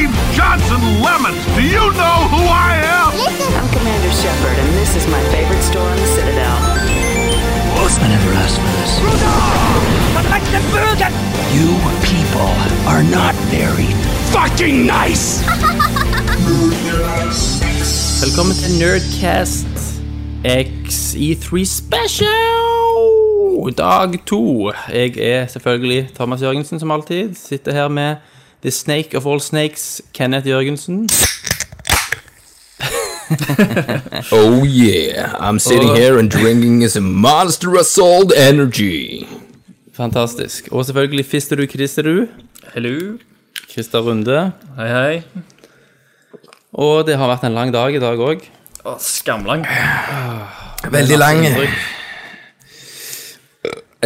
limes and lemons. Do you know who I am? I'm Commander Shepard, and this is my favorite store in the Citadel. I never asked for this. You people are not very fucking nice! Velkommen til Nerdcast XE3 Special! Dag to. Jeg er selvfølgelig Thomas Jørgensen, som alltid. Sitter her med The Snake of all snakes, Kenneth Jørgensen. Oh yeah, I'm sitting here and drinking some monster assault energy. Fantastisk. Og selvfølgelig Fisterud Kristerud. Hello. Krister Runde. Hei, hei. Og det har vært en lang dag i dag òg. Å, skamlang. Veldig lang.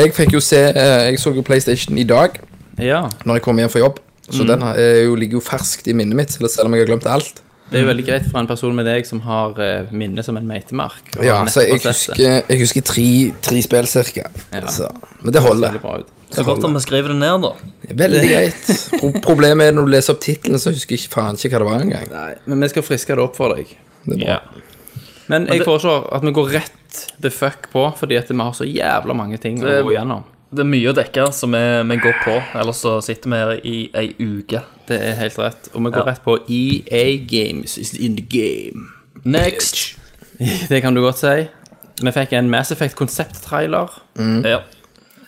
Jeg fikk jo se, eh, jeg så jo PlayStation i dag Ja. når jeg kom hjem fra jobb. Mm. Så den har- er jo, ligger jo ferskt i minnet mitt, selv om jeg har glemt alt. Det er jo veldig greit for en person med deg som har eh, minne som en meitemark. og Ja, nettopp så jeg har sett det. husker, jeg husker tre, tre spill cirka. Så, men det Det ser holder. veldig bra ut. Det er godt at vi skriver det ned, da. Veldig greit. Pro problemet er når du leser opp tittelen, så husker jeg ikke- faen ikke hva det var engang. Nei, men vi skal friske det opp for deg. Det er bra. Men jeg det- foreslår at vi går rett the fuck på, fordi at vi har så jævla mange ting å Det- gå gjennom. Det er mye å dekke, så vi, vi går på. Ellers så sitter vi her i ei uke. Det er helt rett. Og vi går Ja. rett på EA Games is in the game. Next. Det kan du godt si. Vi fikk en Mass Effect konsept-trailer. Ja.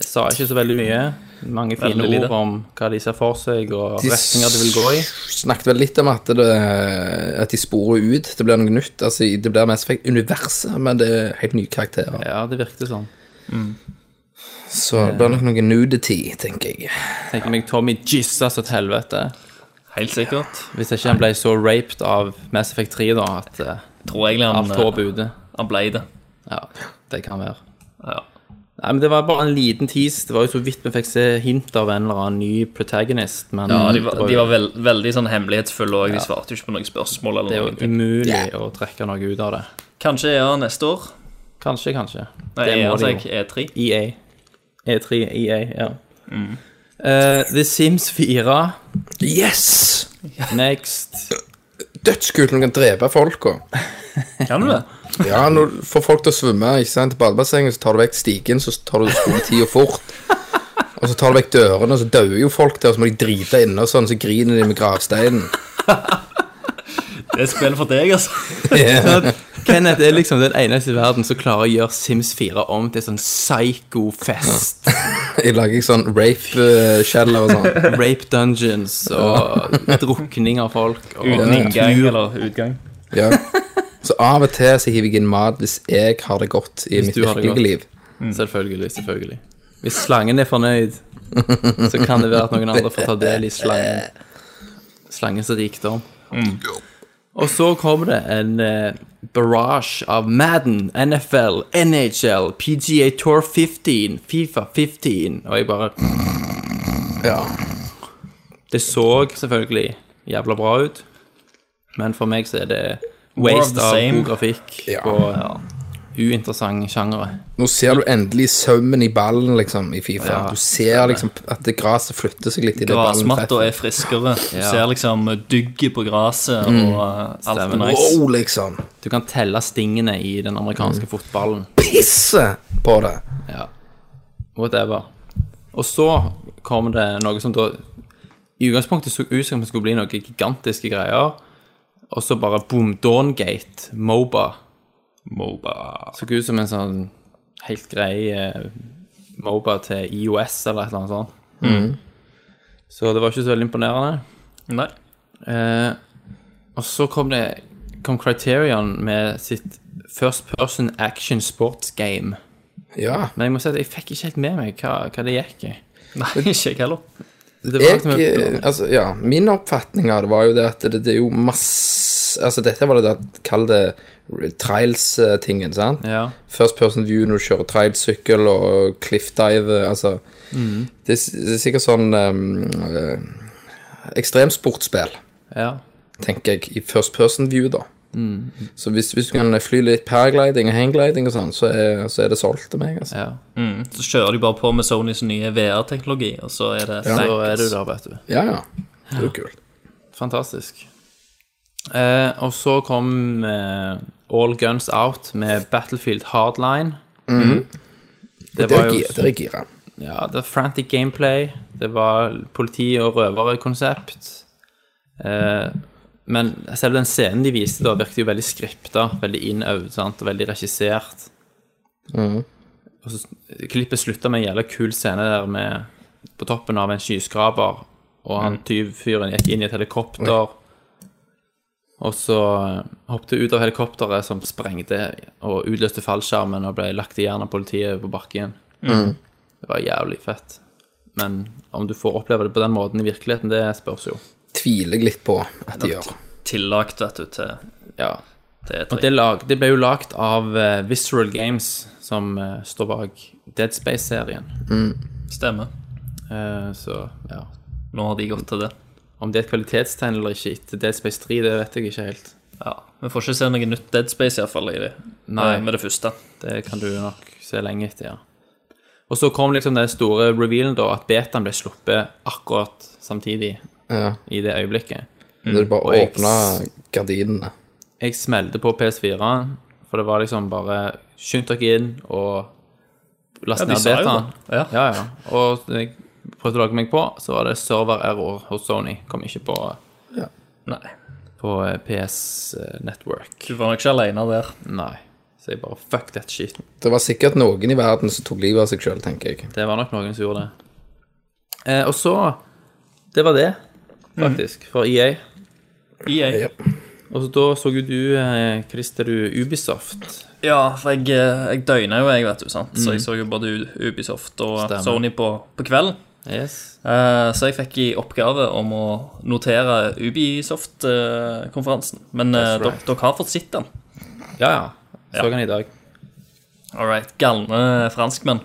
Sa ikke så veldig mye. Mange fine Veldig lite. ord om hva de ser for seg, og De retninger de vil gå i. snakket vel litt om at, det, at de sporer ut. Det blir noe nytt. Altså, det blir Mass Effect-universet, men det er helt nye karakterer. Ja, det virkte sånn. Så det blir nok noe nudity, tenker jeg. Tenker meg Tommy Jesus et helvete. Helt sikkert. Hvis ikke han ble så raped av Mass Effect 3, da, at eh, Tror egentlig han, eh, alt håp er ute. han ble det. Ja, det kan være. Ja. Nei, men Det var bare en liten tease. Det var jo så vidt vi fikk se hint av en eller annen ny protagonist. Men ja de, det var- var de jo- var vel, veldig sånn hemmelighetsfulle òg. De svarte jo ikke på noen spørsmål. det er eller jo noe. umulig å trekke noe ut av det. Kanskje EA neste år. Kanskje, kanskje. Nei, det EA, må altså de jo. E jeg E3. EA. E3, EA, E ja. Mm. Eh, The Sims 4, Yes! Next Dødskult når du kan drepe folka. Kan du det? Ja, når du får folk til å svømme ikke sant, til badebassenget, så tar du vekk stigen, så tar du skoletida fort. Og så tar du vekk dørene, og så dauer jo folk der, og så må de drite inne og sånn, så griner de med gravsteinen. Det er spill for deg, altså. Kenneth er liksom den eneste i verden som klarer å gjøre Sims 4 om til sånn psycho-fest. Jeg lager ikke sånn rape-kjeller og sånn. Rape dungeons og drukning av folk. Og Uten inngang eller utgang. Ja. Så av og til så hiver jeg inn mat hvis jeg har det godt i Hvis mitt du har det godt. virkelige liv. Selvfølgelig, selvfølgelig. Hvis slangen er fornøyd, så kan det være at noen andre får ta del i slangen. Slangens rikdom. Og så kommer det en eh, barrage av Madden, NFL, NHL, PGA Tour 15, Fifa 15, og jeg bare Ja. Det så selvfølgelig jævla bra ut, men for meg så er det waste the av same. god grafikk Ja. på uinteressante sjangere. Nå ser du endelig sømmen i ballen, liksom, i Fifa. Ja. Du ser liksom at det gresset flytter seg litt i det ballen Grasmatta treffer. er friskere. Du Ja. ser liksom dygget på gresset og uh, alt Stemmer. er nice. Wow, liksom. Du kan telle stingene i den amerikanske fotballen. Pisse på det. Ja. Whatever. Og så kom det noe som da I utgangspunktet så ut som det skulle bli noen gigantiske greier, og så bare boom, Dawngate, Moba. Moba. Så ut som en sånn helt grei eh, Moba til IOS eller et eller annet sånt. Så det var ikke så veldig imponerende. Nei. Eh, og så kom det kom Criterion med sitt First Person Action Sports Game. Ja. Men jeg må si at jeg fikk ikke helt med meg hva, hva det gikk i. Nei, ikke jeg heller. Det var Jeg, liksom- eh, altså, ja, min oppfatning av det var jo det at det, det er jo masse Altså, dette var det der, kall det trials-tingen, sant? Ja. First person view når du kjører trailsykkel og cliffdive, altså det, er, s- det er sikkert sånn um, eh, ekstremsportspill. ja. tenker jeg, i first person view, da. Mm. Så hvis, hvis du kan fly litt paragliding og hanggliding og sånn, så er, så er det solgt til meg, altså. ja. Mm. Så kjører de bare på med Sonys nye VR-teknologi, og så er det Så er du der, vet du. Ja, ja. Det er jo kult. Fantastisk. Eh, og så kom eh, All Guns Out med Battlefield Hardline. Det Der var er jo gi- der er gira. ja, det var frantic gameplay. Det var politi- og røverkonsept. Eh, men selv den scenen de viste, da virket jo veldig skripta, veldig innøvd sant? og veldig regissert. Og så, klippet slutta med en jævla kul scene der med på toppen av en skyskraper, og han tyvfyren gikk inn i et helikopter. Og så eh, hoppet ut av helikopteret, som sprengte og utløste fallskjermen og ble lagt i jern av politiet på bakken. Det var jævlig fett. Men om du får oppleve det på den måten i virkeligheten, det spørs jo. Tviler jeg litt på at de gjør. Tillagt, vet du, til, Ja. til E Og det, lag, det ble jo lagd av eh, Visceral Games, som eh, står bak Dead Space-serien. Stemmer. Eh, så ja Nå har de gått til det. Om det er et kvalitetstegn eller ikke etter Dead Space 3, det vet jeg ikke helt. Ja. Vi får ikke se noe nytt Dead Space, iallfall, i det. Nei. Eh, Med det første. Det kan du nok se lenge etter, ja. Og så kom liksom den store revealen, da, at betaen ble sluppet akkurat samtidig. Ja. I det øyeblikket. Det er bare Og å jeg- åpne gardinene. jeg smelte på PS4, for det var liksom bare Skynd dere inn og last Ja, de ned sa jo betaen. det. Ja. ja, ja. Og jeg prøvde å lage meg på, så var det server error hos Sony. Kom ikke på, Nei. på eh, PS Network. Du var nok ikke aleine der. Nei. Så jeg bare fuck that shit. Det var sikkert noen i verden som tok livet av seg sjøl, tenker jeg. Det var nok noen som gjorde det. Eh, og så Det var det, Mm. faktisk, for EA. EA. Og så da så jo du, eh, Christer, du Ubisoft. Ja, for jeg, eh, jeg døgna jo, jeg, vet du, sant. Så jeg så jo både U- Ubisoft og Stemmer. Sony på, på kvelden. Yes. Eh, Så jeg fikk i oppgave om å notere Ubisoft-konferansen. Men eh, That's dere right. dere har fått sett den. Ja, ja. Så han i dag. All right. Galne franskmenn.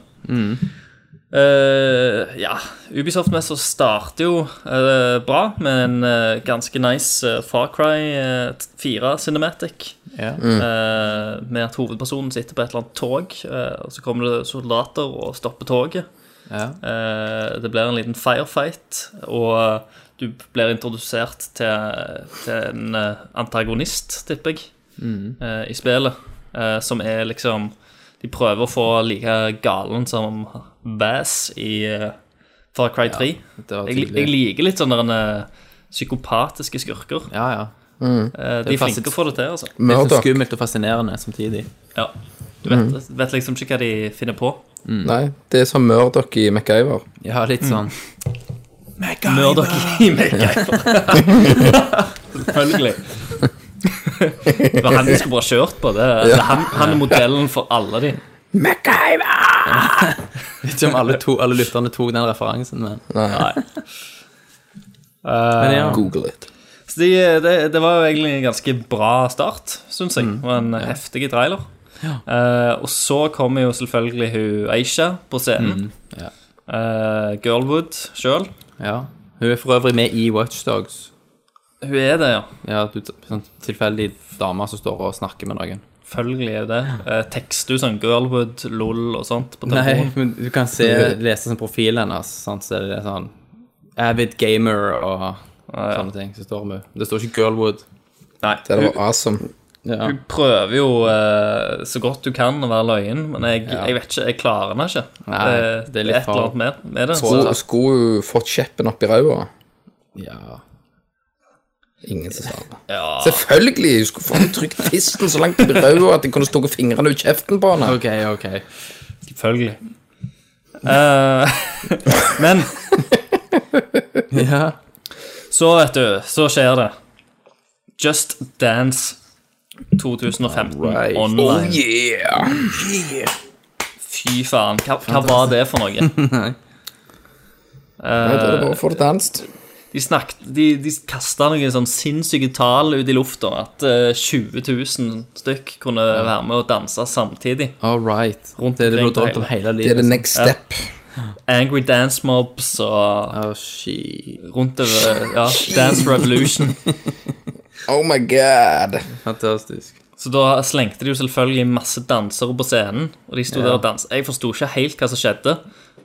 Eh, ja, Ubisoft-messa starter jo eh, bra med en eh, ganske nice eh, Far Cry eh, 4-cinematic. Ja. Eh, med at hovedpersonen sitter på et eller annet tog, eh, og så kommer det soldater og stopper toget. ja. Eh, det blir en liten firefight, og eh, du blir introdusert til, til en eh, antagonist, tipper jeg, Mm. eh, i spillet. eh, som er liksom De prøver å få like galen som Bass i eh, Far Cry 3. det var jeg, tydelig. jeg liker litt sånne eh, psykopatiske skurker. Ja, ja. Eh, de er fast- flinke til å få det til, altså. Det er Murdoch. så skummelt og fascinerende samtidig. Ja. Du vet, vet liksom ikke hva de finner på. Mm. Nei, det er som Murdoch i MacGyver. Ja, litt sånn Mør dere i MacGyver. Selvfølgelig. Det var han vi skulle bare kjørt på. det det er han, han er modellen for alle de. Ikke om alle, to, alle lytterne tok den referansen, men Nei, Men ja. google it. Eh, Så de, eh, det, det var jo egentlig en ganske bra start, syns jeg. Og en heftig trailer. Eh, og så kommer jo selvfølgelig hun Aisha på scenen. ja. Eh, Girlwood sjøl. ja. Hun er for øvrig med i Watchdogs. Hun er det, ja. Ja, du, sånn tilfeldig dame som står og snakker med noen. Selvfølgelig er hun det. Eh, tekster du sånn Girlwood, LOL og sånt på Nei, telefonen? men du kan se, lese sånn profilen hennes, sant? så er det sånn Avid gamer og sånne ting. Så står med. Det står ikke Girlwood. Nei. Det var awesome. Ja. Hun prøver jo eh, så godt du kan å være løyen, men jeg, jeg vet ikke, jeg klarer henne ikke. Eh, Nei, det, det er er litt et eller annet med, med det. Skulle- Skulle hun fått kjeppen opp i ræva? ja. Ingen som sa det. Ja. Selvfølgelig! Hun skulle faen trykt fisten så langt opp i ræva at jeg kunne stukket fingrene ut kjeften på henne. OK, OK. Selvfølgelig. Eh, men Ja. så, vet du, så skjer det. Just Dance 2015 Alright. Oh online. yeah! Fy faen, hva, hva var det for noe? Nei, da er det bare å få det danset. De, snakket, de, de kasta noen sånn sinnssyke tall ut i lufta. At eh, 20 000 stykk kunne være med og danse samtidig. All right. Rundt det er det du har omkring drømt om hele Det er livet. the next step. Angry Dance Mobs og Å, shit. rundt over ja, Dance Revolution. Oh my god! Fantastisk. Så da slengte de jo selvfølgelig masse dansere på scenen, og de sto der og danset. Jeg forsto ikke helt hva som skjedde,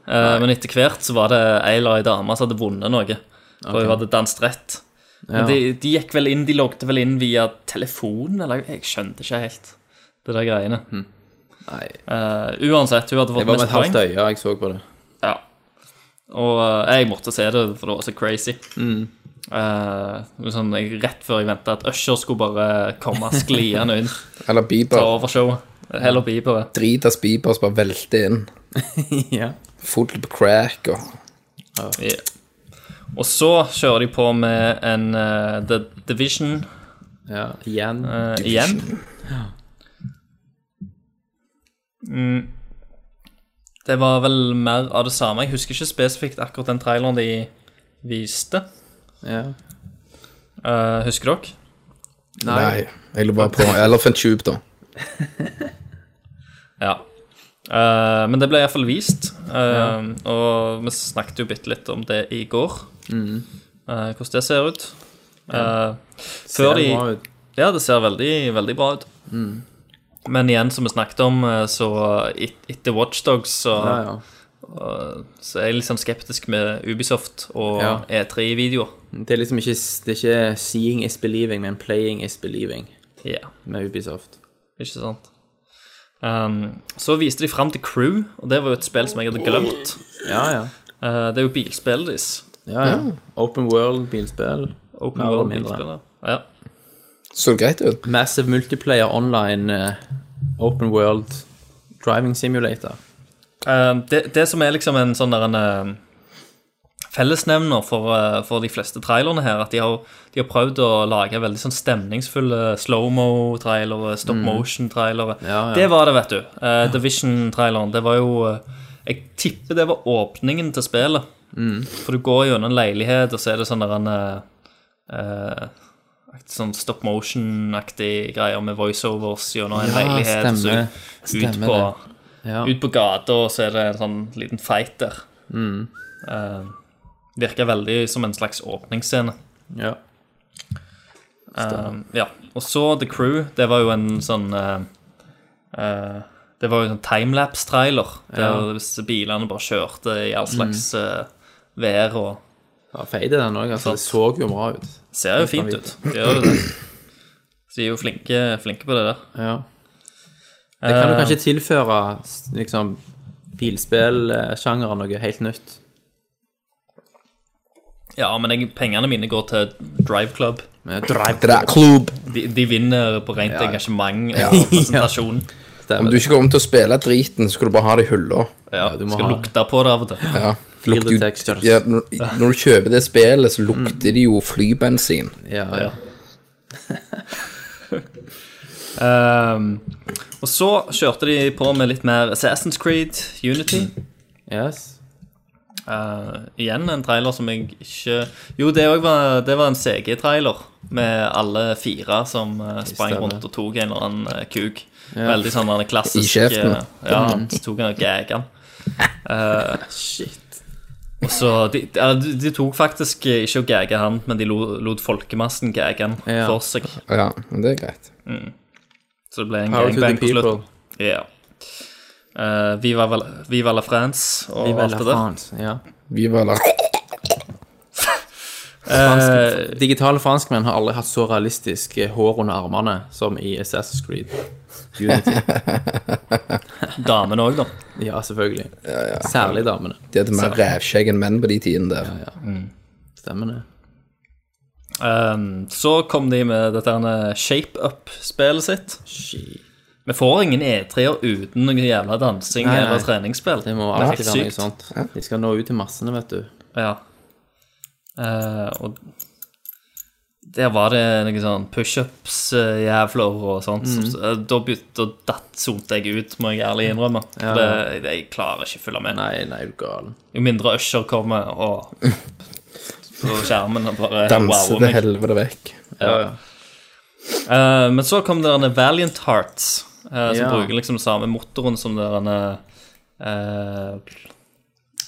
eh, men etter hvert så var det ei eller ei dame som hadde vunnet noe, og hun hadde danset rett. Ja. Men de, de gikk vel inn, de logget vel inn via telefon, eller jeg skjønte ikke helt det der greiene. Hm. Nei. Eh, uansett, hun hadde Jeg fått var med mest et halvt poeng. øye jeg så på det. Ja. Og eh, jeg måtte se det, for det var så crazy. Eh, sånn, jeg, rett før jeg venta at Usher skulle bare komme skliende inn, Eller ta Bieber. over showet. Heller Bieber. Dritas Bieber som bare velter inn. ja. Full på crack og Ja. Og så kjører de på med en eh, The Division ja. Igjen. eh, igjen. Mm. Det var vel mer av det samme. Jeg husker ikke spesifikt akkurat den traileren de viste. Ja. Eh, husker dere? Nei. Nei. Jeg lurer bare på Elephant Tube, da. Ja. Eh, men det ble iallfall vist, eh, og vi snakket jo bitte litt om det i går. Eh, hvordan det ser ut. Eh, Ser før de Mm. det bra ut? Mm. Ja, det ser veldig, veldig bra ut. Men igjen, som vi snakket om, eh, så et- etter Watchdogs så, Ja, ja. så er jeg litt sånn skeptisk med Ubisoft og Ja. E3-videoer. Det er liksom ikke, det er ikke seeing is believing, men playing is believing Ja, med Ubisoft. ikke sant? Um, så viste de fram til Crew, og det var jo et spill som jeg hadde glemt. Ja, ja. Eh, det er jo bilspillet deres. ja, ja. Mm. Open world, bilspill. Open Mer eller World mindre. bilspillet. Ja. Så det greit ut. Massive multiplayer online eh, open world driving simulator. Eh, det, det som er liksom en sånn der en eh, fellesnevner for, eh, for de fleste trailerne her, at de har, de har prøvd å lage veldig sånn stemningsfulle slow-mo-trailere, stop motion-trailere. Mm. Ja, ja. Det var det, vet du. Eh, Division-traileren, det var jo eh, Jeg tipper det var åpningen til spillet. Mm. For du går gjennom en leilighet, og så er det sånn der en eh, eh, Sånn stop motion-aktig greier med voiceovers gjennom en Ja, leilighet. og stemmer. så ut Stemmer på, det. Ja. ut på gata, og så er det en sånn liten fight der. Mm. Eh, virker veldig som en slags åpningsscene. Ja. Eh, ja. Og så The Crew. Det var jo en sånn eh, eh, Det var jo en sånn timelapse-trailer der bilene bare kjørte i all slags Mm. eh, vær og ja Feide den òg, altså. Det så jo bra ut. Ser jo fint ut. De gjør jo det. Så de er jo flinke, flinke på det der. Ja. Det kan jo Eh, kanskje tilføre s- liksom bilspillsjangeren noe helt nytt. Ja, men jeg, pengene mine går til Drive Club. Med Det drive der klubb. De, de vinner på rent engasjement og presentasjon. Om du ikke kommer til å spille driten, så skal du bare ha det i hylla. Ja, Ja, du du må skal ha- lukte på det av og til. Ja. Feel the Lukter jo- textures. Ja, når, når du kjøper det spillet, så lukter det jo flybensin. Ja, ja. Ehm, og så kjørte de på med litt mer Assassin's Creed, Mm. Unity. Yes. Eh, igjen en trailer som jeg ikke Jo, det òg var, det var en CG-trailer med alle fire som eh, sprang Stemmer. rundt og tok en eller annen eh, kuk. Veldig sånn den I klassisk kjeften. eh, Ja, så tok han og gaggan. Shit. Og så de, ja, de, de tok faktisk eh, ikke å gagge han, men de lo- lot folkemassen gagge han Ja. for seg. Ja, men det er greit. Så det ble en Power to the gangbang på slutten. people. Ja. Eh, Viva, Val- Viva la France og Viva alt la det der. France. Ja. Vi var la... Fransk, Eh, digitale franskmenn har aldri hatt så realistisk eh, hår under armene som i Assassin's Creed. Unity. Damene òg, Eh, da. Ja, selvfølgelig. Særlig damene. De hadde mer rævskjegg enn menn på de tidene der. Stemmer det. Eh, så kom de med dette her shape up-spillet sitt. Shit. Vi får ingen E3-er uten noe jævla dansing Nei, nei. eller treningsspill. Det må er alltid helt være noe sykt. sånt. De skal nå ut til massene, vet du. Ja. Eh, og der var det noe sånn pushups-jævler og sånt. Mhm. som- eh, Da begynte da datt sonte jeg ut, må jeg ærlig innrømme. Ja. Det, jeg klarer ikke å følge med. Nei, nei, du gal. Jo mindre Usher kommer og på skjermen og bare Danse wower til meg. helvete vekk. Ja, ja. Eh, men så kom det denne Valiant Hearts, eh, som Ja. bruker liksom samme motoren som det denne eh,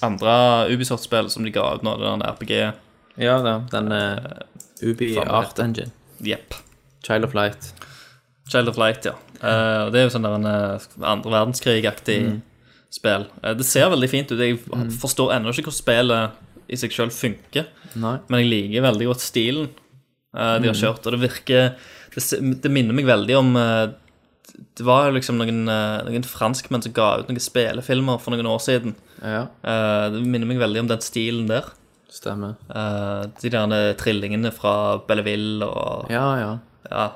andre Ubisoft-spill som de ga ut nå, det denne RPG. Ja da, den eh, Ubi Samme Art Engine. Jepp. Child of Light. Child of Light, ja. Eh, og det er jo sånn der en eh, andre verdenskrig-aktig spill. Eh, det ser veldig fint ut. Jeg forstår ennå ikke hvordan spillet i seg sjøl funker, Nei. men jeg liker veldig godt stilen. eh, Mm. de har kjørt. Og det virker Det, s- det minner meg veldig om eh, Det var jo liksom noen, eh, noen franskmenn som ga ut noen spillefilmer for noen år siden. Ja, Eh, det minner meg veldig om den stilen der. stemmer. Eh, de der trillingene fra Belleville og Ja, ja. ja.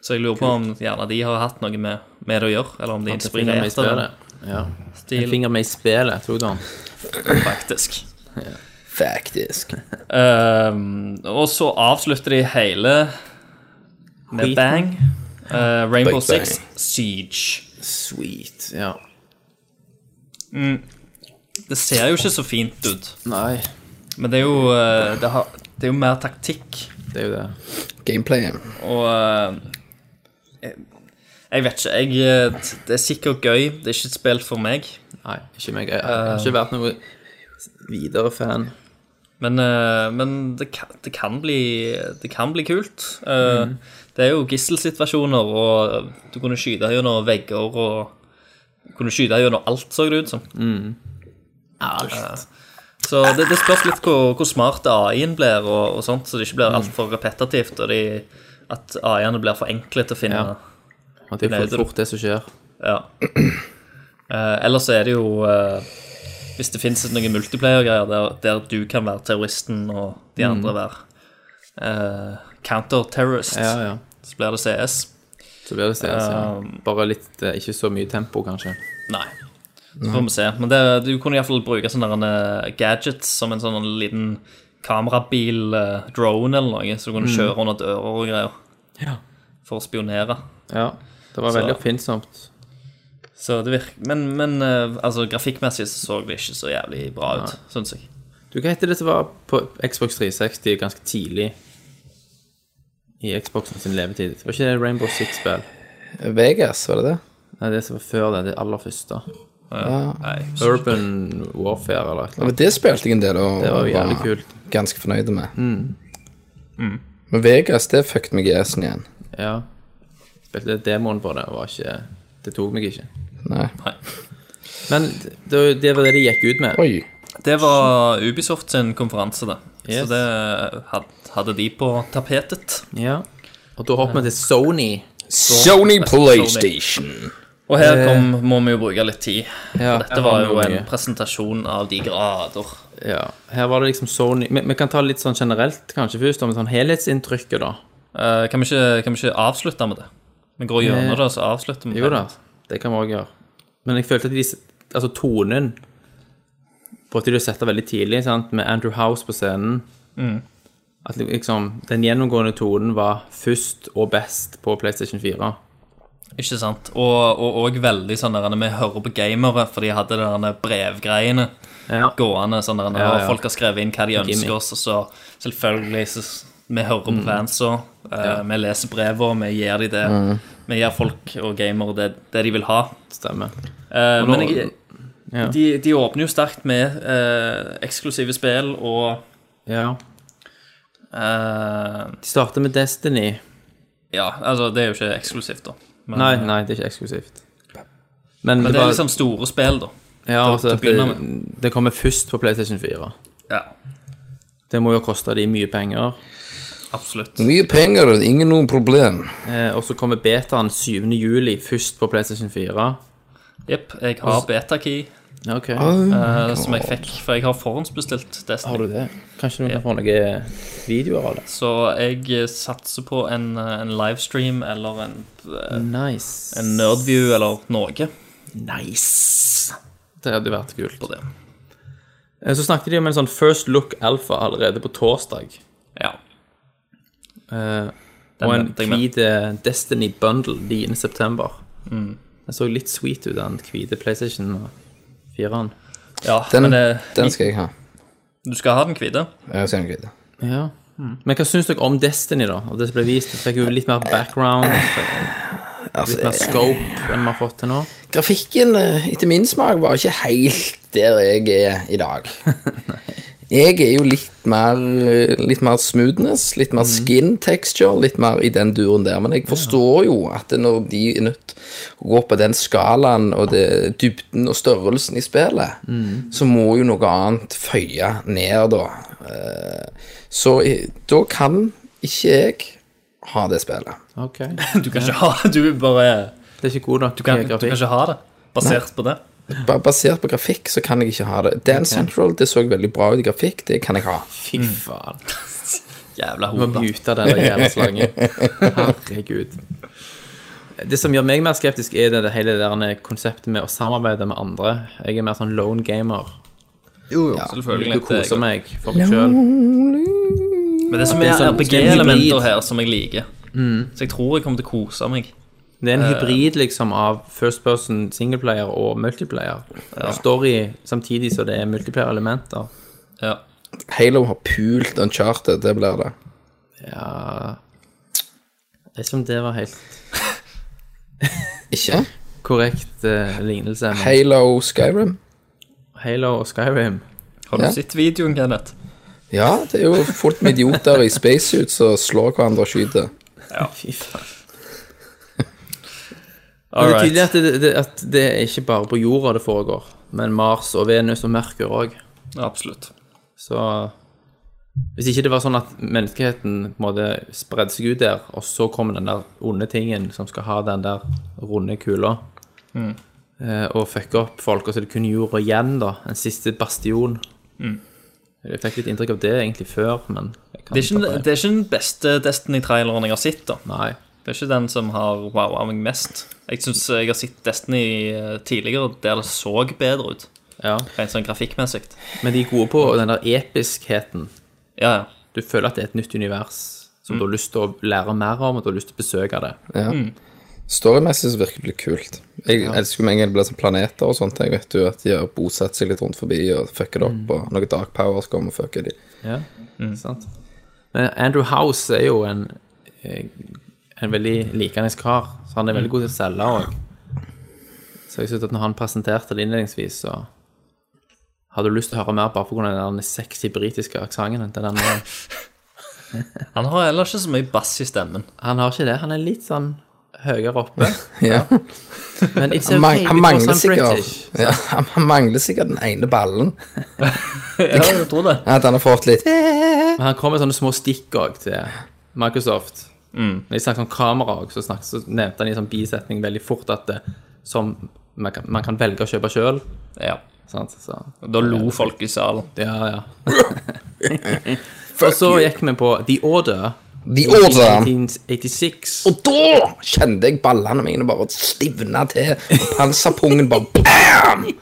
Så jeg lurer på om gjerne de har hatt noe med, med det å gjøre, eller om de er En finger med i inspirert av den spillet. Ja. En stilen, finger med i spillet, tok du han. faktisk. Faktisk. Ehm, og så avslutter de hele med Skiten. bang. Eh, Rainbow Big bang. Six Siege. Sweet. Ja. Det ser jo ikke så fint ut, Nei, men det er jo, eh, det har, det er jo mer taktikk. det er jo det. Gameplay. Og eh, jeg, jeg vet ikke. Jeg, eh, det er sikkert gøy. Det er ikke et spill for meg. Nei, ikke meg. Jeg har ikke vært noe videre fan. Men, eh, men det, kan, det, kan bli, det kan bli kult. Eh, Det er jo gisselsituasjoner, og du kunne skyte gjennom vegger og du kunne skyte gjennom alt, så det ut som. Alt. Så det, det spørs litt hvor, hvor smart AI-en blir, og, og sånt, så det ikke blir altfor repetitivt, og de, at AI-ene blir for enkle til å finne Ja. Og det er jo Nei, det- fort- fort det som skjer. Ja. Eh, ellers så er det jo eh, Hvis det finnes noen multiplayer-greier der, der du kan være terroristen og de andre være eh, counter-terrorist, Ja, ja. så blir det CS. Så blir det CS, ja. Bare litt eh, Ikke så mye tempo, kanskje. Nei. Så får vi se. Men det, du kunne iallfall bruke sånne der, eh, gadgets som en sånn liten kamerabil, eh, drone eller noe, så du kunne kjøre under dører og greier Ja. for å spionere. Ja. Det var Så- veldig oppfinnsomt. Så det virker, men, men eh, altså, grafikkmessig så så det ikke så jævlig bra ut, syns jeg. Du, hva heter det som var på Xbox 360 ganske tidlig i Xboxen sin levetid? Det var ikke det Rainbow Six-spill? Vegas, var det det? Nei, det som var før det. Det aller første. Nei, jeg husker Urban Warfare eller et eller Ja, men det spilte jeg en del og Det var jo jævlig var kult. Mm. ganske fornøyd med. Men Vegas, det fucket meg i assen igjen. annet. Ja. Spilte demoen på det, var ikke Det tok meg ikke. Nei. Men det, det var det de gikk ut med. Oi. Det var Ubisoft sin konferanse, da. Yes. Så det had- hadde de på tapetet. Ja. Og da hopper vi til Sony. Sony PlayStation. Og her kom, må vi jo bruke litt tid. Ja, For dette var jo en presentasjon av de grader. Ja, her var det liksom Sony Vi, vi kan ta litt sånn generelt kanskje først om sånn helhetsinntrykket, da. Eh, kan, vi ikke, kan vi ikke avslutte med det? Vi går gjennom det, og så avslutter vi. Jo da, det kan vi òg gjøre. Men jeg følte at de, altså tonen prøvde de å sette veldig tidlig, sant? med Andrew House på scenen. Mm. At liksom den gjennomgående tonen var først og best på PlayStation 4. Ikke sant? Og, og, og veldig sånn der vi hører på gamere, for de hadde det der brevgreiene Ja. gående. sånn der, Ja, ja. og Folk har skrevet inn hva de ønsker Gimme. Mm. oss, og så selvfølgelig så s- Vi hører på fansa, eh, vi leser brevene, vi gir de det. Mm. Vi gir folk og gamere det, det de vil ha. Stemmer. Eh, nå- men jeg, Ja. de, de åpner jo sterkt med eh, eksklusive spill, og Ja. eh, De starter med Destiny. Ja, altså, det er jo ikke eksklusivt, da. Men, Nei, nei, det er ikke eksklusivt. Men, men det var- er liksom store spill, da. ja, altså, til å at det, begynne det kommer først på PlayStation 4. Ja, Det må jo koste de mye penger. absolutt. Mye penger, ingen noe problem. Eh, og så kommer betaen 7. juli først på PlayStation 4. Jepp. Jeg har betakey, Ok. uh, som jeg fikk, for jeg har forhåndsbestilt Destiny. du det? Kanskje noen kan få noen videoer av det? Så jeg eh, satser på en, eh, en livestream eller en, eh, Nice. en nerdview eller noe Nice. Det hadde vært kult. på det. Eh, Så snakket de om en sånn First Look Alpha allerede på torsdag. Ja. Eh, Den og en venter jeg med. hvit eh, Destiny Bundle 9. september. Mm. Den så litt sweet ut, den hvite PlayStation 4-en. ja Den, men eh, den skal jeg ha. du skal ha den hvite. Jeg skal ha en kvite. Ja. Mm. Men hva syns dere om Destiny, da? Og det som ble vist, det fikk jo litt mer background. Altså, Litt mer scope enn vi har fått til nå. Grafikken, eh, etter min smak, var ikke helt der jeg er i dag. Jeg er jo litt mer, eh, litt mer smoothness, litt mer skin texture, litt mer i den duren der. Men jeg forstår jo at når de er nødt å gå på den skalaen og det, dybden og størrelsen i spillet, så må jo noe annet føye ned, da. Eh, Så i- da kan ikke jeg ha det spillet. Ok. Du kan ikke ha Du er bare Det er ikke god nok du kan, du grafikk. kan ikke ha det basert på det. Bare basert på grafikk så kan jeg ikke ha det. Dan Central det så veldig bra ut i grafikk, det kan jeg ha. Fy faen. Jævla Du må hode. mute den der jævla slangen. Herregud. Det som gjør meg mer skeptisk, er det, det hele det der konseptet med å samarbeide med andre. Jeg er mer sånn lone gamer. Selvfølgelig. Jeg koser Det- meg for meg sjøl. Men det som Det er er sånn- RPG-elementer hybrid. her som jeg liker. Så jeg tror jeg kommer til å kose meg. Det er en Eh. hybrid liksom av first person singleplayer og multiplayer. Story samtidig som det er multiplayer-elementer. Ja. Halo har pult Uncharted, det blir det. Ja Jeg vet ikke om det var helt Ikke? korrekt eh, lignelse. Men Halo Skyrim. Halo og Skyrim Har du Ja. sett videoen, Kenneth? Ja, det er jo fullt med idioter i spacesuits som slår hverandre og skyter. Fy faen. All Men det er tydelig right. at det, det, at det er ikke bare på jorda det foregår, men Mars og Venus og Merkur òg. Absolutt. Så hvis ikke det var sånn at menneskeheten på en måte spredde seg ut der, og så kom den der onde tingen som skal ha den der runde kula, Mm. eh, og fucke opp folk, og så er det kun jorda igjen, da. En siste bastion. Mm. Jeg fikk litt inntrykk av det egentlig før, men jeg kan Det er, ikke, ta det er ikke den beste Destiny-traileren jeg har sett. da Nei. Det er ikke den som har wowa meg mest. Jeg syns jeg har sett Destiny eh, tidligere der det så bedre ut, Ja. rent sånn grafikkmessig. Men de er gode på den der episkheten. Ja, ja. Du føler at det er et nytt univers Mm. som du har lyst til å lære mer om, og du har lyst til å besøke det. Storymessig så virker det litt kult. Jeg elsker jo med en gang det blir sånn planeter og sånt. Jeg vet jo at de har bosatt seg litt rundt forbi og fucker det opp, og noen dark powers kommer og fucker de. Ja, Mm. sant. Men Andrew House er jo en, eh, en veldig likende kar, så han er Mm. veldig god til å selge òg. Så jeg synes at når han presenterte det innledningsvis, så hadde du lyst til å høre mer bare pga. den der sexy britiske aksenten. til den mannen. Han har heller ikke så mye bass i stemmen. Han har ikke det. Han er litt sånn høyere oppe. Ja. Men it's Han, okay mang han, because mangler I'm sikkert, sånn British. ja, han han mangler sikkert den ene ballen. Ja, jeg tror det. At han har fått litt Men han kom med sånne små stikk òg til Microsoft. Mm. Når de snakket om kamera òg, så, snakket- så nevnte han i en sånn bisetning veldig fort at det, som man kan, man kan velge å kjøpe sjøl. Ja. Sant? Så, Da lo folk i salen. ja, ja. Og så gikk vi på The Order. The Order. 1986. Og da kjente jeg ballene mine bare stivne til. og Panserpungen bare bam!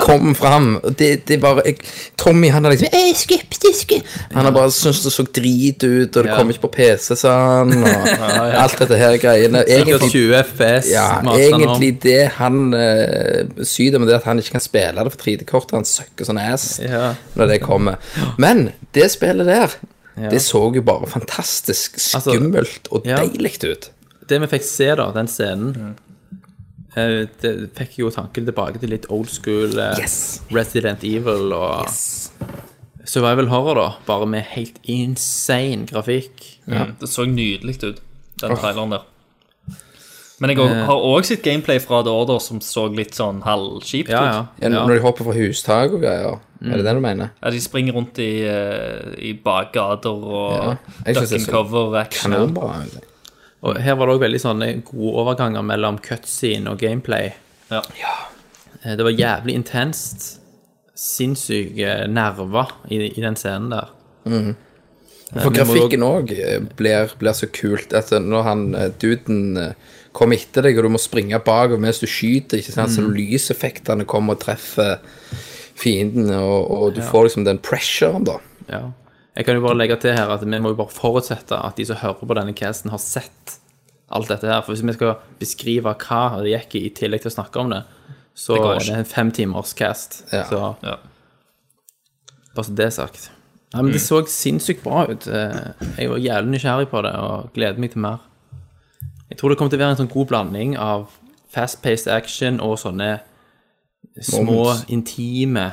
Kom fram. Og det, det bare jeg, Tommy han er liksom jeg er skeptisk. Han har bare syntes det så drit ut, og det Ja. kom ikke på PC, sa han. Og alt dette her greiene. Sikkert Egentlig, 20 FPS. ja, maste han om. egentlig det han uh, syder med, det at han ikke kan spille det for 3D-kortet. Han søkker sånn ass Ja. når det kommer. Men det spillet der, Ja. det så jo bare fantastisk Altså, skummelt og ja. deilig ut. Det vi fikk se, da, den scenen Mm. eh, Det fikk jo tanken tilbake til litt old school eh, Yes. Resident Evil og Survival Horror, da. Bare med helt insane grafikk. Det så nydelig ut, den traileren der. Men jeg Eh. har- har òg sett gameplay fra The Order som så litt sånn halvkjipt Ja, ja. Mm. ut. Ja, Når de hopper fra hustak og greier. Er det det du mener? Ja, de springer rundt i, eh, i bakgater og Jeg synes duck det and så cover action. Kanonbra. egentlig. Og her var det òg veldig sånne gode overganger mellom cutscene og gameplay. Ja. Eh, Det var jævlig intenst. Sinnssyke nerver i, i den scenen der. Mm-hmm. Eh, For grafikken òg blir, blir så kult at når han eh, duden eh, kommer etter deg, og du må springe bakover mens du skyter, ikke sant? så Mm. lyseffektene kommer og treffer fienden, og, og du får liksom den pressuren, da. Ja. Jeg kan jo bare legge til her at vi må jo bare forutsette at de som hører på denne casten, har sett alt dette her. For hvis vi skal beskrive hva det gikk i, i tillegg til å snakke om det, så Det går er ikke. det en femtimers cast. Ja. Så Ja. bare så det er sagt. Nei, men det så sinnssykt bra ut. Eh, Jeg var jævlig nysgjerrig på det og gleder meg til mer. Jeg tror det kommer til å være en sånn god blanding av fast-paced action og sånne små, Moments. intime,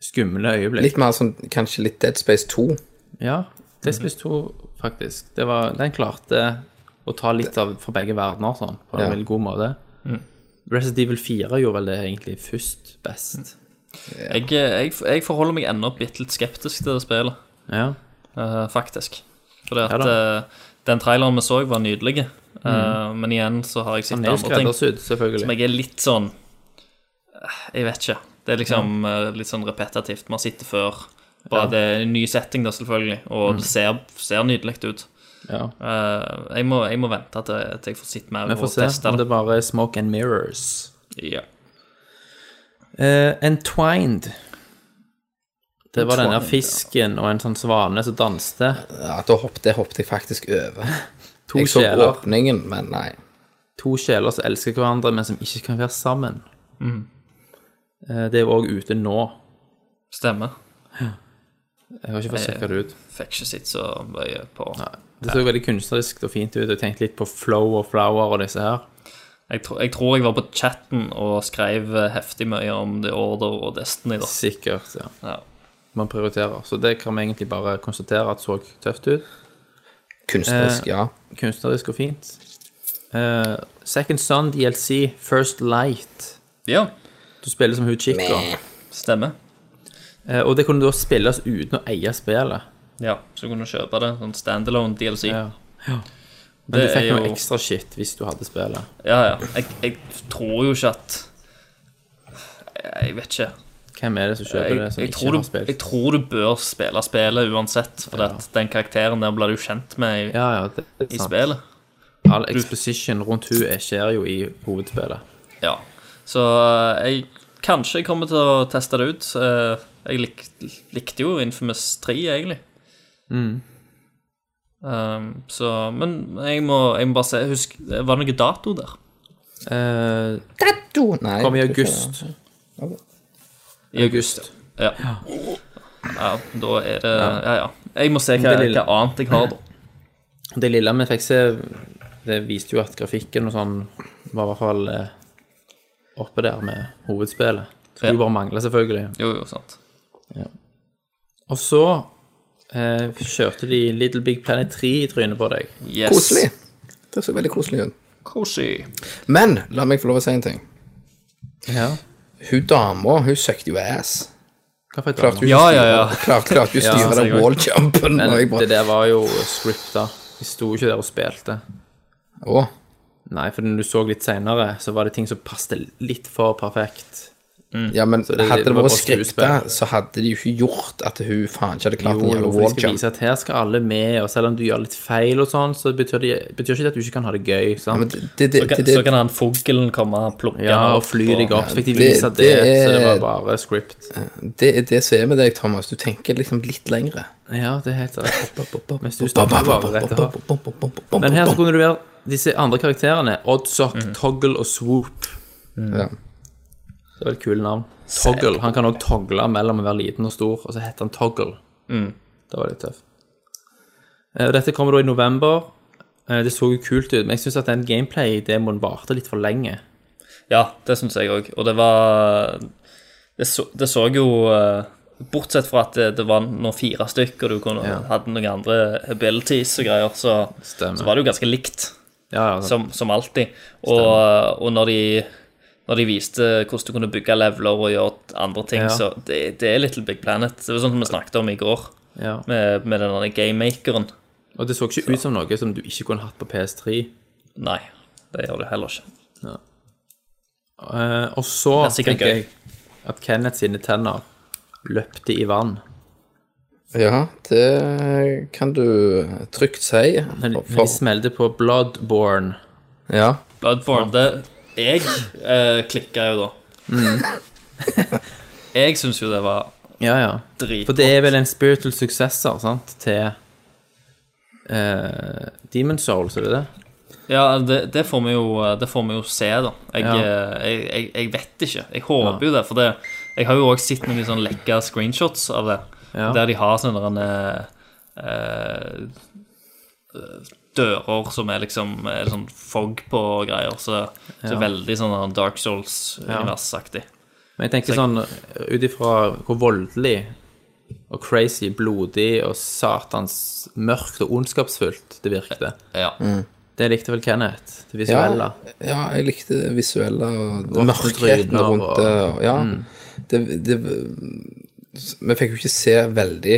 skumle øyeblikk. Litt mer sånn kanskje litt Dead Space 2. Ja, Dead Space 2, faktisk. Det var, den klarte å ta litt av fra begge verdener sånn, på en Ja. veldig god måte. Mm. Resident Evil 4 gjorde vel det egentlig først Mm. best. Jeg, jeg, jeg forholder meg ennå bitte litt skeptisk til det spillet, Ja. eh, faktisk. Fordi at Ja da. Mm. eh, den traileren vi så, var nydelig. Eh, men igjen så har jeg sett Han er jo andre ting skreddersydd, selvfølgelig. som jeg er litt sånn eh, Jeg vet ikke. Det er liksom eh, litt sånn repetitivt. Man sitter før. Bare det er en ny setting, da, selvfølgelig, Mm. og det ser, ser nydelig ut. Ja. Eh, jeg, må, jeg må vente til, til jeg får sett mer Vi og får se teste om det. det bare er smoke and mirrors. Ja. Eh, Entwined. Det var denne Entwined, fisken og en sånn svane som danste. Ja, da hoppet, det hoppet jeg faktisk over. To Jeg så sjeler. åpningen, men nei. To sjeler som elsker hverandre, men som ikke kan være sammen. Eh, det er jo òg ute nå. Stemmer. Jeg har ikke fått sjekka det ut. Fikk ikke sett så mye på. Det så veldig kunstnerisk og fint ut. Jeg tenkte litt på Flow og Flower og disse her. Jeg, tro, jeg tror jeg var på chatten og skrev eh, heftig mye om The Order og Destiny, da. Sikkert, ja. Ja. Man prioriterer. Så det kan vi egentlig bare konstatere at så tøft ut. Eh, Kunstnerisk, ja. Kunstnerisk og fint. Eh, Second Son DLC, First Light. ja, Du spiller som hun Chico. stemmer. Eh, og det kunne da spilles uten å eie spillet. Ja, så kunne du kjøpe det. Sånn standalone DLC. Ja, Men Det du er fikk noe jo- ekstra shit hvis du hadde spillet. ja. Jeg, jeg tror jo ikke at Jeg vet ikke. Hvem er det som kjøper Jeg, det, som jeg, ikke tror har du, spilt? jeg tror du bør spille spillet uansett, for at den karakteren der blir du kjent med i, Ja, ja, det er i sant. spillet. All exposition rundt hun er- skjer jo i hovedspillet. Ja. Så eh, jeg Kanskje jeg kommer til å teste det ut. Eh, Jeg lik, likte jo Infamous 3, egentlig. Mm. Um, så Men jeg må, jeg må bare se Husk, var det noe dato der? Eh, Tattoo! Nei. kom i det kan- august. I august. Ja. ja. Da er det Ja, ja. Jeg må se hva, Det lille- hva annet jeg har, da. Det lille vi fikk se, det viste jo at grafikken og sånn var i hvert fall eh, oppe der med hovedspillet. Skulle Ja. bare mangle, selvfølgelig. Jo, jo, sant. Og så eh, kjørte de Little Big Planet 3 i trynet på deg. Yes. Koselig. Det så veldig koselig ut. Koselig. Men la meg få lov å si en ting. Ja. Hun dama, hun søkte jo ass. Hva fikk du Klarte av hun nå? Ja, ikke å ja, styre- ja. klarte- klarte hun ikke å styre Ja, den walljumpen? og jeg Det bare- der var jo scripta. De sto ikke der og spilte. Å, Nei, for når du så litt seinere, så var det ting som passet litt for perfekt. Ja, men det- hadde det det vært var bare skripta, skuespill. så hadde de jo ikke gjort at hun faen ikke hadde klart Jo, en jo, jævla for de skal vise walljump. at her skal alle med, og selv om du gjør litt feil og sånn, så betyr det betyr ikke det at du ikke kan ha det gøy. Ja, Sant? men det- det- det- Så kan, det- så kan han fuglen komme og plukke Ja, han og fly deg opp. Fikk de det- vise det, det er- så det var bare script. Det er det som er med deg, Thomas. Du tenker liksom litt lengre. Ja, det er helt rett. Mens du stopper bare rett og slett. Men her så kunne du være disse andre karakterene. Oddsock, Mm. Toggle og Swoop. Ja. Det var et kult navn. Toggle. Han kan òg togle mellom å være liten og stor, og så heter han Toggle. Mm. Det var litt tøft. Eh, og Dette kommer da i november. Eh, Det så jo kult ut, men jeg syns at den gameplay-demoen varte litt for lenge. Ja, det syns jeg òg. Og det var Det så, det så jo eh, Bortsett fra at det, det var nå fire stykk, og du kunne, hadde noen andre abilities og greier, så, Stemmer. så var det jo ganske likt, Ja, altså. ja, som, som alltid. Og, og når, de, når de viste hvordan du kunne bygge leveler og gjøre andre ting, Ja. så det, det er Little Big Planet. Det var sånn som vi snakket om i går, ja. med, med den der gamemakeren. Og det så ikke ut som noe som du ikke kunne hatt på PS3. Nei, det gjør det heller ikke. Eh, og så Det er sikkert tenker jeg at Kenneth sine tenner løpte i vann. ja, det kan du trygt si. Men, For- men de For, smelte på Bloodborne. ja. Bloodborne, det Jeg eh, klikka jo da. Mm. jeg syns jo det var Ja, ja. drit. For det er vel en spiritual successor, sant, til eh, Demon Souls, er det det? Ja, det, det, får vi jo, det får vi jo se, da. Jeg, Ja. eh, jeg, jeg, jeg vet ikke. Jeg håper jo det, for det, jeg har jo òg sett noen sånn lekre screenshots av det, Ja. der de har sånne der, eh, eh, dører som er liksom er sånn fog på og greier, så, så veldig sånn der Dark Souls-univers-aktig. Men jeg tenker sånn, ut ifra hvor voldelig og crazy, blodig og satans mørkt og ondskapsfullt det virkte. Ja. Det likte vel Kenneth, det Ja, visuelle. ja, jeg likte det visuelle og det tryner mørkheten rundt og- Mm. det. og- Ja, det, det Vi fikk jo ikke se veldig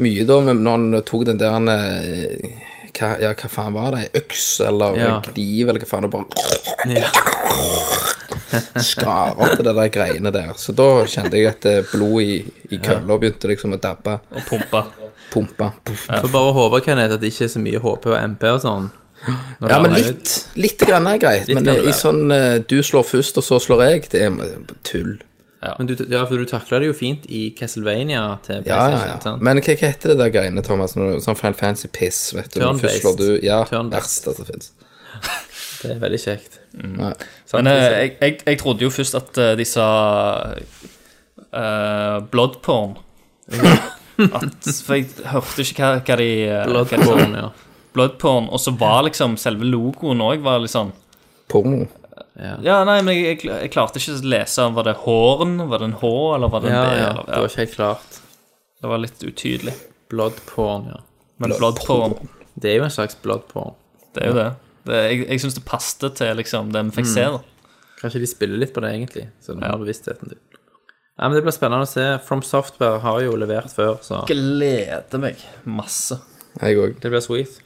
mye da, men når han tok den der han, eh, hva, ja, hva faen var det? Øks eller Ja. kniv eller hva faen, og bare Skar opp det der greiene der. Så da kjente jeg at eh, blodet i, i kølla begynte liksom å dabbe. og pumpe. Pumpe. Puff. Får bare håpe Kenneth, at det ikke er så mye HP og MP og sånn. når Ja, det men er litt, litt grann er greit. Men grann, eh, ja. i sånn eh, du slår først, og så slår jeg, det er tull. Men du, ja, for du takla det jo fint i Castlevania til Ja, ja, PlayStation. ja. sant? Men hva, hva heter det der greiene, Thomas? når du- Sånn Final Fantasy piss, vet du. Når Først Turn-based. slår du Ja, Turn-based. verste som fins. Det er veldig kjekt. Men eh, jeg, jeg, jeg trodde jo først at eh, de sa eh, bloodporn. At, for jeg hørte ikke hva, hva de eh, hva de sa. Bloodborne, ja. Bloodporn. Og så var liksom selve logoen òg litt sånn Porno. Ja, nei, men jeg, jeg, jeg klarte ikke å lese. Var det horn? Var det en H? Eller var det en Ja, B? ja. Eller, Det var ikke helt klart. det var litt utydelig. Bloodporn, ja. Men bloodporn, Det er jo en slags bloodporn. det er jo det. det jeg jeg syns det passet til liksom, det vi fikk se. da. Kanskje de spiller litt på det, egentlig. Så de har bevisstheten din. Ja, men Det blir spennende å se. From Software har jo levert før, så Gleder meg masse. Jeg òg. det blir sweet.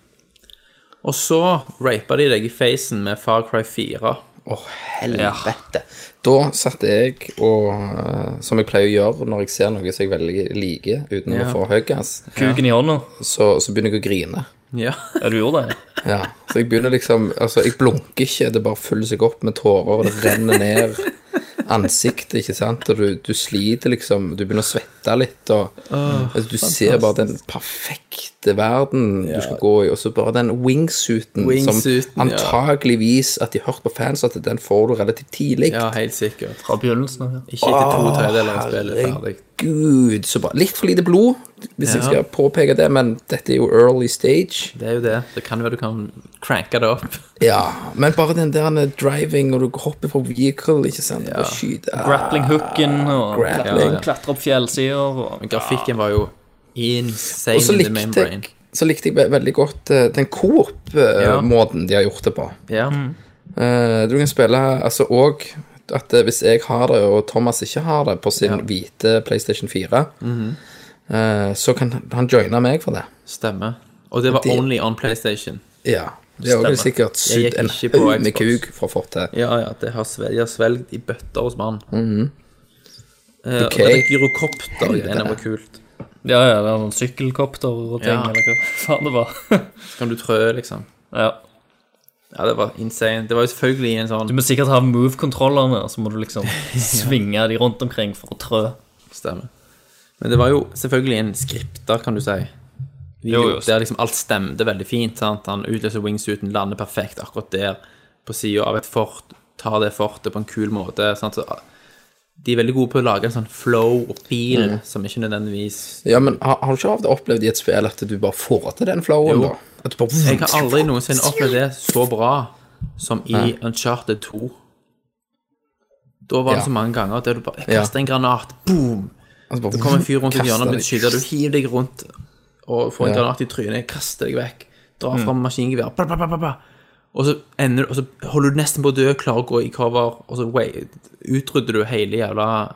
Og så rapa de deg i facen med Far Cry 4. Å, helvete. Da satt jeg og eh, Som jeg pleier å gjøre når jeg ser noe som jeg veldig liker, uten å få høygass, Kuken i hånda. så, så begynner jeg å grine. Ja. Ja, du gjorde det? Ja. Så jeg begynner liksom Altså, jeg blunker ikke, det bare fyller seg opp med tårer, og det renner ned ansiktet, ikke sant, og du, du sliter liksom, du begynner å svette litt, og Ah, altså, du ser bare den perfekte verden du skal gå i, og så bare den wingsuiten, Wingsuiten, som ja. antageligvis at de hørte på fans, at den får du relativt tidlig. ja, helt sikkert. Fra begynnelsen av. ja. Ikke etter to tredjedeler av spillet er ferdig. Gud, så bra. Litt for lite blod, hvis jeg skal påpeke det, men dette er jo early stage. Det er jo det. Det kan jo være du kan cranke det opp. Ja, men bare den der driving, og du hopper fra vehicle, ikke sant, og skyter. Ah, Grappling-hooken Ah, og Grappling. klatre- klatre opp fjellsider og Grafikken var jo insane Og så in the likte membrane. jeg, så likte jeg ve- veldig godt eh, den Ja. Coop-måten de har gjort det på. Ja. Eh, du kan spille altså òg at eh, hvis jeg har det, og Thomas ikke har det på sin hvite PlayStation 4, Mhm. eh, så kan han- han joine meg for det. Stemmer. Og det var Det- only on PlayStation. Ja. Det er jo sikkert sydd gikk en ikke på haug med Xbox. kuk for å få til. Ja, ja. Det har svelg, har svelgt i bøtter hos mannen. eh, Ok. og det er gyrokopter. Det var kult. Ja, ja, det er sånn sykkelkopter og ting, Ja. eller hva faen det var. Så kan du trø, liksom. ja. Ja, det var insane. Det var jo selvfølgelig en sånn Du må sikkert ha move-kontrollerne, og så må du liksom svinge de rundt omkring for å trø. stemme. Men det var jo selvfølgelig en skripter, kan du si. Video, Jo, jo. Der liksom alt stemte veldig fint. sant? Han utløser wingsuiten, lander perfekt akkurat der, på sida av et fort, tar det fortet på en kul måte. sant? Så ah, de er veldig gode på å lage en sånn flow og feel som ikke nødvendigvis Ja, men har, har du ikke av det opplevd i et spill at du bare får til den flowen, Jo. da? At du bare Jeg har aldri noensinne opplevd det så bra som i Uncharted 2. Da var det Ja. så mange ganger der du bare Ja. kaster en granat, boom! altså, bare Det kommer en fyr rundt et hjørne og kaster blir skyter. Du hiver deg rundt og får en granat i trynet, kaster deg vekk, drar Mm. fram maskingevær, bla, bla, bla, bla, bla. Og så, ender, du- og så holder du nesten på å dø, klarer å gå i cover, og så wait, utrydder du hele jævla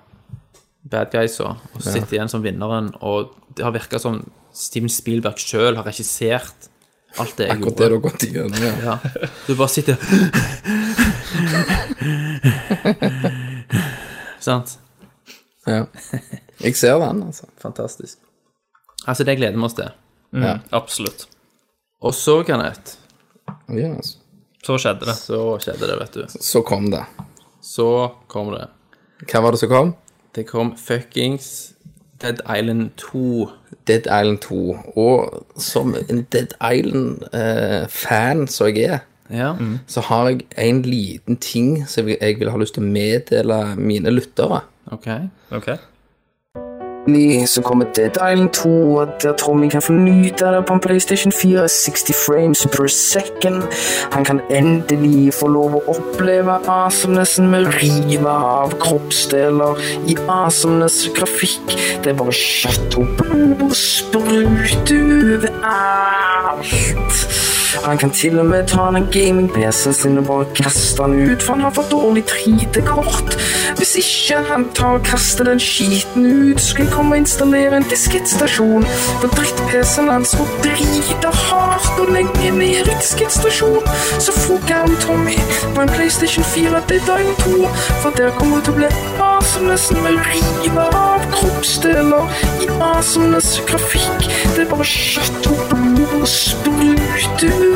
bad guysa, og så sitter igjen som vinneren, og det har virka som Steven Spielberg sjøl har regissert alt det jeg Akkurat det du gjorde. har gått igjennom, ja. Ja. Du bare sitter Sant? ja. Jeg ser den, altså. Fantastisk. Altså, det gleder vi oss til. Ja. Absolutt. Og så, Kenneth, Ja, altså. Så skjedde det. så skjedde det, vet du. Så kom det. Så kom det. Hva var det som kom? Det kom fuckings Dead Island 2. Dead Island 2. Og som en Dead Island-fan som jeg er, Ja. så har jeg en liten ting som jeg- jeg vil ha lyst til å meddele mine lyttere. Ok. Eh, Ok. Endelig så kommer Dead Island 2, og der tror vi kan få nyte av det på en PlayStation 4. 60 frames per second. Han kan endelig få lov å oppleve awesomenessen med å rive av kroppsdeler i awesomeness grafikk. Det er bare Ah! kjøtt og blod og sprute over alt. Han kan til og med ta den gaming-PC-en sin og bare kaste den ut, for han har for dårlig 3D-kort. Hvis ikke han tar og kaster den skiten ut, skal jeg komme og installere en diskettstasjon på dritt-PC-en hans og drite hardt og legge ned i diskettstasjon. Så får gamle Tommy på en PlayStation 4 til Dying 2, for der kommer det til å bli awesomeness med rive av kroppsdeler i awesomeness grafikk. Det er bare kjøtt og blod og sprute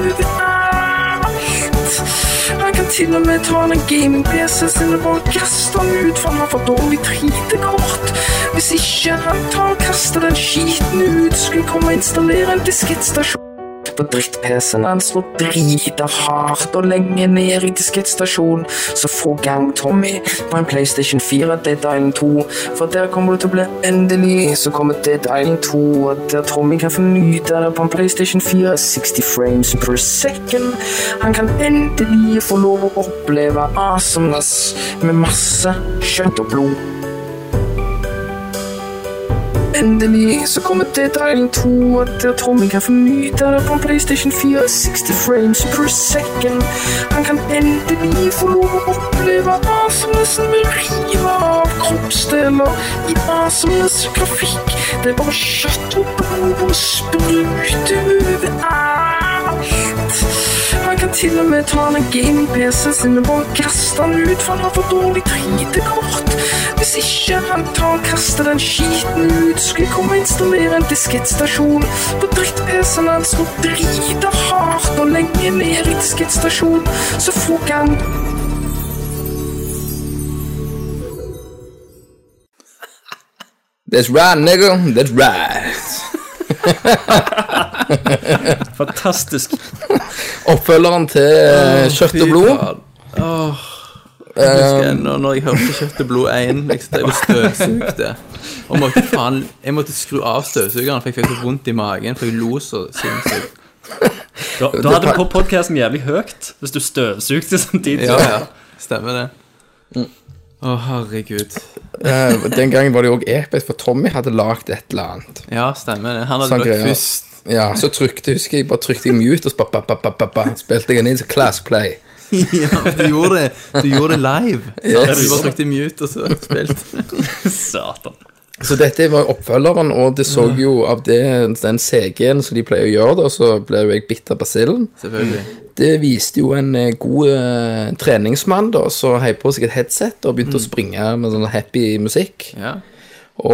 overalt. Han kan til og med ta den gaming-PC-en sin og bare kaste den ut, for han har for dårlig 3D-kort. Hvis ikke han tar og kaster den skiten ut, skulle komme og installere en diskettstasjon på dritt-PC-en hans og drite hardt og lenge ned i diskettstasjon. Så få gang Tommy på en PlayStation 4 Dead Island 2, for der kommer du til å bli endelig. Så kommer Dead Island 2, og der Tommy kan få nyte det på en PlayStation 4 60 frames per second. Han kan endelig få lov å oppleve awesomeness med masse kjøtt og blod. Endelig så kommer Dead Island 2, og der Tommy kan få nyte det på en PlayStation 4 60 frames per second. Han kan endelig få lov å oppleve awesomenessen med rive av kroppsdeler i awesomeness grafikk. Det er bare kjøtt og blod og sprute overalt. Han kan til og med ta den gaming-PC-en sin og bare kaste den ut, for han har for dårlig 3D-kort. Hvis ikke han tar og kaster den skiten ut, skal jeg komme og installere en diskettstasjon på dritt-PC-en hans og drite hardt og lenge ned i diskettstasjon, så får han That's right, nigga. That's right. Fantastisk. Oppfølgeren til eh, Kjøtt og blod. Åh, jeg husker Eh, ennå når jeg hørte Kjøtt og blod 1. Jeg satt og støvsugde. Og måtte faen, jeg måtte skru av støvsugeren, for jeg fikk så vondt i magen. For jeg lo så sinnssykt. Da, da hadde på podkasten jævlig høyt hvis du støvsugde samtidig. Ja, ja. Stemmer det. Mm. Å, herregud. Eh, Den gangen var det jo også episk, for Tommy hadde lagd et eller annet. Ja, stemmer det. Han hadde Sånn lagt greier. først. Ja, Så trykte husker jeg, bare trykte jeg mute, og så ba, ba, ba, ba, ba, ba, spilte jeg den inn til Class Play. Ja, du gjorde det. Du gjorde det live. Yes. Du bare trykte mute, og så spilte Satan. Så dette var oppfølgeren, og det så jo av det, den CG-en som de pleier å gjøre, da, så ble jo jeg bitt av basillen. Selvfølgelig. Det viste jo en eh, god eh, treningsmann, da, så heiv på seg et headset og begynte å springe med sånn happy musikk. Mm. Ja.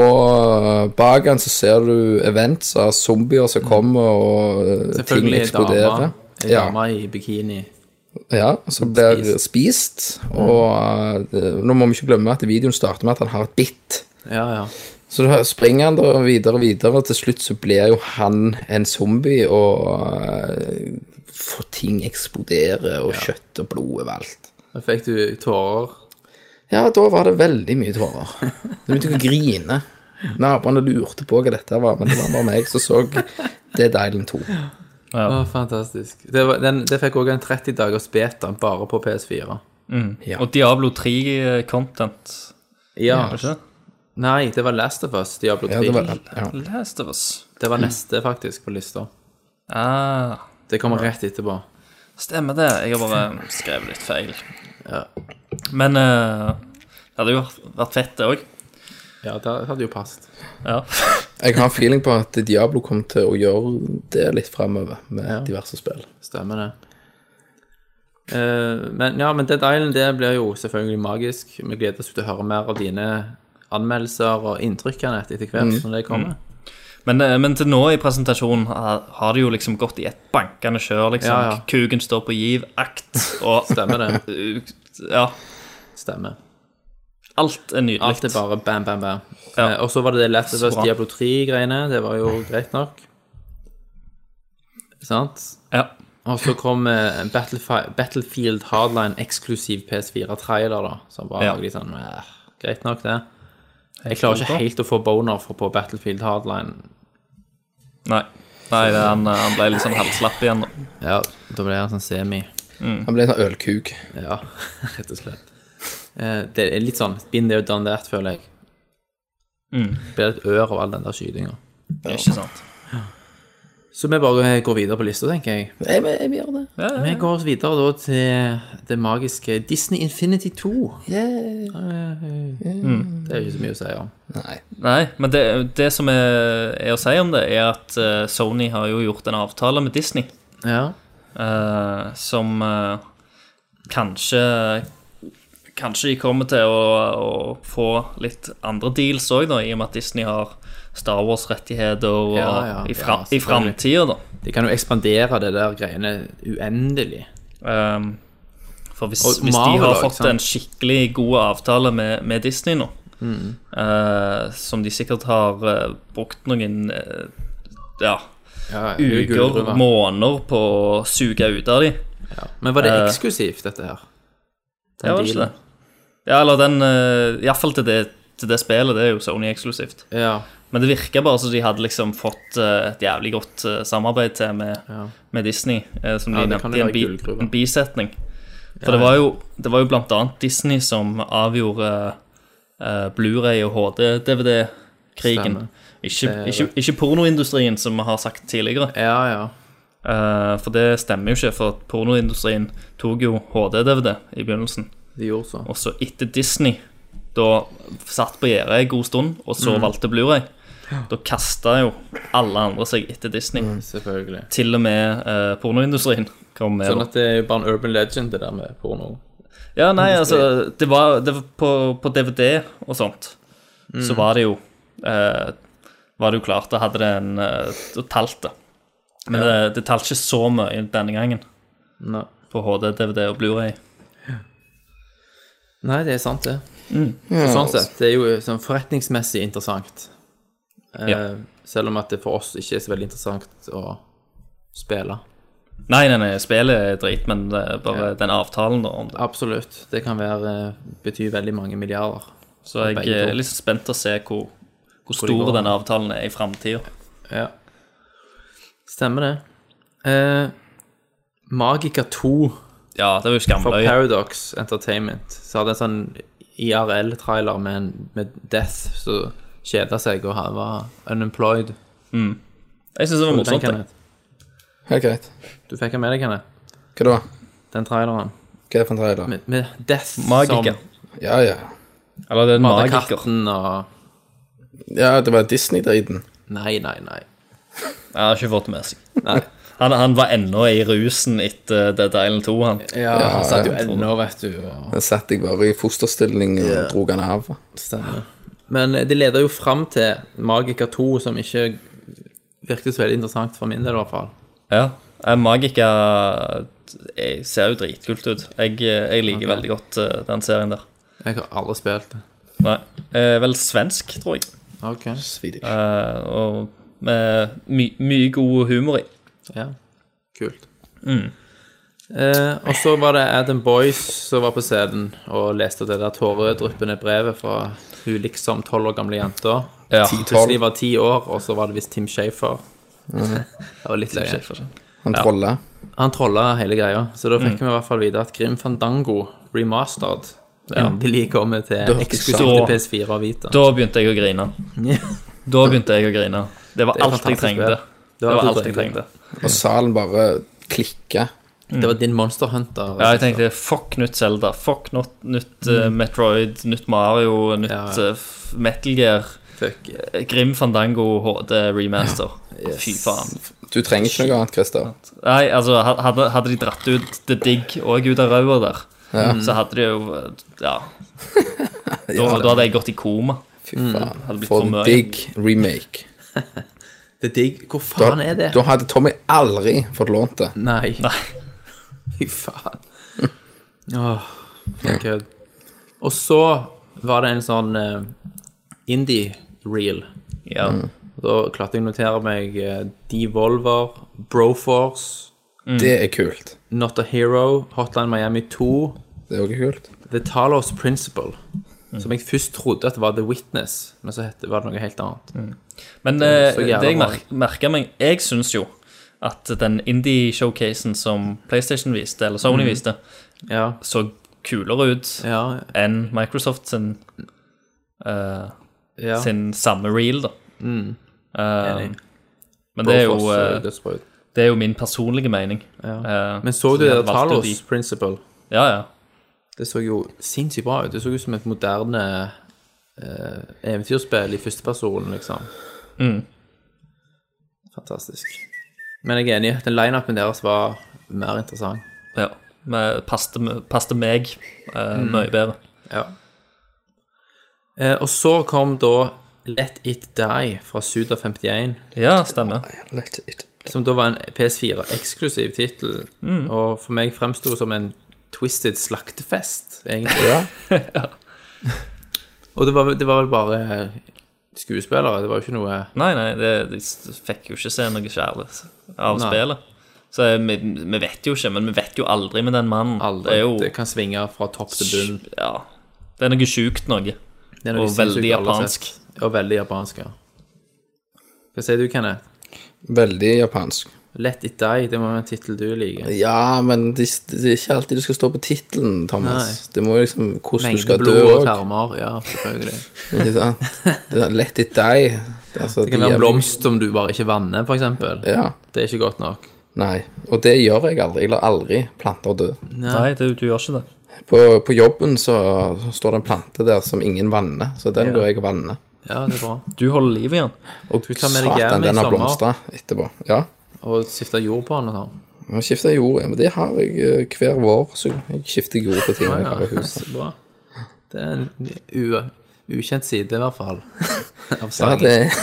Og bak han så ser du events av zombier som kommer, og eh, ting Mm. Selvfølgelig ei eksploderer. dame. Ei Ja. dame i bikini. Ja, som blir spist. Mm. Og eh, nå må vi ikke glemme at videoen starter med at han har et bitt. Ja, ja. Så da springer han da videre og videre, og til slutt så blir jo han en zombie, og eh, får ting eksplodere, og kjøtt og blod overalt. Da fikk du tårer. Ja, da var det veldig mye tårer. Du begynte jeg å grine. Naboene lurte på hva dette var, men det var bare meg som så Dead Island 2. Å, fantastisk. Det, var, den, det fikk også en 30 dagers beta bare på PS4. Ja. Og Diablo 3-content. Ja. Ikke det? Nei, det var Last of Us, Diablo 3. Ja, det var, ja. Last of Us. neste, faktisk, på lista. Ah, Det kommer rett etterpå. stemmer det. Jeg har bare skrevet litt feil. Men eh, det hadde jo vært fett, det òg. Ja, det hadde jo passet. Ja. Jeg har en feeling på at Diablo kommer til å gjøre det litt framover, med diverse spill. Stemmer det. Eh, men ja, men Dead Island det blir jo selvfølgelig magisk. Vi gleder oss til å høre mer av dine anmeldelser og inntrykkene etter hvert som det kommer. Men, eh, men til nå i presentasjonen har, har det jo liksom gått i et bankende kjør, liksom. Ja, ja. Kuken står på giv-akt, og Stemmer det. Ja. Stemmer. Alt er nydelig. Alt er bare bam, bam, bam. Ja. Eh, og så var det det Last of Så Us bra. Diablo 3-greiene. Det var jo greit nok. Sant? Ja. Og så kom eh, en Battlefi- Battlefield Hardline eksklusiv PS4-trailer, da. Som var Ja. litt sånn eh, Greit nok, det. Jeg klarer ikke helt å få boner for på Battlefield Hardline. Nei. Nei, det, han, han ble litt sånn halvslapp igjen. nå. Ja, da ble jeg sånn semi. Han ble en sånn ølkuk. Ja, rett og slett. Eh, det er litt sånn been there, done that, føler jeg. Det Blir et ør av all den der skytinga. Ikke sant? Så vi bare går videre på lista, tenker jeg. Jeg, jeg, jeg gjør det. Ja, Vi går videre da til det magiske Disney Infinity 2. Yeah. Det er jo ikke så mye å si om. Nei. Nei, men det, det som er, er å si om det, er at eh, Sony har jo gjort en avtale med Disney Ja. eh, som eh, kanskje Kanskje de kommer til å, å få litt andre deals òg, i og med at Disney har Star Wars-rettigheter og- Ja, ja, i, fra, ja, i framtida, da. De kan jo ekspandere det der greiene uendelig. Ehm, for hvis, Og hvis de Marvel har også, fått sant? en skikkelig god avtale med, med Disney nå, Mm. eh, som de sikkert har eh, brukt noen eh, ja, Ja, ja, uker, gullruller. måneder på å suge ut av de. Men var det Eh, eksklusivt, dette her? Den Det var ikke dealen? det. Ja, eller den eh, i hvert fall til det, til det spillet, det er jo Sony eksklusivt. Ja. Men det virker bare som de hadde liksom fått eh, et jævlig godt eh, samarbeid til med, Ja. med Disney, eh, som Ja, de det kan nevnte jo i en, være bi gullgruve. en bisetning. For det, var jo, det var jo blant annet Disney som avgjorde uh, Blu-ray og HD-DVD-krigen. Stemmer. Ikke, er ikke, ikke pornoindustrien, som vi har sagt tidligere. ja, ja. Eh, for det stemmer jo ikke, for pornoindustrien tok jo HD-DVD i begynnelsen. De gjorde så. Og så etter Disney da satt på gjerdet en god stund, og Mm. så valgte Blu-ray, da kasta jo alle andre seg etter Disney. Selvfølgelig. Til og med eh, pornoindustrien kom med. Sånn da. at det er jo bare en urban legend, det der med porno. Ja, nei, altså, det var, det var på, på DVD og sånt, så Mm. var det jo eh, Var det jo klart, da hadde det en eh, Da talt det. Men det, det talte ikke så mye denne gangen Nei. på HD, DVD og Blu-ray. Nei, det er sant, det. Så sånn sett, det er jo sånn forretningsmessig interessant. Eh, Ja. Selv om at det for oss ikke er så veldig interessant å spille. Nei, nei, nei, spillet er drit, men eh, bare Ja. den avtalen da om det. Absolutt. Det kan være, eh, bety veldig mange milliarder. Så jeg eh, Begge to. er litt spent til å se hvor, hvor det stor går. denne avtalen er i framtida. Ja. Stemmer det. Eh, Magica 2 Ja, det var jo fra skamløye. Paradox Entertainment. Så hadde en sånn IRL-trailer med, en- med Death som kjeda seg og han var unemployed. Jeg syns det var Du, den, morsomt. jeg. Kenneth. Helt greit. du fikk den med deg, Kenneth? Hva da? Den traileren. Hva er det for en trailer? Med, med Death Magiker. som Ja, ja. Eller den hadde magiker. katten og Ja, det var Disney-driten. Nei, nei, nei. Jeg har ikke fått det med seg. Han, han var ennå i rusen etter eh, Dead Island 2, han. Ja, han satt jo jeg ennå, vet du. Og... Den satt jeg bare i fosterstilling og dro den av. Stemmer. Men eh, det leder jo fram til Magica 2, som ikke virket så veldig interessant for min del, i hvert fall. Ja. Eh, Magiker eh, ser jo dritkult ut. Jeg, eh, jeg liker veldig godt eh, den serien der. Jeg har aldri spilt det. Nei. Eh, vel svensk, tror jeg. Ok. Svidig. Eh, og med my, mye god humor i. Ja. Kult. Mm. Eh, og så var det Adam Boyce som var på scenen og leste det der tåredryppende brevet fra hun liksom tolv år gamle jenta. Ja. Plutselig var ti år, og så var det visst Tim Shafer. det var litt løye. Han trolla. Han trolla hele greia, så da Mm. fikk vi i hvert fall vite at Grim Fandango remastered endelig kommer til hørte jeg eksklusivt til sant. PS4 og Vita. Da begynte jeg å grine. Da begynte jeg å grine. Det var Det er alt jeg fantastisk trengte. spill. Det alt var du alt jeg trengte. trengte. Og salen bare klikka. Det var din Monster Hunter. Ja, jeg tenkte fuck nytt Zelda, fuck not, nytt eh, Metroid, nytt Mario, nytt Ja, Mm. ja. eh, f- Metal Gear, Fuck. eh, Grim Fandango HD remaster. Fy faen. Du trenger ikke noe annet, Christer. Nei, altså, ha- hadde, hadde de dratt ut The Digg og ut av røda der, så hadde de jo eh, Ja. Da, da hadde jeg gått i koma. Fy Mm, faen. blitt For for en mye. digg remake. Det er digg. Hvor Da, faen er det? da hadde Tommy aldri fått lånt det. Nei. Nei. Fy faen. Åh, for kødd. Og så var det en sånn eh, indie-reel. Ja. Mm. Da klarte jeg å notere meg eh, Devolver, Broforce, Det er kult. Not a Hero, Hotline Miami 2, Det er også kult. The Talos Principle. Mm. Som jeg først trodde at var The Witness, men så het- var det noe helt annet. Mm. Men Det er det, så jævla det jeg bra. mer merka meg Jeg syns jo at den indie-showcasen som PlayStation viste, eller Sony viste, Ja, så kulere ut Mhm. ja, enn Microsoft sin, eh, ja. sin samme reel, da. Eh, Mm. Enig. Men det er jo, Broforce eh, dødsbra ut. det er jo min personlige mening. Eh, Men så så du jeg det der valgte Talos de. Principle? Ja, ja. Det så jo sinnssykt bra ut. Det så ut som et moderne eh, eventyrspill i førsteperson, liksom. Fantastisk. Men jeg er enig. Den lineupen deres var mer interessant. ja. Men passte, passte meg eh, Mm. mye bedre. Ja. Eh, og så kom da Let It Die fra Suda51, Ja, stemmer. Let it- som da var en PS4-eksklusiv tittel, og for meg fremsto som en twisted slaktefest, egentlig. Ja. Og det var, det var vel bare skuespillere, det var jo ikke noe Nei, nei, det, de s- fikk jo ikke se noe kjærlighet av Nei. spillet. Så vi, vi vet jo ikke, men vi vet jo aldri med den mannen. Aldri. Det Det, er jo kan svinge fra topp til bunn. Ja. Det er noe sjukt noe. Det er noe Og sinnssykt veldig alle har japansk. sett. Og veldig japansk, ja. Hva sier du, Kenneth? Veldig japansk. Let it die, det må være en tittel du liker. Ja, men det, det er ikke alltid du skal stå på tittelen, Thomas. Det må liksom hvordan du skal Mengden dø blod og òg. tarmer, ja, selvfølgelig. Ikke sant? Det er Let it die. Altså, Det kan være en blomst som du bare ikke vanner, for eksempel. Ja. Det er ikke godt nok. Nei. Og det gjør jeg aldri. Jeg lar aldri planter dø. Nei, det, du gjør ikke det. På, på jobben så står det en plante der som ingen vanner, så den går jeg og vanner. Ja, det er bra. Du holder liv i han. Og Du tar med deg satan, jern i den har sommer. blomstra etterpå. Ja. Og skifte jord på den og sånn. Jeg skifter jord. ja, Men det har jeg eh, hver vår. Så jeg skifter jord på tiden jeg Ja, har i huset. så bra. Det er en u ukjent side, i hvert fall, av Ja, sangen. det er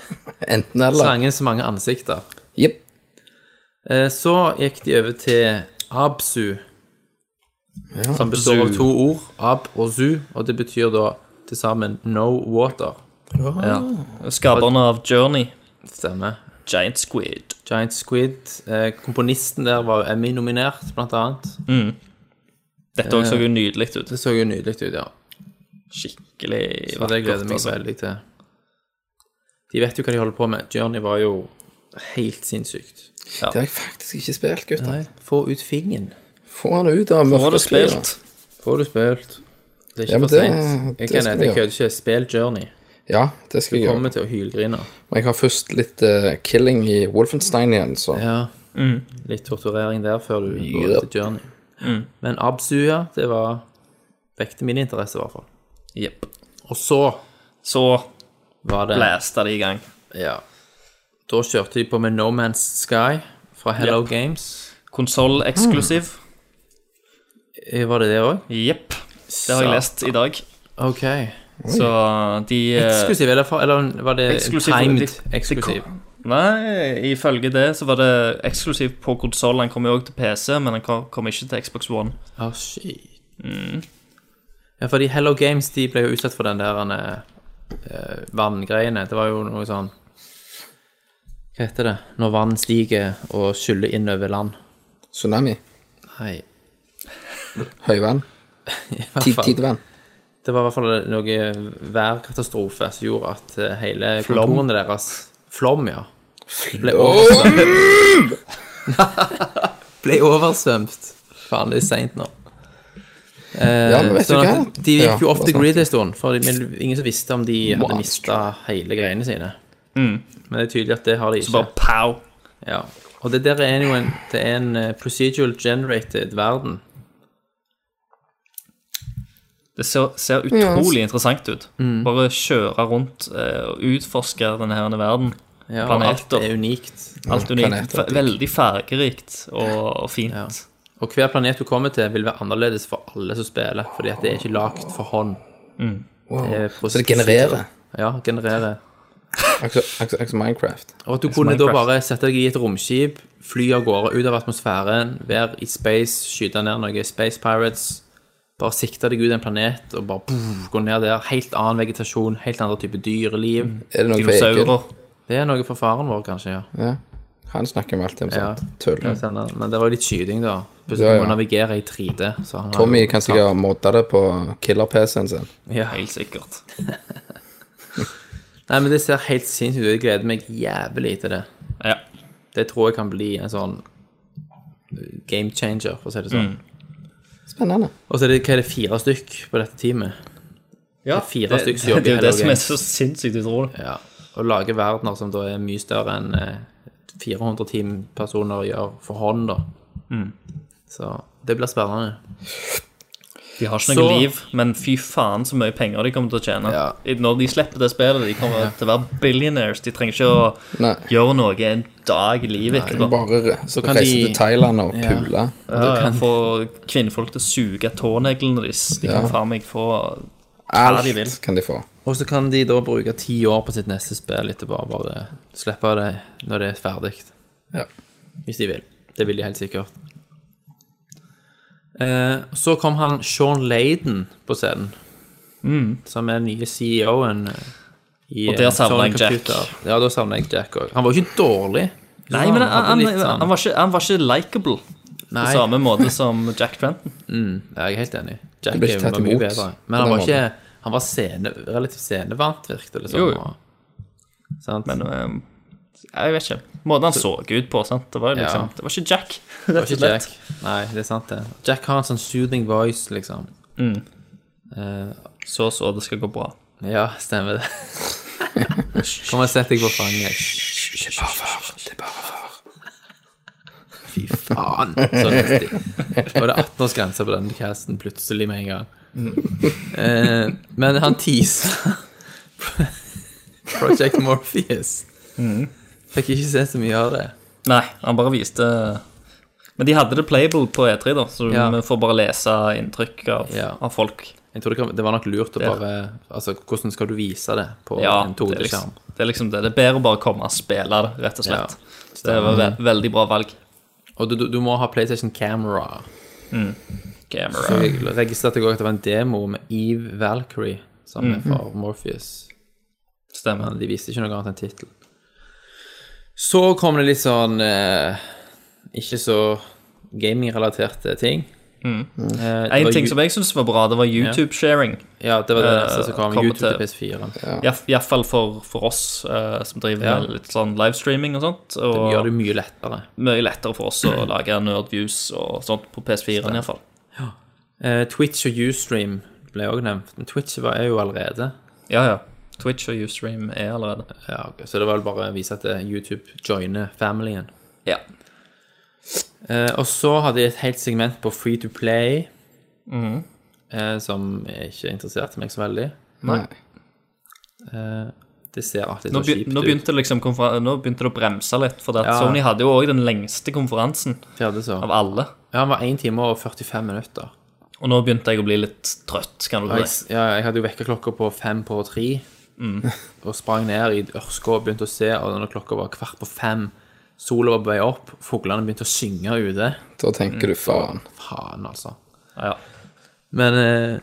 enten eller. Sangens mange ansikter. Jepp. Eh, Så gikk de over til Absu, som består av to ord, ab og zu, og det betyr da til sammen no water. Skaperne av Journey, Stemmer. Giant Squid. Giant Squid. eh, Komponisten der var jo Emmy-nominert, blant annet. Mm. Dette også så jo nydelig ut. Det så jo nydelig ut, ja. Skikkelig Og det gleder jeg meg altså. veldig til. De vet jo hva de holder på med. Journey var jo helt sinnssykt. Det har jeg faktisk ikke spilt, gutter. Få ut fingeren. Få han ut av Nå har du mørket. spilt. Få du spilt. Det er ikke Ja, men for det- seint. det Jeg kan skal jeg vi gjøre. kødder ikke. Spill Journey. Ja, det skal jeg gjøre. Kommer til å hylgrine. Men jeg har først litt eh, killing i Wolfenstein igjen, så Ja. Litt torturering der før du går Ja. til Journey. Men Absu, ja, det var Vekte min interesse, i hvert fall. Jepp. Og så Så var det blæsta de i gang. Ja. Da kjørte de på med No Man's Sky fra Hello Yep. Games. Konsolleksklusiv. Mm. Eh, Var det det òg? Jepp. Det har jeg lest i dag. OK. Så de eh, Eksklusiv, eller, for, eller var det Eksklusiv, timed de- eksklusiv? Nei, ifølge det så var det eksklusiv på konsollen. Den kom jo òg til PC, men den kom, kom ikke til Xbox One. Å, shit. Ja, fordi Hello Games de ble jo utsatt for den der uh, vanngreiene. Det var jo noe sånn Hva heter det? Når vann stiger og skyller inn over land. tsunami, Nei, høyvann, i hvert tid- fall. tidevann. Det var i hvert fall noe værkatastrofe som gjorde at eh, hele kontorene deres Flom, ja. Ble oversvømt. ble oversvømt. Faen, det er seint nå. Eh, Ja, men vet du sånn hva? at de Ja, gikk jo off bare the snakk. grid en stund, for de- men ingen som visste om de hadde Wow. mista hele greiene sine. Mm. Men det er tydelig at det har de Så ikke. bare pow. Ja. Og det der er jo en, det er en eh, procedural generated verden. Det ser, ser utrolig interessant ut. Mm. Bare kjøre rundt eh, og utforske denne her verden. Ja, og alt Planeter. er unikt. Alt unikt. planeter, digg. Veldig fargerikt og, og fint. Og hver planet du kommer til, vil være annerledes for alle som spiller, fordi at det er ikke lagt for hånd. Mm. Det er Så det genererer. Ja, genererer. Akkurat akkurat- akkurat som Minecraft. Og at du kunne da bare sette deg i et romskip, fly av gårde ut av atmosfæren, være i space, skyte ned noen space pirates, bare sikte deg ut en planet og bare boom, gå ned der. Helt annen vegetasjon, helt andre type dyreliv. Mm. Er det noe for Egil? Dinosaurer. Det er noe for faren vår, kanskje, ja. Ja. Han snakker med alltid om Ja. sånt tull. Jeg sender den. Men det var jo litt skyting, da. Plutselig Ja, ja. må han navigere i 3D. Så han har Tommy jo- kan sikkert modde det på killer-PC-en sin. ja. Helt sikkert. Nei, men det ser helt sinnssykt ut. Jeg gleder meg jævlig til det. Ja. Det tror jeg kan bli en sånn eh, game changer, for å si det sånn. Spennende. Og så er det, hva er det fire stykk på dette teamet. Ja, fire stykker som jobber i Det er jo det Hello som er Games. så sinnssykt utrolig. Ja. og lager verdener som da er mye større enn eh, 400 teampersoner gjør for hånd, da. Så det blir spennende. De har ikke noe Så- liv, men fy faen så mye penger de kommer til å tjene. Ja. I- Når de slipper det spillet, de kommer til å være billionaires. De trenger ikke å Nei. gjøre noe en dag i livet etterpå. Bare re- kan reise de- til Thailand og pule. Ja, ja, Få kvinnfolk til å suge tåneglene deres. De kan faen meg få Alt de vil. kan de få. Og så kan de da bruke ti år på sitt neste spill etterpå, bare slippe det når det er ferdig. Ja. Hvis de vil. Det vil de helt sikkert. Eh, så kom han Sean Laden på scenen, som er den nye CEO-en eh, i Og der eh, savner Sony jeg Jack. Computer. Ja, da savner jeg Jack òg. Han var jo ikke dårlig. Nei, Så men han, hadde han, litt sånn- han, var, ikke, han var ikke likable på Nei. samme måte som Jack Trenton. Ja, jeg er helt enig. Jack ble ikke var tatt mye imot bedre. på Men han den var ikke Han var scene, relativt scenevant, virket det Jo, liksom. jo. Og, sant? Men eh, jeg vet ikke. Måten han så ut på, sant? Det var, jo liksom, Ja. det var ikke Jack. det var ikke Jack. Nei, det er sant, det. Jack har en sånn soothing voice, liksom. Så så, det skal gå bra. Ja, stemmer det. Kom og sett deg på fanget. Fy faen, så Sånn heftig. Og det er 18-årsgrense på denne casten plutselig med en gang. Mm. Eh, men han teasa Project Morpheus. Mm. Fikk ikke se så mye av det. Nei, han bare viste Men de hadde det playable på E3, da, så Ja. vi får bare lese inntrykk av, Ja. av folk. Jeg tror det, kan, det var nok lurt å Ja. bare Altså, hvordan skal du vise det på Ja, en det er, liksom, 2D-skjerm? det er liksom det. Det er bedre å bare komme og spille det, rett og slett. Så det var ve veldig bra valg. Og du, du, du må ha PlayStation Camera. Camera. Så jeg registrerte jeg også at det var en demo med Eve Valkyrie sammen med for Morpheus. Stemmer. Men de viste ikke noe annet enn tittel. Så kom det litt sånn eh, ikke så gaming-relaterte ting. Eh, det En var ting ju- som jeg syns var bra, det var YouTube-sharing. Ja, det var det eh, neste som kom. kommer YouTube til til- PS4. Iallfall for, for oss eh, som driver Ja. med litt sånn livestreaming og sånt. Det gjør Og det mye lettere. mye lettere for oss å lage nerdviews og sånt på PS4-en, iallfall. Eh, Twitch og Ustream ble også nevnt. Men Twitch var- er jo allerede Ja, ja. Twitch og Ustream er allerede ja, ok. Så det var vel bare å vise at eh, YouTube joiner familien. Ja. Eh, og så hadde de et helt segment på Free to Play, Mhm. eh, som ikke interesserte meg så veldig. Eh, Nei. Det ser alltid Nå, så begy- kjipt nå, ut. begynte det liksom konferen- nå begynte det å bremse litt, for Ja. Sony hadde jo òg den lengste konferansen Vi hadde så. av alle. Ja, han var 1 time og 45 minutter. Og nå begynte jeg å bli litt trøtt, kan du Og si. jeg, ja, jeg hadde jo vekkerklokka på fem på tre, Mm. og sprang ned i ørska og begynte å se, og når klokka var kvart på fem, sola var på vei opp, fuglene begynte å synge ute. Da Mm. tenker du faen. Faen, altså. Ja. Men eh,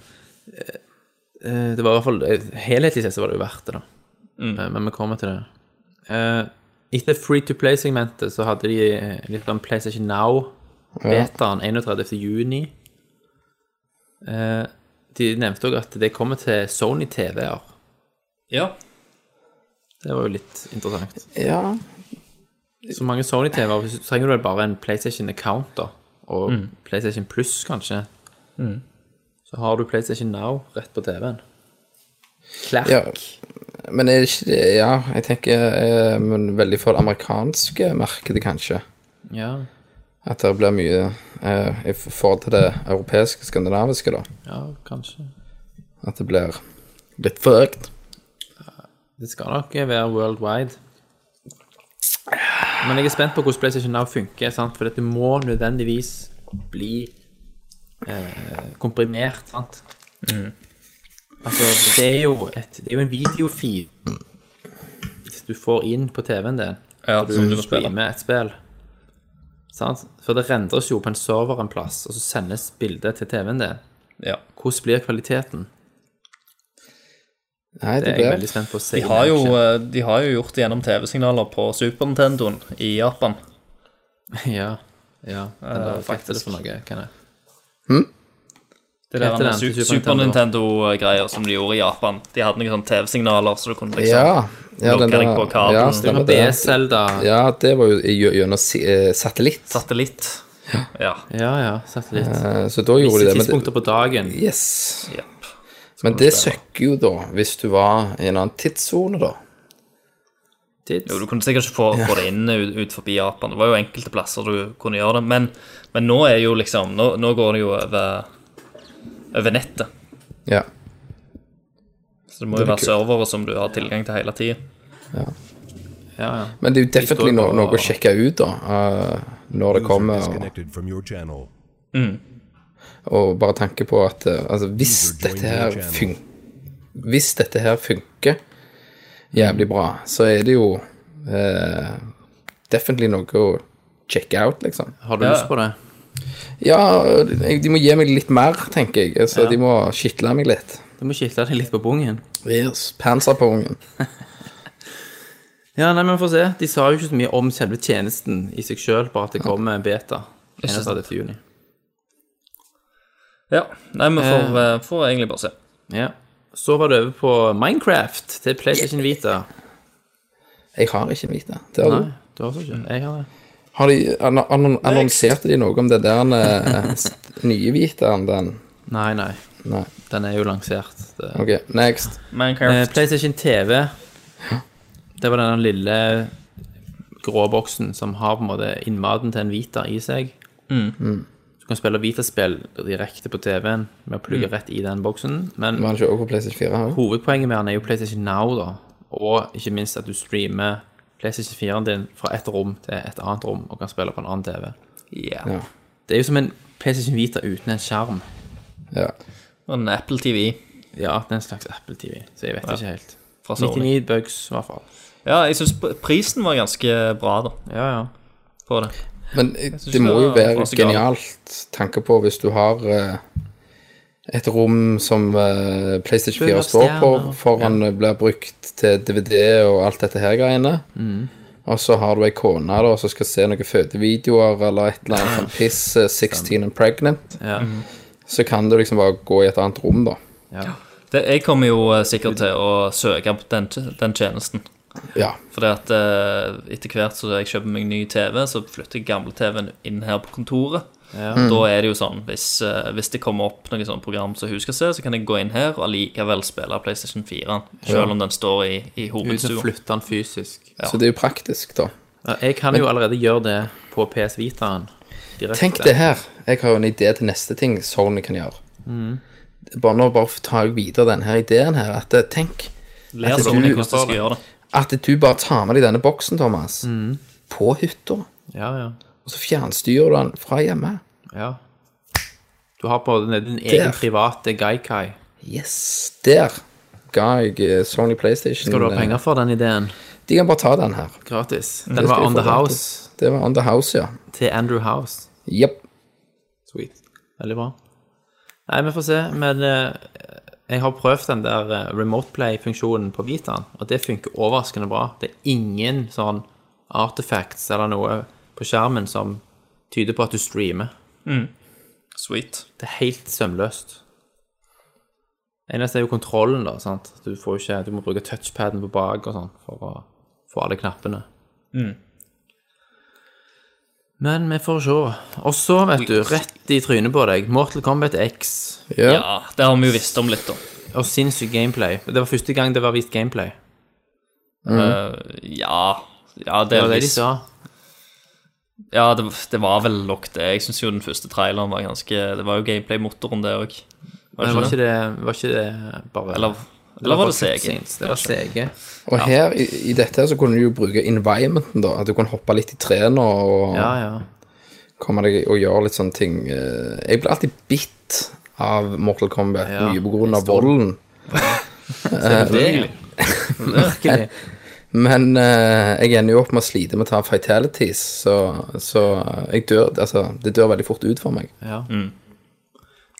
eh, det var i hvert fall eh, Helhetlig sett så var det jo verdt det, da. Mm. Eh, men vi kommer til det. Eh, etter Free to Play-segmentet så hadde de eh, litt om PlayStation Now. Betaen 31. juni. Eh, de nevnte òg at det kommer til Sony TV-er. ja. Det var jo litt interessant. Ja. Så mange Sony TV-er så trenger du vel bare en PlayStation Account, da. Og PlayStation Pluss, kanskje. Så har du PlayStation Now rett på TV-en. Klærk. ja. Men er det ikke det Ja, jeg tenker eh, men veldig for det amerikanske markedet, kanskje. Ja. At det blir mye eh, i forhold til det europeiske, skandinaviske, da. ja, kanskje. At det blir litt fucked. Det skal nok være worldwide. Men jeg er spent på hvordan PlayStation Now funker, sant? for dette må nødvendigvis bli eh, komprimert. Sant? Altså, det er, jo et, det er jo en videofil du får inn på TV-en din Ja, når som du du må spille. streamer et spill. Sant? For det rendres jo på en server en plass, og så sendes bildet til TV-en din. ja. Hvordan blir kvaliteten? Nei, Det det er jeg blir veldig spent på å se. De har, jo, eh, de har jo gjort det gjennom TV-signaler på Super Nintendoen i Japan. Ja. ja den der faktisk. faktisk. for noe, kan jeg. Det der Heter den med Su til Super Super Nintendo? Nintendo-greier som de gjorde i Japan. De hadde noen sånne TV-signaler, så du kunne liksom Ja. ja Lokker deg på kabelen. ja, Du stemmer Det det. er Zelda. Ja, det var jo gjø- gjennom si- eh, satellitt. Satellitt. Ja. Ja, ja, satellitt. Eh, Så da gjorde de det. Visse men det- tidspunkter på dagen. Yes. Jepp. Men det søkker jo da, hvis du var i en annen tidssone, da. Tids. Jo, du kunne sikkert ikke få, få det inn ut, ut forbi Japan. Det var jo enkelte plasser du kunne gjøre det. Men, men nå er jo liksom Nå, nå går det jo over, over nettet. Ja. Så det må jo være servere som du har tilgang til hele tida. Ja, ja. Men det er jo definitely no noe å sjekke ut, da. eh, når det kommer. Og, disconnected from your channel. Mm. og bare tanke på at eh, altså, hvis dette her fun Hvis dette her funker jævlig bra, så er det jo uh, definitely noe å sjekke out, liksom. Har du Ja. lyst på det? Ja, jeg- de må gi meg litt mer, tenker jeg. Altså, De må skitle meg litt. Du må kitle deg litt på bungen. Yes. Panser på ungen. Ja, nei, men få se. De sa jo ikke så mye om selve tjenesten i seg sjøl, bare at det kommer en beta. Ikke sant. 31. juni. Ja. Nei, vi får, eh, får egentlig bare se. Ja. Så var det over på Minecraft til PlayStation Vita. Jeg har ikke vite. Det har du. Nei, du har så ikke. Mm. Jeg har det. Har de anno- annon- annonserte de noe om det der eh, st- nye hviteren, den? Nei, nei. Nei. Den er jo lansert. Det. Ok, next. Eh, Minecraft. PlayStation TV. Det var den lille grå boksen som har på en måte innmaten til en Vita i seg. Mm. Du kan spille Vita-spill direkte på TV-en med å plugge rett i den boksen. Men Var han ikke også på PlayStation 4? her? hovedpoenget med den er jo PlayStation Now, da. Og ikke minst at du streamer PlayStation 4-en din fra et rom til et annet rom og kan spille på en annen TV. Ja. Det er jo som en PlayStation Vita uten en skjerm. ja. Og en Apple TV Ja, det er en slags Apple TV, så jeg vet ikke helt. fra Sony. 99 bugs, i hvert fall. Ja, jeg syns prisen var ganske bra, da, Ja, ja. på det. Men eh, det må det jo var- være var så galt. genialt tanke på hvis du har eh, et rom som eh, PlayStation 4 Full av står på, stjerner. foran eh, blir brukt til DVD og alt dette her greiene. Mm. Og så har du ei kone da, som skal se noen fødevideoer eller et eller annet sånn piss, eh, 16 and pregnant. Ja. Så kan du liksom bare gå i et annet rom, da. det. Jeg kommer jo eh, sikkert til å søke på den, den tjenesten. Ja. Fordi at eh, etter hvert så jeg kjøper meg ny TV, så flytter jeg gamle TV-en inn her på kontoret. Da er det jo sånn, hvis, eh, hvis det kommer opp noe sånt program som hun skal se, så kan jeg gå inn her og allikevel spille PlayStation 4, selv om den står i, i Uten å hovedstua. flytte den fysisk. Så det er jo praktisk, da. Ja, Jeg kan jo allerede gjøre det på PS Vitaen. direkte. Tenk det her. Jeg har jo en idé til neste ting Sony kan gjøre. Mm. Bare nå bare tar jeg videre denne ideen her. At eh, tenk Ler at sånn du- hvordan jeg skal gjøre det. at du bare tar med deg denne boksen, Thomas, Mm. på hytta. Ja, ja. Og så fjernstyrer du den fra hjemme. ja. Du har på din, din egen private Gaikai. Yes, der ga jeg eh, Sony PlayStation Skal du ha eh, penger for den ideen? De kan bare ta den her. Gratis. Det Den skal var de On få The gratis. House Det var On The House, ja. til Andrew House. Jepp. Sweet. Veldig bra. Nei, vi får se. Men eh, jeg har prøvd den der eh, remote play-funksjonen på Vitaen, og det funker overraskende bra. Det er ingen sånn artifacts eller noe på skjermen som tyder på at du streamer. Sweet. Det er helt sømløst. Eneste er jo kontrollen, da. sant? Du, får jo ikke, du må bruke touchpaden på bak og sånn for å få alle knappene. Men vi får se. Og så, vet du, rett i trynet på deg, Mortal Kombat X Ja. Ja, det har vi jo visst om litt, da. og sinnssykt gameplay. Det var første gang det var vist gameplay. Eh, ja, ja, Det var det de delvis. sa. Ja, det, det var vel nok det. Jeg syns jo den første traileren var ganske Det var jo gameplay-motoren, det òg. Men var ikke det, var ikke det bare Eller, eller var bare det CG? cutscenes? Det var CG. Og her, i, i dette her, så kunne du jo bruke environmenten, da. At du kunne hoppe litt i trærne og Ja, ja. kommer deg og gjør litt sånne ting. Eh, Jeg blir alltid bitt av Mortal Kombat, Ja, mye på grunn av jeg står- volden. Virkelig. Virkelig. Men eh, jeg ender jo opp med å slite med å ta fatalities, så, så jeg dør, altså, det dør veldig fort ut for meg. Ja. Jeg Mm.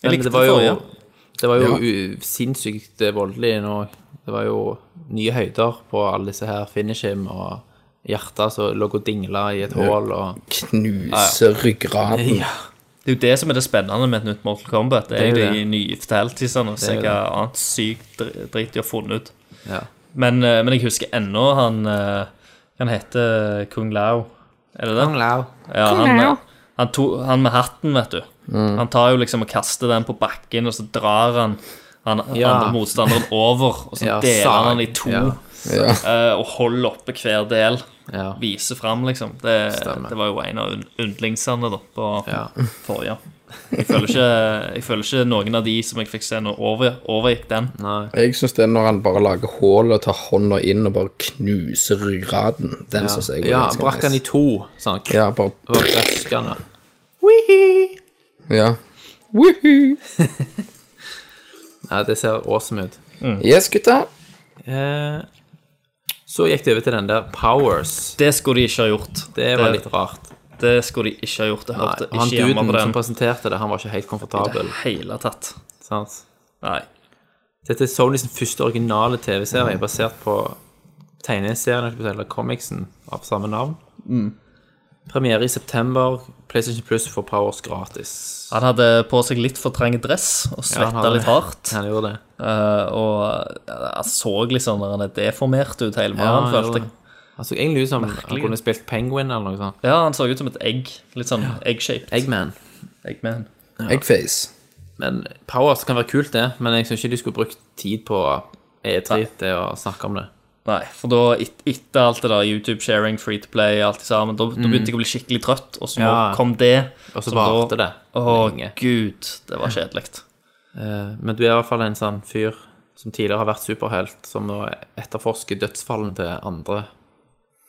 Men likte det var forrige. jo, det var jo u- sinnssykt eh, voldelig nå. Det var jo nye høyder på alle disse her finishim og hjerter som lå og dingla i et hull og Knuse ryggraden. Ja. Det er jo det som er det spennende med et nytt Mortal Kombat. Det Det er er jo jo de det. nye forteltelsene og se er jo hva annet sykt dr- drit de har funnet ut. Ja. Men, eh, men jeg husker ennå han eh, Han heter Kung Lao. Er det det? Ja, han, eh, han, to, han med hatten, vet du. Mm. Han tar jo liksom og kaster den på bakken, og så drar han han Ja. andre motstanderen over, og så Ja, deler sag. han den i to. Ja. Ja. eh, og holder oppe hver del. Ja. Viser fram, liksom. Det, Stemmer. det var jo en av un- yndlingsene da, på Ja. forrige. Jeg føler, ikke, jeg føler ikke noen av de som jeg fikk se nå, over, overgikk den. Nei. Jeg syns det er når han bare lager hull og tar hånda inn og bare knuser ryggraden. Den synes jeg var Ja, ganske brakk han i nice. to, sånn. Ja, bare Og røska han. da. Ja. Nei, det ser awesome ut. Yes, gutta. Eh, så gikk det over til den der Powers. Det skulle de ikke ha gjort. Det var litt rart. det skulle de ikke ha gjort. Jeg Nei, hørte han ikke hjemme duden på som den. presenterte det, han var ikke helt komfortabel. hele tatt. Sant? Nei. Dette er Sonys første originale TV-serie, basert på tegneserien eller comicsen av samme navn. Premiere i september. PlayStation Plus får Powers gratis. Han hadde på seg litt for trang dress Ja, og han svetta hadde- litt hardt. Han gjorde det. eh, og eh, han så litt sånn når han er deformert ut hele Ja, han morgenen, gjorde følte jeg. det. Han så Altså, egentlig ut som han Merkelig. kunne spilt Penguin eller noe sånt. Ja, han så ut som et egg. Litt sånn egg-shaped. Eggman. Eggman. Eggface. Men Powers kan være kult, det. Men jeg syns ikke de skulle brukt tid på E3 til å snakke om det. Nei, for da, et, etter alt det der YouTube-sharing, free to play, alt det sammen, da, da begynte jeg å bli skikkelig trøtt, og så Mm. Ja. kom det. Og så som varte da- det Å, lenge. gud, det var kjedelig. Eh, Men du er i hvert fall en sånn fyr som tidligere har vært superhelt, som nå etterforsker dødsfallene til andre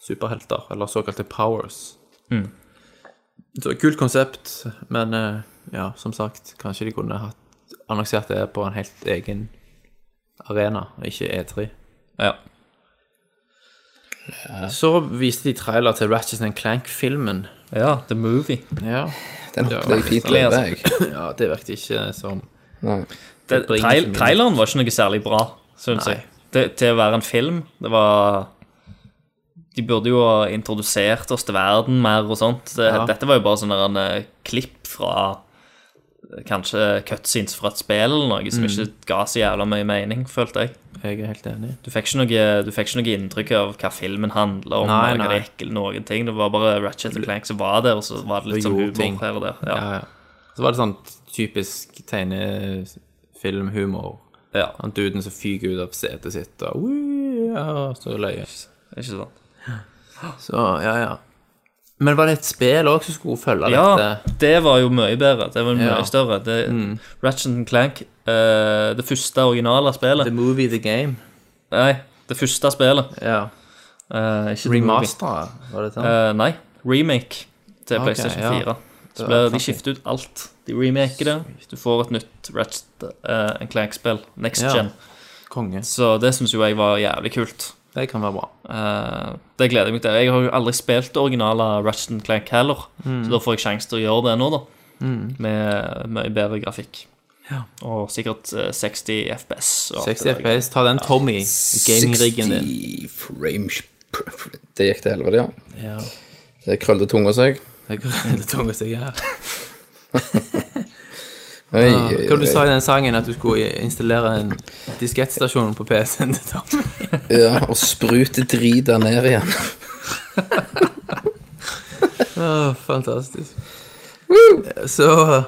superhelter, eller såkalte powers. Så kult konsept, men eh, ja, som sagt, kanskje de kunne hatt annonsert det på en helt egen arena, og ikke E3. Ja. Så viste de trailer til Ratchet Clank-filmen. ja, The Movie. Ja. Den hoppet jeg fint virkelig, over, altså. jeg. ja, det virket ikke som Nei. Det, bringer trail, ikke mye. traileren var ikke noe særlig bra, syns jeg. Det, til å være en film. Det var De burde jo ha introdusert oss til verden mer og sånt. Det, Ja. Dette var jo bare sånne eh, klipp fra eh, Kanskje cutscenes fra et spill eller noe som Mm. ikke ga så jævla mye mening, følte jeg. Jeg er helt enig. Du fikk ikke noe, du fikk ikke noe inntrykk av hva filmen handler om. Nei, eller hva nei. Det, gikk, eller noen ting. det var bare Ratchet og Clank som var der, og så var det litt Og sånn gjorde humor ting. her og der. Ja. Ja, ja. Så var det sånn typisk tegnefilmhumor. Ja. Han duden som fyker ut av setet sitt og «Woo!» ja, så løy. Ikke sant? Så, ja, ja. Men var det et spill òg som skulle følge Ja, dette? det var jo mye bedre. Det var mye Ja. Mm. større. Det, Ratchet and Clank, eh, det første originale spillet The Movie The Game. Nei, det første spillet. Ja. eh, ikke The Remasteret, var det sånn? Movie. Eh, nei, remake til Ok, PlayStation ja. 4. Det Så var ble, de fancy. skifter ut alt. De remaker det. Du får et nytt Ratchet eh, and Clank-spill. Next Ja. gen. Konge. Så det syns jo jeg var jævlig kult. Eh, Det kan være bra. Eh, det gleder jeg meg til. Jeg har jo aldri spilt det originale Ratchet and Clank heller, Mm. så da får jeg sjanse til å gjøre det nå, da. Med mye bedre grafikk. Og sikkert eh, 60 FPS. Og alt 60 det der. FPS. Ta den Tommy, gaming-riggen din. 60 frames per- per- Det gikk til helvete, ja. Ja. Det krøllde tunga seg. Det går litt tungt å si her. Oi, Ja, oi, Hva du oi. sa i den sangen, at du skulle installere en diskettstasjon på PC-en til Tommy? Ja, og sprute drita ned igjen. Åh, fantastisk. Så eh,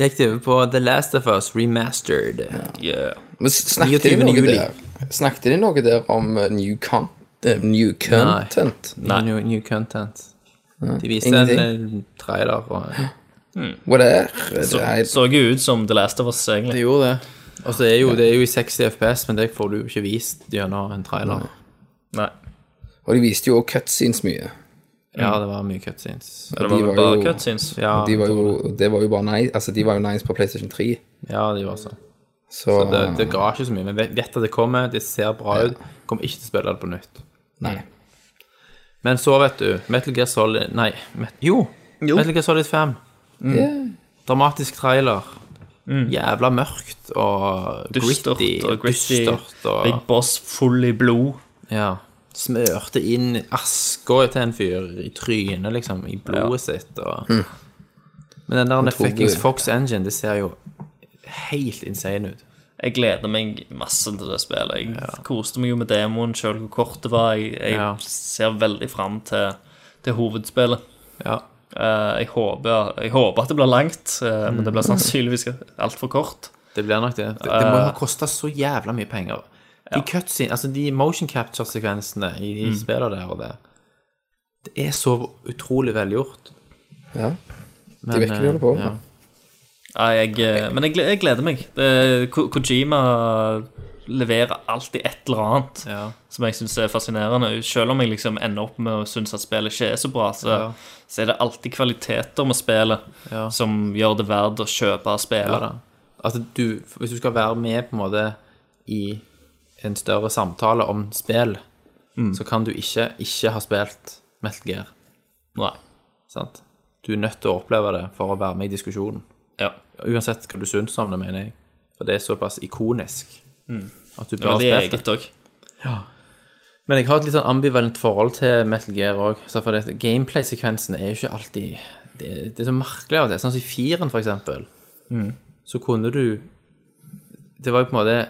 gikk det over på The Last of Us Remastered. Yeah. Men s- snakket de 29. noe juli. der? Snakket de noe der om eh, new, con eh, new content? New, new content. De viste en eh, trailer. Og, Hva det er? Det er Så jo ut som The Last of Us, egentlig. gjorde det. Og så er jo, det er jo i 60 FPS, men det får du jo ikke vist gjennom en trailer. Nei. Og de viste jo også cutscenes mye. Ja, det var mye cutscenes. Det var var vel bare jo- cutscenes. Ja, De var jo, det var jo bare nice, altså de var jo nice på PlayStation 3. ja de var sånn. Så, eh, Det, Ah. det ga ikke så mye, men vet vet at det kommer, det ser bra ut. Kommer ikke til å spille det på nytt. Mm. nei. Men så, vet du, Metal Gear Solid Nei, Met jo, Metal Gear Solid 5. Yeah. Dramatisk trailer. Jævla mørkt og Mm. Dystert gritty. og gritty. Dystert og Big Boss full i blod. ja. Smørte inn aska til en fyr i trynet, liksom, i blodet sitt. Og... Hm. Men den der tok fuckings det. Fox Engine, det ser jo helt insane ut. Jeg gleder meg masse til det spillet. Jeg koste meg jo med demoen sjøl hvor kort det var. Jeg, jeg Ja. ser veldig fram til, til hovedspillet. Ja. Eh, jeg, håper, jeg håper at det blir langt, eh, men det Eh, blir sannsynligvis altfor kort. Det blir nok det. Det, det må jo ha kosta så jævla mye penger. De cutscene, altså de motion capture-sekvensene i Mm. de spillene der og der, det er så utrolig velgjort. Ja. Men, eh, virkelig holder på med. Ja, jeg, eh, men jeg, gle- jeg gleder meg. Det, Ko- Kojima leverer alltid et eller annet Ja, som jeg syns er fascinerende. Selv om jeg liksom ender opp med å synes at spillet ikke er så bra, så, Ja. så er det alltid kvaliteter med spillet Ja. som gjør det verdt å kjøpe ja og spille. da. Altså, du, hvis du skal være med på en måte i en større samtale om spill, Mm. så kan du ikke ikke ha spilt Metal Gear. Nei. Sant? Du er nødt til å oppleve det for å være med i diskusjonen. Ja. Uansett hva du syns om det, mener jeg. For det er såpass ikonisk at du Det var bør Mm. det ha jeg spilt det. gitt òg. Men jeg har et litt sånn ambivalent forhold til Metal Gear òg. Gameplay-sekvensen er jo ikke alltid Det, det er så merkelig av det. Sånn som i firen, for eksempel. Mm. Så kunne du Det var jo på en måte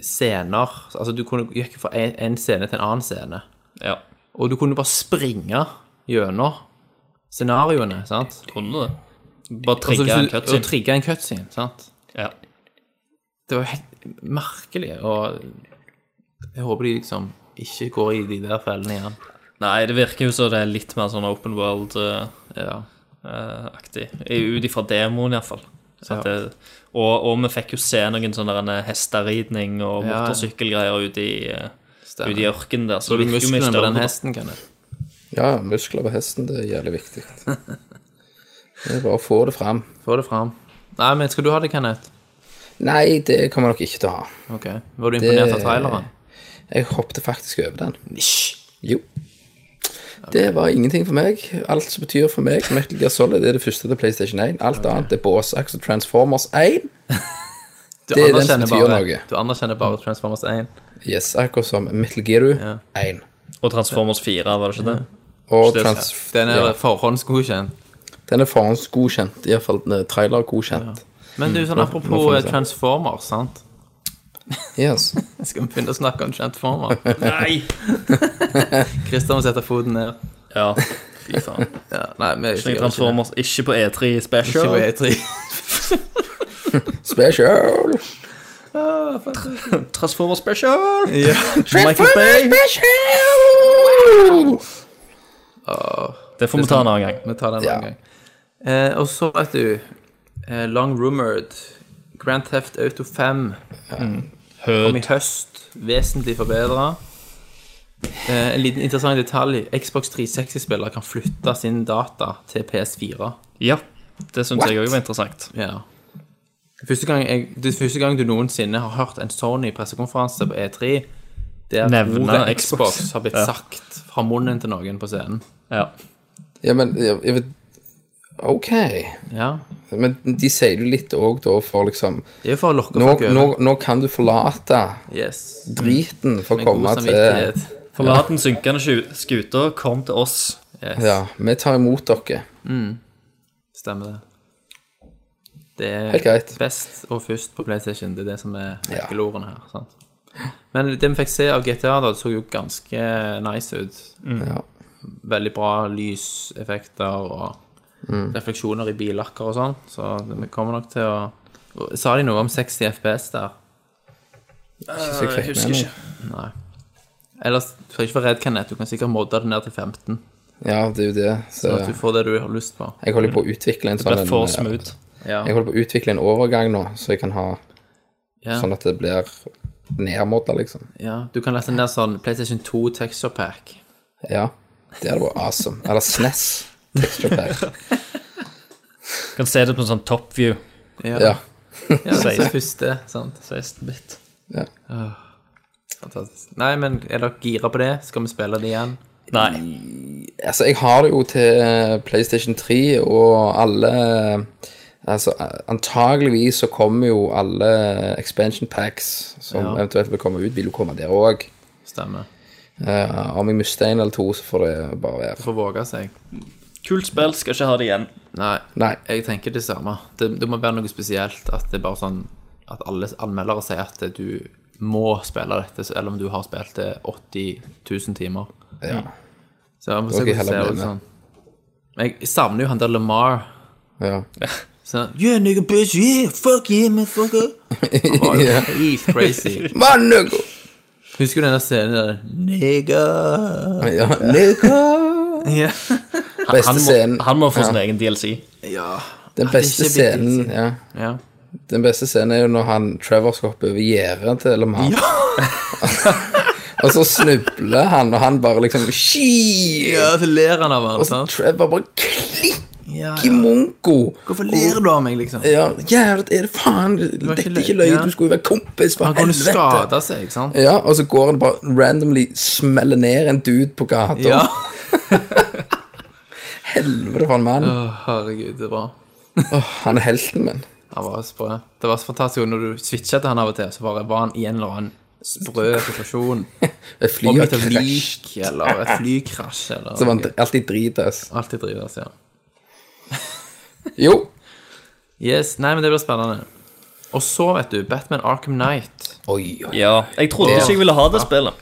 scener Altså, du kunne gikk fra en- en scene til en annen scene. Ja. Og du kunne bare springe gjennom scenarioene, sant? Kunne det. Bare Altså, trigge hvis en du- Og cutscene. trigge en cutscene, sant? Ja. det var helt merkelig, og jeg håper de liksom ikke går i de der fellene igjen. Nei, det virker jo som det er litt mer sånn open world-aktig. Ja. Eh, Ut ifra demoen, iallfall. Ja. Ja. Og, og vi fikk jo se noen sånne derne hesteridning og Ja, ja. motorsykkelgreier ute i, eh, ute i ørkenen der. Så Så du det virker jo mye musklene på den større. hesten, kan det? ja, muskler på hesten, det er jævlig viktig. Det er bare å få det fram. Få det fram. Nei, men skal du ha det, Kenneth? Nei, det kommer jeg nok ikke til å ha. Ok. Var du imponert av traileren? Jeg hoppet faktisk over den. Jo. Det var ingenting for meg. Alt som betyr for meg Metal Gear Solid, er det første til PlayStation 1. Alt annet er båsaks og Transformers 1. Du Det er den som anerkjenner betyr bare- noe. Du anerkjenner bare Transformers 1. Yes, akkurat som Metal Gear 1. Og Transformers 4, var det ikke det? Og Så det- trans Den er ja, forhåndsgodkjent. den er forhåndsgodkjent, iallfall trailergodkjent. Men du, sånn Mm. nå apropos får vi eh, se. Transformers, sant? Yes. Skal vi begynne å snakke om Transformers? Nei! Christer må sette foten ned. Ja, fy faen. Ja, nei, vi Slik Transformers ikke på E3 Ikke på E Special. E3. Special! Transformers Special! Ja. Michael Bay. Special! Det får vi ta en annen gang. Vi tar den en Ja. gang. Eh, og så, vet du eh, Long rumored Grand Theft Auto 5 kom i høst. Vesentlig forbedra. Eh, en liten interessant detalj. Xbox 360-spillere kan flytte sin data til PS4. Ja, det syns jeg òg var interessant. Ja. Første gang jeg, det er første gang du noensinne har hørt en Sony-pressekonferanse på E3 der Nevne ordet Xbox. Xbox har blitt Ja. sagt fra munnen til noen på scenen. Ja. Ja, men jeg, jeg vet OK. Ja. Men de sier jo litt òg da for liksom Det er jo for å lokke nå, folk nå, over. nå kan du forlate Yes. driten for å Med god komme til samvittighet. Forlat den synkende sku- skuta, kom til oss. Ja, vi tar imot dere. Stemmer det. Det Helt er greit. best og først på PlayStation. Det er det som er Ja. nøkkelordene her. sant? Men det vi fikk se av GTA, da, det så jo ganske nice ut. Mm. Ja. Veldig bra lyseffekter og Mm. refleksjoner i billakker og sånn. Så vi kommer nok til å og Sa de noe om 60 FPS der? Så jeg fikk med meg. Ellers skal jeg ikke være redd, Kenneth. Du kan sikkert modde det ned til 15. Ja, det er jo det. Så Sånn at du får det du har lyst på. jeg holder på å utvikle en sånn Ble en, for eh, smooth. Ja. Jeg holder på å utvikle en overgang nå, så jeg kan ha Ja. Sånn at det blir nedmodda, liksom. ja. Du kan lese ned sånn PlayStation 2 Texture Pack. Ja. Det hadde vært awesome. Eller SNES. Texture pack. Kan se det på en sånn top view. Ja. Ja, det er Sier- første, sant. 16 bit. ja. Fantastisk. Nei, men er dere gira på det? Skal vi spille det igjen? Mm. Nei. Altså, jeg har det jo til eh, PlayStation 3 og alle Altså, eh, antageligvis så kommer jo alle eh, expansion packs som Ja. eventuelt vil komme ut, vil jo komme der òg. Stemmer. Eh, om jeg mister en eller to, så får det bare være. Får våge seg. Kult spill, skal ikke ha det igjen. Nei, Nei. jeg tenker det samme. Det, det må være noe spesielt at det er bare sånn at alle anmeldere sier at du må spille dette, selv om du har spilt det 80 000 timer. Ja. Så jeg må se Ok, hvordan det ser heller ut bli med. sånn. Jeg savner jo han der Lamar. ja. Sånn, yeah, nigga, bitch, yeah, fuck yeah, man, fuck up. Han var jo helt crazy. Mann, Hugo! Husker du den der scenen der Nigga Ja, Luca! ja. Beste Han scenen. må, han må få sin egen DLC. Den beste ikke blitt scenen ja. ja. Den beste scenen er jo når han Trevor skal hoppe over gjerdet til Lamar. og så snubler han, og han bare liksom Shit! ja, så ler han av han, Og så sant? Trevor bare klikk Ja, i monko! Hvorfor ler du av meg, liksom? Ja, jævlig, er det faen? var Dette ikke er ikke løy, løye, ja. du skulle jo være kompis, for Han kunne helvete! skada seg, ikke sant? Ja, og så går han bare randomly smeller ned en dude på gata. Ja. Helvete for en mann. Å, herregud, det er bra. Åh, han er helten min. Han var så bra. Det var så fantastisk. og Når du switcha til han av og til, så bare var han i en eller annen sprø situasjon. Et fly Om har et krasj. lik eller et flykrasj eller Så man alltid drites. Alltid drives, ja. Jo. Yes, nei, men det blir spennende. Og så, vet du, Batman Arkham Knight. Oi, oi. Ja, Jeg trodde ikke jeg ville ha det spillet.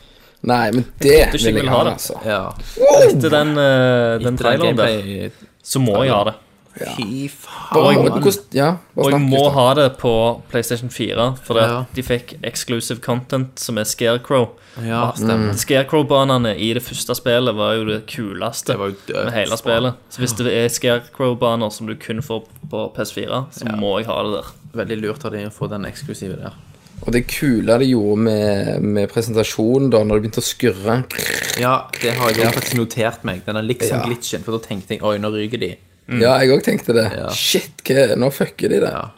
Nei, men det ikke vil vil jeg ha ha, det. altså. Ja. Etter den, eh, den traileren der, så må jeg ha det. Fy Bare, faen. hvordan, ja, bare Og jeg snakk må litt om- ha det på PlayStation 4, for det, Ja. de fikk exclusive content, som er Scarecrow. Ah, Ja, Mm. stemmer. Scarecrow-banene i det første spillet var jo det kuleste Det var jo dødsbra. med hele spillet. Så hvis det er Scarecrow-baner som du kun får på PS4, så må jeg ha det der. Veldig lurt av de å få den eksklusive der. Og det kule de gjorde med, med presentasjonen, da, når det begynte å skurre Ja, det har jeg faktisk notert meg. Denne Ja. liksom-glitchen. For da tenkte jeg oi, nå ryker de. Ja, jeg òg tenkte det. Ja. Shit, hva, nå fucker de det. Ja,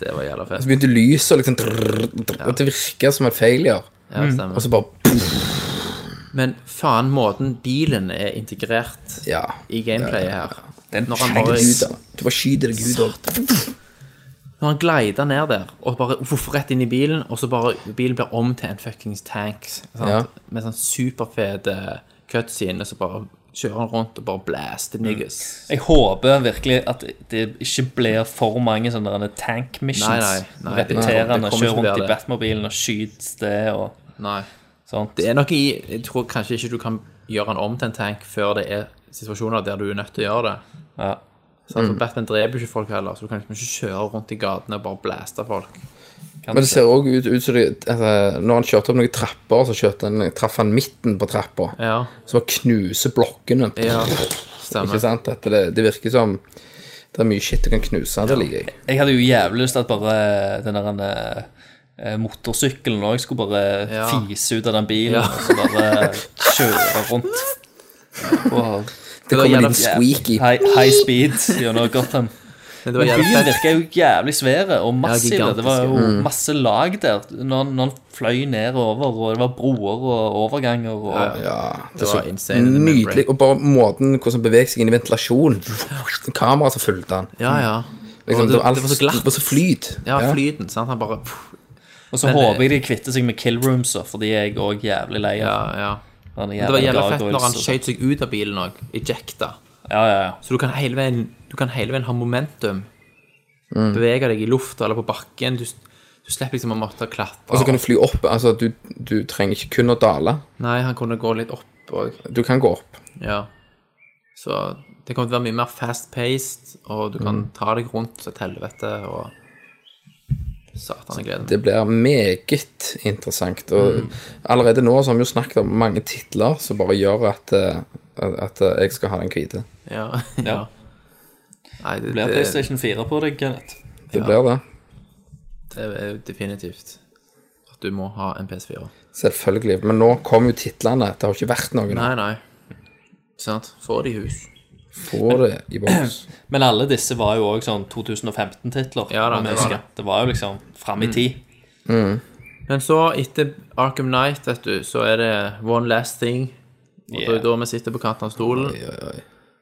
det var jævla Så fett. begynte lyset å liksom At det virka som en failure. Ja, Mm. Og stemmer. så bare pff, Men faen, måten bilen er integrert Ja. i gameplayet her Når han Skyter bare, deg ut, da. Du bare skyter deg ut av når han glider ned der, og bare voff rett inn i bilen, og så bare bilen blir om til en fuckings tank. Sant? Ja. Med sånn superfete cutscene, så bare kjører han rundt og bare blaster niggas. Jeg håper virkelig at det ikke blir for mange sånne der tank missions. Nei, nei, nei, det- repeterende. det kommer Kjør ikke til å rundt være i det. Batmobilen og skyt det og Mm. Nei. sånt. Det er nok i Jeg tror kanskje ikke du kan gjøre han om til en tank før det er situasjoner der du er nødt til å gjøre det. Ja. Sant? Mm. For Batman dreper jo ikke folk heller, så du kan liksom ikke kjøre rundt i gatene og bare blaste folk. Men det ser òg ut, ut som det altså, Når han kjørte opp noen trapper, så kjørte han, traff han midten på trappa. Ja, Så bare knuser blokkene. ja Ikke stemmer. sant? At det, det virker som det er mye shit du kan knuse. Det liker jeg. Jeg hadde jo jævlig lyst til at bare den der eh, motorsykkelen òg skulle bare Ja. fise ut av den bilen og så bare kjøre rundt. Og Det var kommer en liten jævla squeaky. high, high speed gjennom Gotham. Men det Mm. var Byen jævlig fett. virka jo jævlig svære og massive. gigantisk, det var jo masse lag der når, når han fløy nedover, og det var broer og overganger og Ja, det, var så insane, det med Altså, Nydelig. Og bare måten hvordan han beveger seg inn i ventilasjon. Kameraet som fulgte han. Ja, ja. Liksom, Og det, det var Det så glatt. var så flyt. Ja, flyten. sant? Han bare Og så eh, håper jeg de kvitter seg med killroomsa, for de er jeg òg jævlig lei Ja, av. ja. Den Det var jævla fett når gargoyles han og- skjøt seg ut av bilen òg. Ejecta. Ja, ja, ja. Så du kan hele veien, du kan hele veien ha momentum. Mm. Bevege deg i lufta eller på bakken. Du, du slipper liksom å måtte klatre. Og så kan du fly opp. Altså, du, du trenger ikke kun å dale. Nei, han kunne gå litt opp òg. Du kan gå opp. Ja. Så det kommer til å være mye mer fast-paced, og du kan Mm. ta deg rundt til et helvete og Satan, jeg gleder meg. Det blir meget interessant. Og Mm. allerede nå så har vi jo snakket om mange titler som bare gjør at, eh, at eh, jeg skal ha den hvite. Ja. ja. Ja. Nei, det, Blir det, PlayStation 4 på deg, Kenneth? Det blir det. det er jo definitivt at du må ha en PS4. Selvfølgelig. Men nå kom jo titlene. Det har ikke vært noen. Nei, nei. Sant? Få det i hus. Få det i boks. Men alle disse var jo òg sånn 2015-titler. Ja da, om det var jeg husker. det. Mm. det var jo liksom fram i tid. Men så, etter Arkham Knight, vet du, så er det One Last Thing. Og det er jo da vi sitter på kanten av stolen.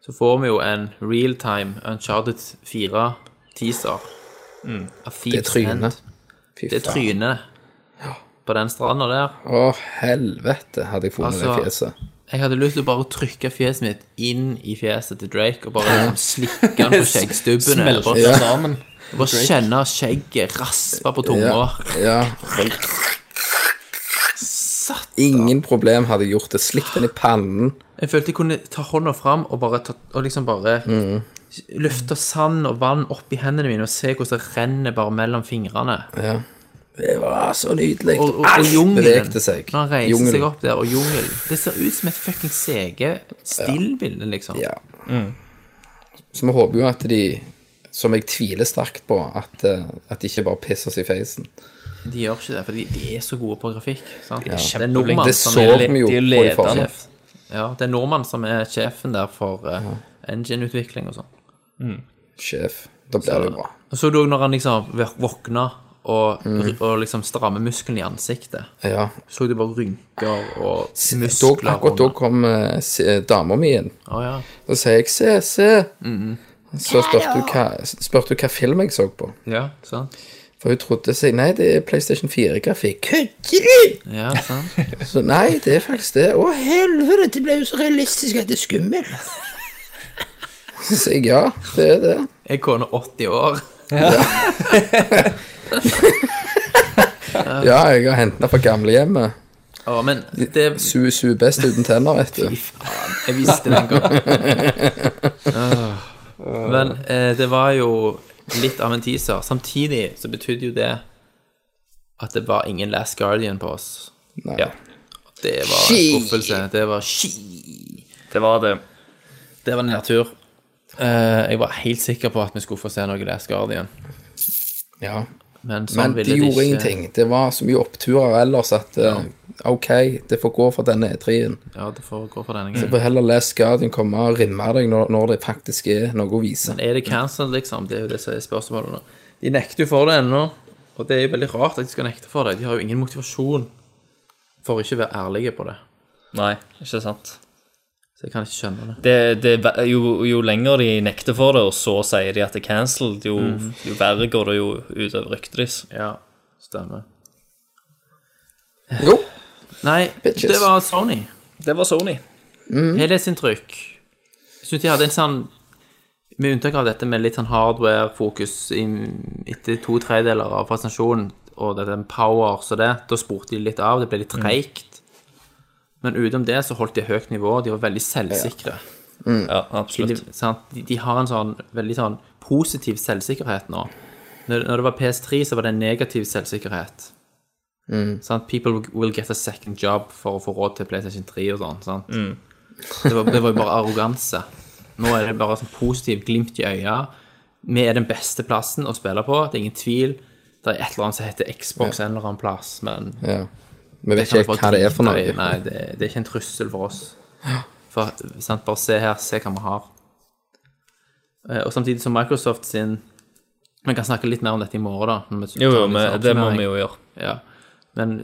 Så får vi jo en realtime Uncharted 4-teaser. Det er trynet. Fy Det er faen. trynet på den stranda der. Å, helvete, hadde jeg funnet Altså- det fjeset. Jeg hadde lyst til å bare trykke fjeset mitt inn i fjeset til Drake og bare liksom slikke han på skjeggstubbene. Smelter Bare, sammen. bare kjenne skjegget raspe på tunga. Ja. Ingen problem hadde jeg gjort det. Slikt den i pannen. Jeg følte jeg kunne ta hånda fram og, bare ta, og liksom bare Mm. løfte sand og vann opp i hendene mine og se hvordan det renner bare mellom fingrene. Ja. Det var så nydelig. Og, og, og Alt jungelen. bevegte seg. Når han reiser Jungelen. seg opp der, og jungelen. Det ser ut som et fucking sege stillbilde, liksom. Ja. Så vi håper jo at de, som jeg tviler sterkt på, at, eh, at de ikke bare pisser oss i feisen. De gjør ikke det, for de, de er så gode på grafikk. Sant? Ja. Det er nordmann Det som så er vi jo de er på ledende. de forrige. sjef. Ja, det er nordmann som er sjefen der for uh, engine-utvikling og sånn. Sjef. Da blir det jo bra. Og så du også når han liksom vå- våkna og, Mm. og liksom strammer muskelen i ansiktet. Ja. Så du bare rynker og Da, muskler akkurat da under. kom eh, se- dama mi inn. Å, ja. Da sier jeg 'se, se'. Mm-hmm. Så spurte hun hva, spurte hun hva film jeg så på. ja, sant. For hun trodde seg Nei, det er PlayStation 4-grafikk. Kødder du?! Ja, sant. Så nei, det er faktisk det. Å, helvete, det ble jo så realistisk at det er skummelt. Så sier jeg ja, det er det. Jeg kone 80 år. Ja, jeg har hentet den fra gamlehjemmet. Å, men det Su, su best uten tenner, vet du. Jeg visste det en gang. Åh. Men eh, det var jo litt av en teaser. Samtidig så betydde jo det at det var ingen Last Guardian på oss. Nei. Ja. Det var en skuffelse. Det var ski. Det var det. Det var nedtur. Eh, jeg var helt sikker på at vi skulle få se noe Last Guardian, Ja. men sånn Men de ville det gjorde ikke. ingenting. Det var så mye oppturer ellers at eh, OK, det får gå for denne E3-en. Ja, det får gå for denne gangen. Du får heller lese Guardian komme og rimme deg når, når det faktisk er noe å vise. Er det cancelled, liksom? Det er jo det som er spørsmålet nå. De nekter jo for det ennå, og det er jo veldig rart at de skal nekte for det. De har jo ingen motivasjon for å ikke være ærlige på det. Nei, ikke sant. Så jeg kan ikke skjønne det. Det, det, er ver- jo, jo lenger de nekter for det, og så sier de at det er cancelled, jo, jo verre går det jo utover ryktet deres. Ja, stemmer. Jo, Nei, Bitches. det var Sony. Det var Sony. Helhetsinntrykk. Jeg syns de hadde en sånn Med unntak av dette med litt sånn hardware-fokus i- etter to tredjedeler av presentasjonen, og dette med power så det, da spurte de litt av. Det ble litt treigt. Men utenom det så holdt de høyt nivå. De var veldig selvsikre. Ja, de, absolutt. sant? De, de har en sånn veldig sånn positiv selvsikkerhet nå. Når, når det var PS3, så var det en negativ selvsikkerhet. Sant? People will get a second job for å få råd til PlayStation 3 og sånn. sant? Det, var, det var jo bare arroganse. Nå er det bare sånn positiv glimt i øya. Vi er den beste plassen å spille på, det er ingen tvil. Det er et eller annet som heter Xbox en eller annen plass, men ja. Vi vet kan ikke vi hva bare det er for drite i. noe. Nei, det, det er ikke en trussel for oss. For, sant, bare se her, se hva vi har. Eh, Og samtidig som Microsoft sin Vi kan snakke litt mer om dette i morgen, da. når vi Jo, tar jo, litt men sånn det må oppsummering. vi jo gjøre. Ja. Men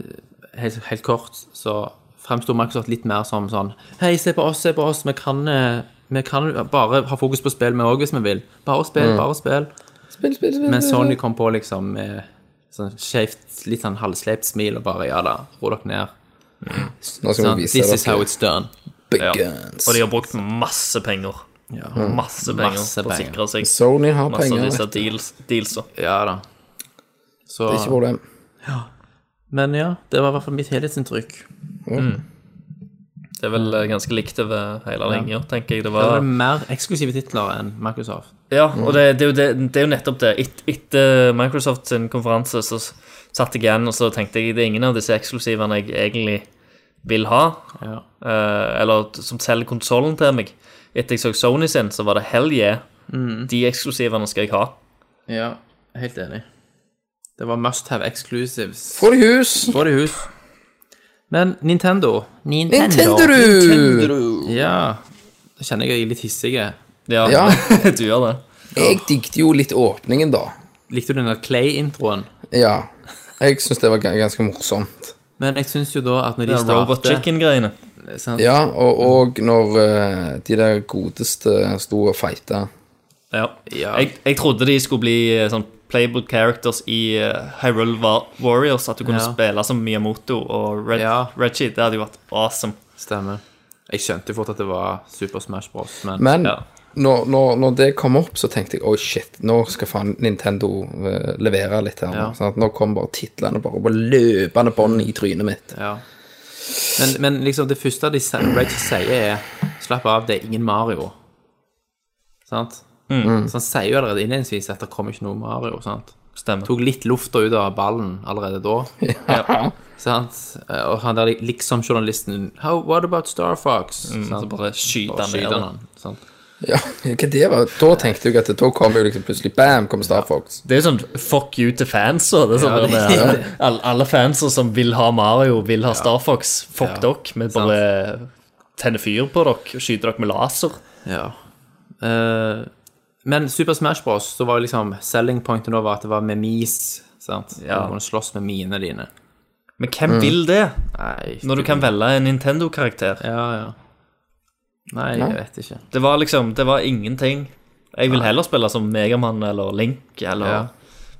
helt, helt kort så fremsto Microsoft litt mer som sånn Hei, se på oss, se på oss. Vi kan, eh, vi kan bare ha fokus på spill, vi òg, hvis vi vil. Bare spill, Mm. bare spill. Spill, spill, spill. Men Sony kom på liksom med sånn skjevt, litt sånn halvsleipt smil og bare ja da, ro dere ned. Nå skal Sånn, vi vise This is how dere it's done. big Ja. guns. Og de har brukt masse penger. Masse penger Masse på å penger. sikre seg Sony har masse av penger. disse vet du. deals, dealsa. Ja da. Så, Ikke problem. men ja, det var i hvert fall mitt helhetsinntrykk. Det er vel eh, ganske likt over hele linja, tenker jeg. Det Det var var mer eksklusive titler enn Microsoft. Ja, og det, det, er jo det, det er jo nettopp det. Et, etter Microsoft sin konferanse så s- satt jeg igjen og så tenkte jeg det er ingen av disse eksklusivene jeg egentlig vil ha, Ja. eh, eller t- som selger konsollen til meg. Etter jeg så Sony sin, så var det hell yeah. Mm. De eksklusivene skal jeg ha. ja, helt enig. Det var must have exclusives. Få det i hus. Både i hus. Men Nintendo Nintendo! Ja. Da kjenner jeg jeg er litt hissige. Ja, Ja. du gjør det. Jeg digget jo litt åpningen, da. Likte du den der Clay-introen? Ja. Jeg syns det var ga- ganske morsomt. Men jeg syns jo da at når de det er Robot starter Chicken-greiene. sant? Ja, og, og når eh, de der godeste sto og fighta. Ja. Ja. Jeg, jeg trodde de skulle bli eh, sånn playable characters i eh, Hyrule Wa- Warriors. At du kunne Ja. spille som Miyamoto og Red, Ja. Reggie. Det hadde jo vært awesome. Stemmer. Jeg skjønte jo fort at det var Super Smash Bros, men, Men Ja. når, når, når det kom opp, så tenkte jeg oi, shit, nå skal faen Nintendo eh, levere litt her. Ja. nå, sant? Nå kom bare titlene bare på løpende bånd i trynet mitt. ja. men Men liksom, det første de sier, Reggie sier, er Slapp av, det er ingen Mario. Mm. Sant? Så han sier jo allerede innledningsvis at det kommer ikke noe Mario, sant? Stemmer. Tok litt lufta ut av ballen allerede da. Ja. Sant? Eh, Og han der liksom-journalisten How, What about Star Fox? Mm, Så sant? bare skyter Bare han skyter ned. han. sant? Ja, hva det var? Da tenkte jeg at da kom jo liksom plutselig bam, kom Star Fox. Det er jo sånn fuck you til fans. Og det er sånn Ja, der det- med, alle, alle fanser som vil ha Mario, vil ha Star Fox. Fuck Ja, dere. Vi bare tenner fyr på dere og skyter dere med laser. Ja. Eh, men Super Smash Bros. så var liksom selling pointen over at det var med mis. sant? Ja. Du kunne slåss med miene dine. Men hvem vil det, Nei, når du kan velge en Nintendo-karakter? Ja, ja. Nei, jeg vet ikke. Det var liksom, det var ingenting. Jeg vil heller spille som Megamann eller Link eller Ja.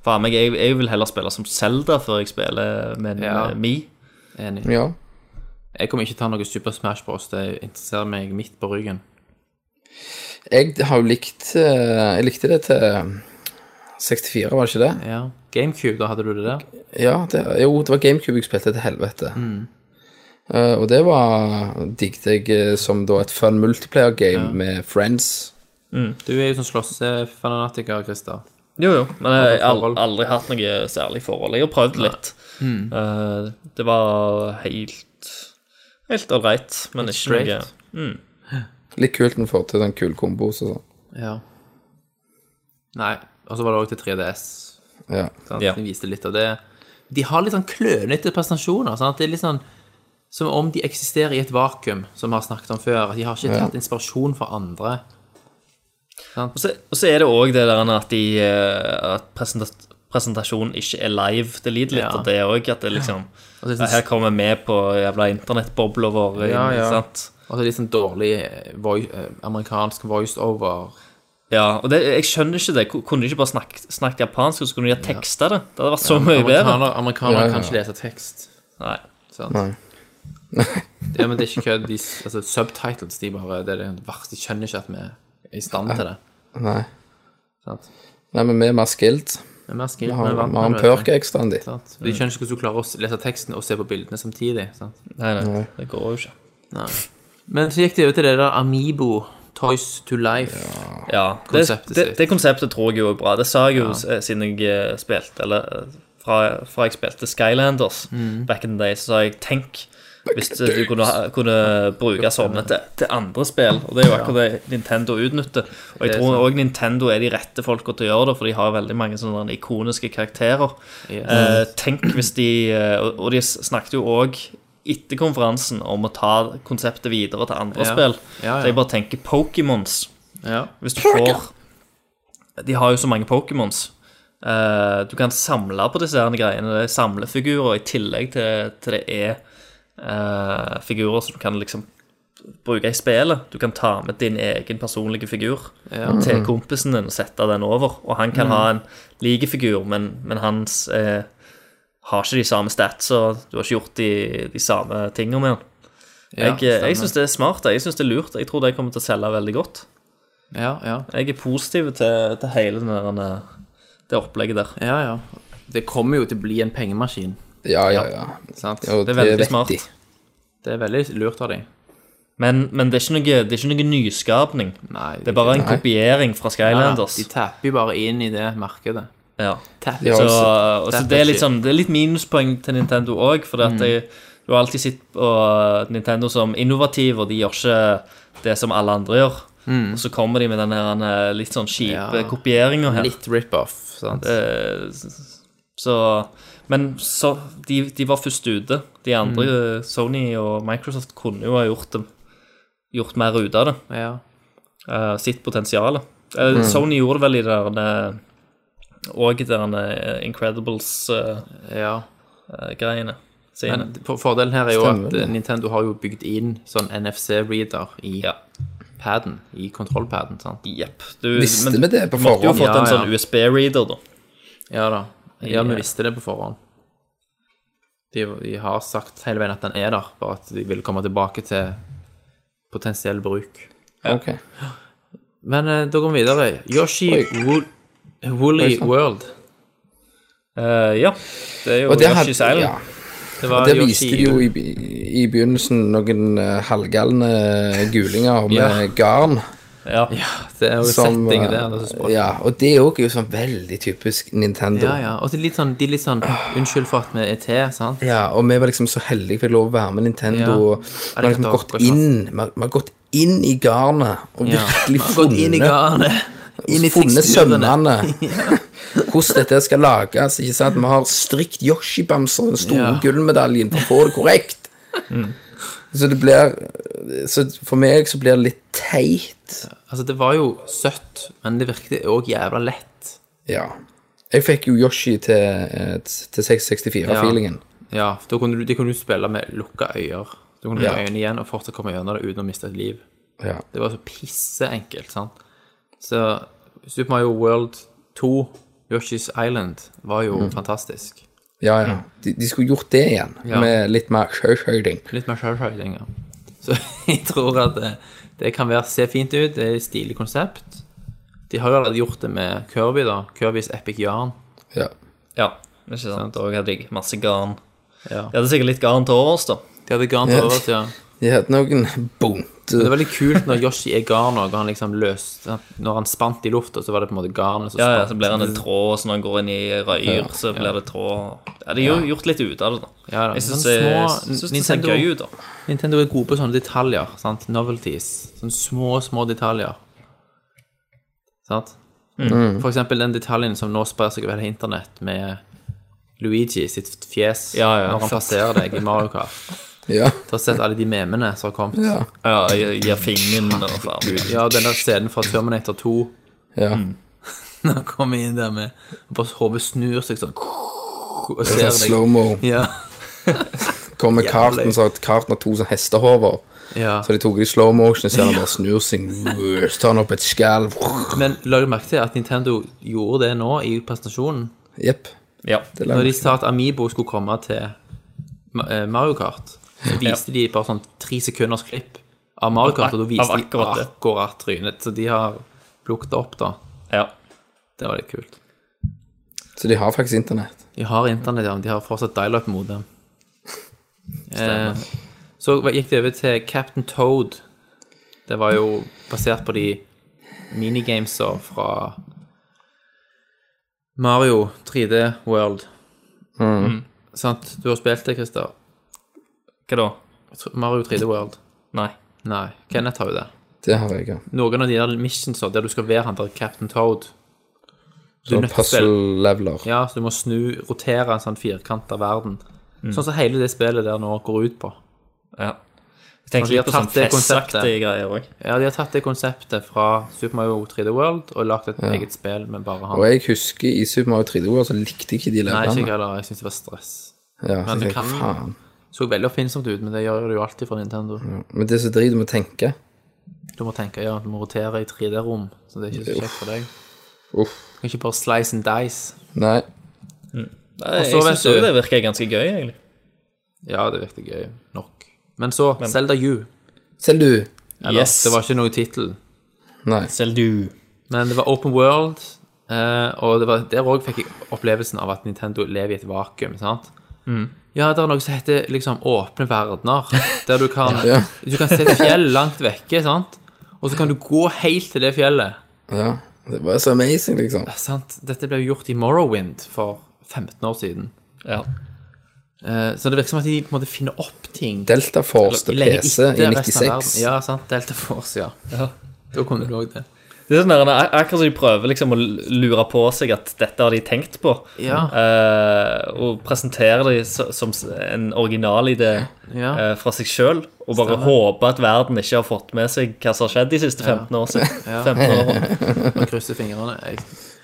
Faen meg, jeg, jeg vil heller spille som Zelda før jeg spiller med en Ja. eh, Mi. Enig. Ja. Jeg kommer ikke til å ta noe Super Smash Bros. Det interesserer meg midt på ryggen. Jeg har jo likt eh, Jeg likte det til 64, var det ikke det? Ja. GameCube, da hadde du det der? Ja, det, jo, det var GameCube jeg spilte til helvete. Mm. Eh, og det var digget jeg eh, som da et fun multiplayer game med friends. Du er jo sånn slåssefanatiker, Christer. Jo, jo, men jeg har forhold. Hmm. aldri, aldri hatt noe særlig forhold. Jeg har prøvd litt. Eh, det var helt Helt ålreit, men ikke noe straight. Litt kult når du får til den kule kombos og sånn. Ja. Nei. Og så var det òg til 3DS. Ja. Sant? Ja. De viste litt av det. De har litt sånn klønete presentasjoner. Sant? Det er litt sånn som om de eksisterer i et vakuum, som vi har snakket om før. De har ikke tatt inspirasjon fra andre. Og så, og så er det òg det der at, de, eh, at presentas- presentasjonen ikke er live. Det lider litt Ja. av det òg. At det liksom Og det er ja, sånn, Her kommer vi på jævla internettbobla vår. Ja, ja. Sant? og så er det litt sånn dårlig eh, voi- eh, amerikansk voiceover. Ja, og det, jeg skjønner ikke det. Ko- Kunne de ikke bare snakke, snakke japansk, og så kunne de ha teksta det? Det hadde vært så mye bedre. Amerikanere, amerikanere Ja, ja, ja. kan ikke lese tekst. Nei. Sant? Nei. Ja, men det er ikke kødd. De s- Altså, subtitles, de bare Det er det verste. De skjønner ikke at vi er i stand til det. Nei. Sant? Nei, men vi er mer skilled. Vi er mer skilt, Vi vi har, er vant vi har en med det, perk ekstra enn de. sant? De skjønner ikke hvordan du klarer å s- lese teksten og se på bildene samtidig. Sant? Nei, nei, det går jo ikke. Men så gikk det jo til det der Amibo, Toys to Life. Ja, det, Konseptet det, sitt. det konseptet tror jeg jo er bra. Det sa jeg jo s- eh, siden jeg eh, spilte Eller eh, fra, fra jeg spilte Skylanders Mm. back in the day, så sa jeg tenk hvis du kunne, ha- kunne bruke sånne til, til andre spill. Og det er jo akkurat det Nintendo utnytter. Og jeg Det er tror sant. òg Nintendo er de rette folka til å gjøre det, for de har veldig mange sånne ikoniske karakterer. Yes. Eh, tenk hvis de eh, Og og de snakket jo òg etter konferansen om å ta konseptet videre til andre Ja. spill. Ja, ja. Så jeg bare tenker Pokémons. Ja. Hvis du får De har jo så mange Pokémons. Eh, du kan samle på disse her greiene. Det er samlefigurer i tillegg til, til det E. er eh, figurer som du kan liksom bruke i spillet. Du kan ta med din egen personlige figur til kompisen din og sette den over. Og han kan ha en like figur, men, men hans eh, har ikke de samme stats, og du har ikke gjort de, de samme tingene med han. Jeg, jeg syns det er smart, jeg syns det er lurt. Jeg tror det kommer til å selge veldig godt. Ja, ja. Jeg er positiv til, til hele den der, eh, det opplegget der. ja, ja. Det kommer jo til å bli en pengemaskin. Ja, ja, ja. Sant? Og Det er veldig vet smart. de. Det er veldig lurt av dem. Men, men det, er ikke noe, det er ikke noe nyskapning. Nei, Det er bare en kopiering fra Skylanders. De tapper jo bare inn i det markedet. Ja. Tapper. De har Så, jo s- og så det, er litt sånn, det er litt minuspoeng til Nintendo òg, for Mm. at jeg, du har alltid sett på eh, Nintendo som innovativ, og de gjør ikke det som alle andre gjør. Og så kommer de med den her eh, litt sånn kjipe Mm. Ja. kopieringen her. Litt rip-off, sant. Eh, Så Men så, de, de var først ute. De andre, Mm. eh, Sony og Microsoft, kunne jo ha gjort, dem, gjort mer ut av det. Ja. eh, sitt potensial. Eh, Mm. Sony gjorde vel i det der eh, Og det der eh, Incredibles-greiene ja. eh, sine. Men for- fordelen her er jo Stemmer at det. eh, Nintendo har jo bygd inn sånn NFC-reader i Ja. paden, i kontrollpaden, sant. Jepp. Du, Visste men vi det på du måtte jo forhånd? ha fått Ja, en ja. sånn USB-reader, da. Ja da. Ja, Ja. vi visste det på forhånd. De, de har sagt hele veien at den er der, bare at de vil komme tilbake til potensiell bruk. Ok. Men eh, da går vi videre. Yoshi Oi. sånn. Wool Woolly World. Eh, ja. Det er jo Og det, Yoshi's hadde, Island. ja, Det var det Yoshi- viste de jo i, be- i begynnelsen noen eh, halvgalne eh, gulinger med Ja. garn. Ja. Det er jo Som, settingen eh, der. altså det er så språk. ja, og det er også jo sånn veldig typisk Nintendo. Ja, ja. Og det er litt sånn, de er litt sånn Unnskyld for at vi er til, sant? Ja, og vi var liksom så heldige for å lov å være med Nintendo. Ja. Og vi har liksom Ja, det gått kan jeg inn Vi har vi har gått inn i garnet og Ja. virkelig Vi har gått inn i funnet, garnet. Inn i funnet teksturene. sømmene. Hvordan dette skal lages. ikke sant? Vi har strikt Yoshi-bamser, den store Ja. Mm. gullmedaljen, for å få det korrekt. Så det blir Så for meg så blir det litt teit. Altså, det var jo søtt, men det virket òg jævla lett. Ja. Jeg fikk jo Yoshi til, eh, til 664-feelingen. Ja, for da kunne du, de kunne du spille med lukka øyer. Du kunne Ja. lukke øynene igjen og fortsatt komme gjennom det uten å miste et liv. Ja. Det var så pisseenkelt, sant. Så Super Mario World 2, Yoshi's Island, var jo fantastisk. Ja, ja. De, de skulle gjort det igjen, Mm. Ja. med litt mer showshading. Litt mer sjølsøyling, ja. Så jeg tror at det, det kan være se fint ut, det er et stilig konsept. De har jo allerede gjort det med Kirby, da. Kirbys Epic Yarn. Ja. ja. Ikke sant. Og hadde jeg masse garn. Ja. Jeg hadde sikkert litt garn til overs, da. De hadde garn til overs, ja. De hadde noen bunte Det er veldig kult når Yoshi er garn og han liksom løs Når han spant i lufta, så var det på en måte garnet som Ja, ja, spant. så blir han en tråd, og så når han går inn i røyr, så blir det tråd. Ja, de har jo gjort litt ut av det, da. Ja, da. Jeg syns Sånn det, små jeg synes det ser Nintendo- gøy ut, da. Nintendo er gode på sånne detaljer. sant? Novelties. Sånne små, små detaljer. Sant? Mm. For eksempel den detaljen som nå sprer seg over hele internett, med Luigi sitt fjes Ja, ja. når han passerer deg i Mario Kart. Ja. Du har sett alle de memene som har kommet. Ja. Ja, jeg gir fingeren og faen. Ja, og den der scenen fra Terminator 2 ja. Mm. Når han kommer inn der med og Bare hodet snur seg sånn Og Sånn ser deg. Slow-mo. Ja. Kommer Jævlig. karten, så at karten har to sånne hestehover. ja. Så de tok det i slow motion, så han bare snur seg, så tar han opp et skall. Men la du merke til at Nintendo gjorde det nå i presentasjonen? Jepp. Ja. Det lager Når de sa at Amiibo skulle komme til Ma- eh, Mario Kart, så viste de bare sånn tre sekunders klipp av Mario Kart, og da viste Av de akkurat akkurat, det. trynet. Så de har plukket det opp, da. ja. Det var litt kult. Så de har faktisk internett. De har internett, ja. men De har fortsatt dial-up-modem. Eh, så gikk det over til Captain Toad. Det var jo basert på de minigamesa fra Mario 3D World. Sant? Du har spilt det, Christer? Hva da? Mario 3D World. Nei. Nei, Kenneth har jo det. Det har jeg, ja. Noen av de der missionsa der du skal være han der Captain Toad. Du Så nødt til å spille- puzzle-leveler. Ja, så du må snu, rotere en sånn firkant av verden. Sånn som hele det spillet der nå går ut på. Ja. Jeg Altså, tenker de litt på har sånn tatt det festaktige greier òg. Ja, de har tatt det konseptet fra Super Mario 3D World og lagt et eget spill med bare han. Og jeg husker i Super Mario 3D World, så likte jeg ikke de Nei, ikke jeg levelene. heller. Jeg syns det var stress. Ja, så Men du jeg tenkte, kan- faen. Så veldig oppfinnsomt ut, men det gjør det jo alltid for Nintendo. Men det er så drit du må tenke. Du må tenke, ja, du må rotere i 3D-rom, så det er ikke så kjekt for deg. Uff. Du kan ikke bare slice and dice. Nei. Jeg så vet syns du- det virker ganske gøy, egentlig. Ja, det virker gøy nok. Men så, Zelda U. Selv du. Eller, Yes. Det var ikke noe tittel. Nei. Selv du. Men det var Open World, eh, og det var, der òg fikk jeg opplevelsen av at Nintendo lever i et vakuum. sant? Mm. Ja, det er noe som heter liksom åpne verdener, der du kan, Ja. du kan se et fjell langt vekke, sant? og så kan du gå helt til det fjellet. Ja. Det var så amazing, liksom. sant? Dette ble jo gjort i Morrowind for 15 år siden. Ja. Eh, så det virker som at de på en måte finner opp ting. Delta Force til lenge PC i etter resten av 96. verden. Ja, sant. Delta Force, ja. Da kom det òg det. Det er sånn der, ak- akkurat som de prøver liksom å lure på seg at dette har de tenkt på, Ja. eh, og presentere det så- som s- en originalidé Ja. eh, fra seg sjøl, og bare håpe at verden ikke har fått med seg hva som har skjedd de siste 15 år siden. 15 år. Man krysser fingrene. Jeg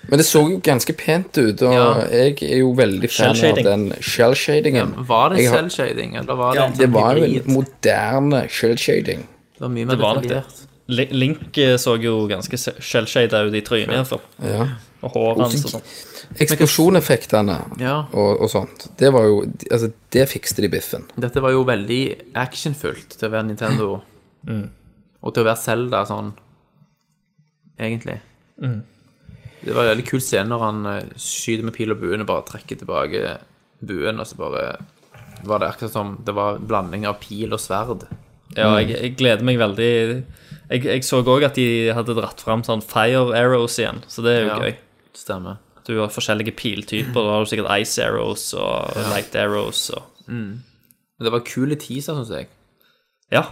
Men det så jo ganske pent ut, og Ja. jeg er jo veldig fan av Shell-shading. den shell-shadingen. Var det Jeg har- selvshading, eller var det en Det sånn var jo en hybrid? moderne shell-shading. Det var mye mer var nok det. detaljert. Li- Link eh, så jo ganske skjellshada ut i trynet, iallfall. Ja. Og håret hans og sånn. Eksplosjoneffektene Ja. og, og sånt, det var jo Altså, det fikste de biffen. Dette var jo veldig actionfullt til å være Nintendo. Mm. Og til å være Zelda sånn, egentlig. Mm. Det var en veldig kul scene når han eh, skyter med pil og buen og bare trekker tilbake buen, og så bare var det akkurat som det var en blanding av pil og sverd. Ja, jeg, jeg gleder meg veldig Jeg, jeg så òg at de hadde dratt fram sånn fire arrows igjen, så det er jo Ja. gøy. Stemmer. Du har forskjellige piltyper. Da har du sikkert ice arrows og light arrows og Men det var kule teaser, syns jeg. Ja,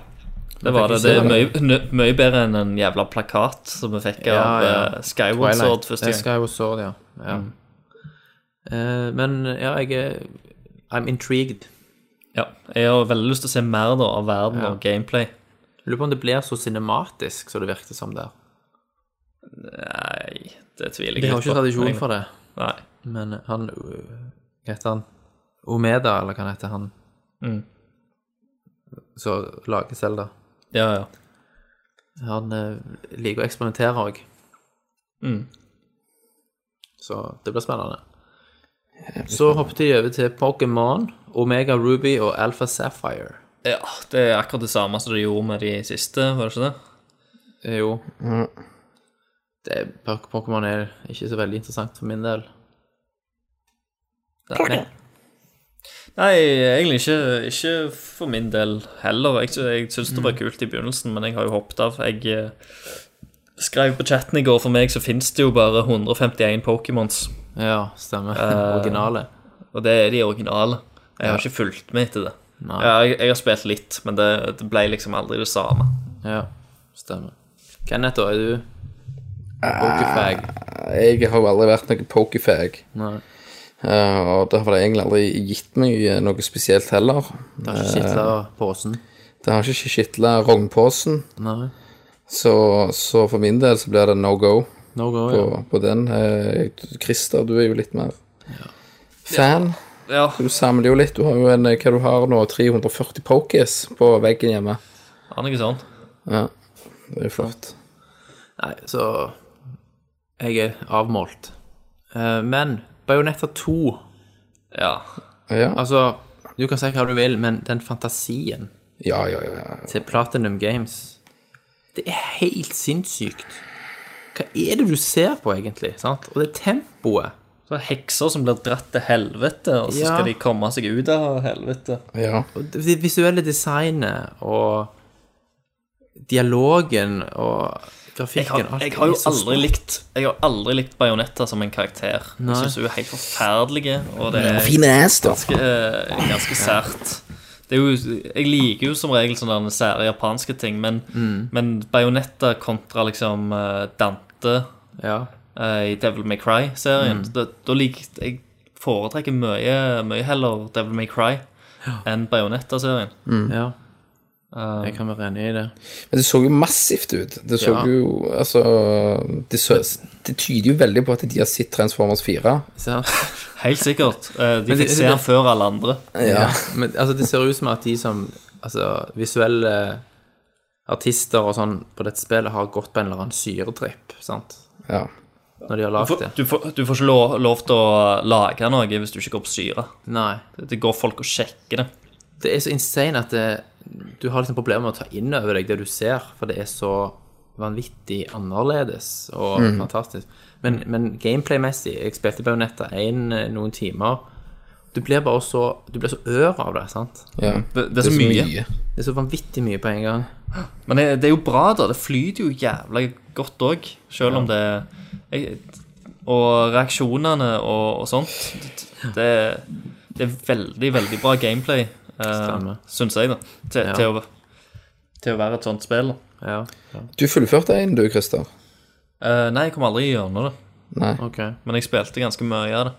det var det. fikk Det er vi mye, nø- mye bedre enn en jævla plakat som vi fikk Ja, av ja. eh, Skyward Sword Det første er gang. Skyward Sword, ja. ja. Mm. Eh, men ja, jeg er I'm intrigued. Ja, jeg har veldig lyst til å se mer da av verden og gameplay. Lurer på om det blir så cinematisk som det virker som der. Nei, det tviler jeg De har ikke tradisjon for det, Nei. men han øh, Hva heter han? Omeda, eller hva han heter han? Mm. Som lager Zelda. Ja, ja. Han eh, liker å eksperimentere òg. Mm. Så det blir spennende. Så hoppet de over til Pokémon, Omega Ruby og Alpha Sapphire. Ja, det er akkurat det samme som de gjorde med de siste, var det ikke det? Eh, Jo. Det, Pok- Pokémon er ikke så veldig interessant for min del. Nei. Nei, egentlig ikke, ikke for min del heller. Jeg, sy- jeg syntes det var kult i begynnelsen, men jeg har jo hoppet av. Jeg eh, skrev på chatten i går, for meg så finnes det jo bare 151 Pokémons, Ja, stemmer. Originale. og det er de originale. Jeg har Ja. ikke fulgt med etter det. Nei. Ja, jeg, jeg har spilt litt, men det, det ble liksom aldri det samme. Ja, stemmer. Kenneth, da, er du Pokéfag? Jeg har jo aldri vært noen pokerfag. Nei. eh, og det har det egentlig aldri gitt meg eh, noe spesielt heller. Det har ikke skitla posen? Det har ikke skitla rognposen, Nei. så, så for min del så blir det no go No go, på, ja. på den. Eh, Christer, du er jo litt mer fan. Ja, Du samler jo litt. Du har jo en, eh, hva du har nå, 340 pokies på veggen hjemme. det er noe sånt. Ja, det er flott. Nei, så Jeg er avmålt. Eh, Men Bajonetta 2 Ja. Ja, Altså, du kan si hva du vil, men den fantasien ja, ja. ja. til Platinum Games Det er helt sinnssykt. Hva er det du ser på, egentlig? sant? Og det tempoet. Så er det hekser som blir dratt til helvete, og så Ja. skal de komme seg ut av helvete. ja. Og det det visuelle designet og dialogen og Jeg grafikken har, alt jeg har jo er så aldri stort. likt Jeg har aldri likt Bajonetta som en karakter. Nei. Jeg syns hun er helt forferdelig, og det er Fine ass, da. ganske, eh, ganske sært. Det er jo, jeg liker jo som regel sånne sære japanske ting, men, Mm. men Bajonetta kontra liksom eh, Dante Ja. eh, i Devil May Cry-serien Mm. da, da liker jeg foretrekker mye, mye heller Devil May Cry enn Eh, Bajonetta-serien. ja. jeg kan være enig i det. Men det så jo massivt ut. Det så Ja. jo Altså det, så, det tyder jo veldig på at de har sett Transformers 4. Så, Helt sikkert. Eh, de Men det- fikk se det- den før alle andre. Ja. men altså, det ser ut som at de som altså, visuelle artister og sånn på dette spillet har gått på en eller annen syretripp, sant? ja. Når de har Du lagd får, det. du, får, du får ikke lov, lov til å lage noe hvis du ikke går på syre. Nei. Det- Det går folk og sjekker det. Det er så insane at det, du har liksom problemer med å ta inn over deg det du ser, for det er så vanvittig annerledes og fantastisk. Men, men gameplay-messig, jeg spilte Bajonetta 1 eh, noen timer, du blir bare så, du blir så ør av det, sant? ja. Det, det er så mye. Det er så vanvittig mye på en gang. Men det, det er jo bra, da. Det flyter jo jævla godt òg, selv om det jeg, Og reaksjonene og, og sånt. Det, det, det er veldig, veldig bra gameplay, eh, Stemmer. syns jeg, da. Til, Ja. til, å, til å være et sånt spill. Ja, Du fullførte en, du, Christer. Eh, nei, jeg kom aldri gjennom det. Nei. ok. Men jeg spilte ganske mye av det.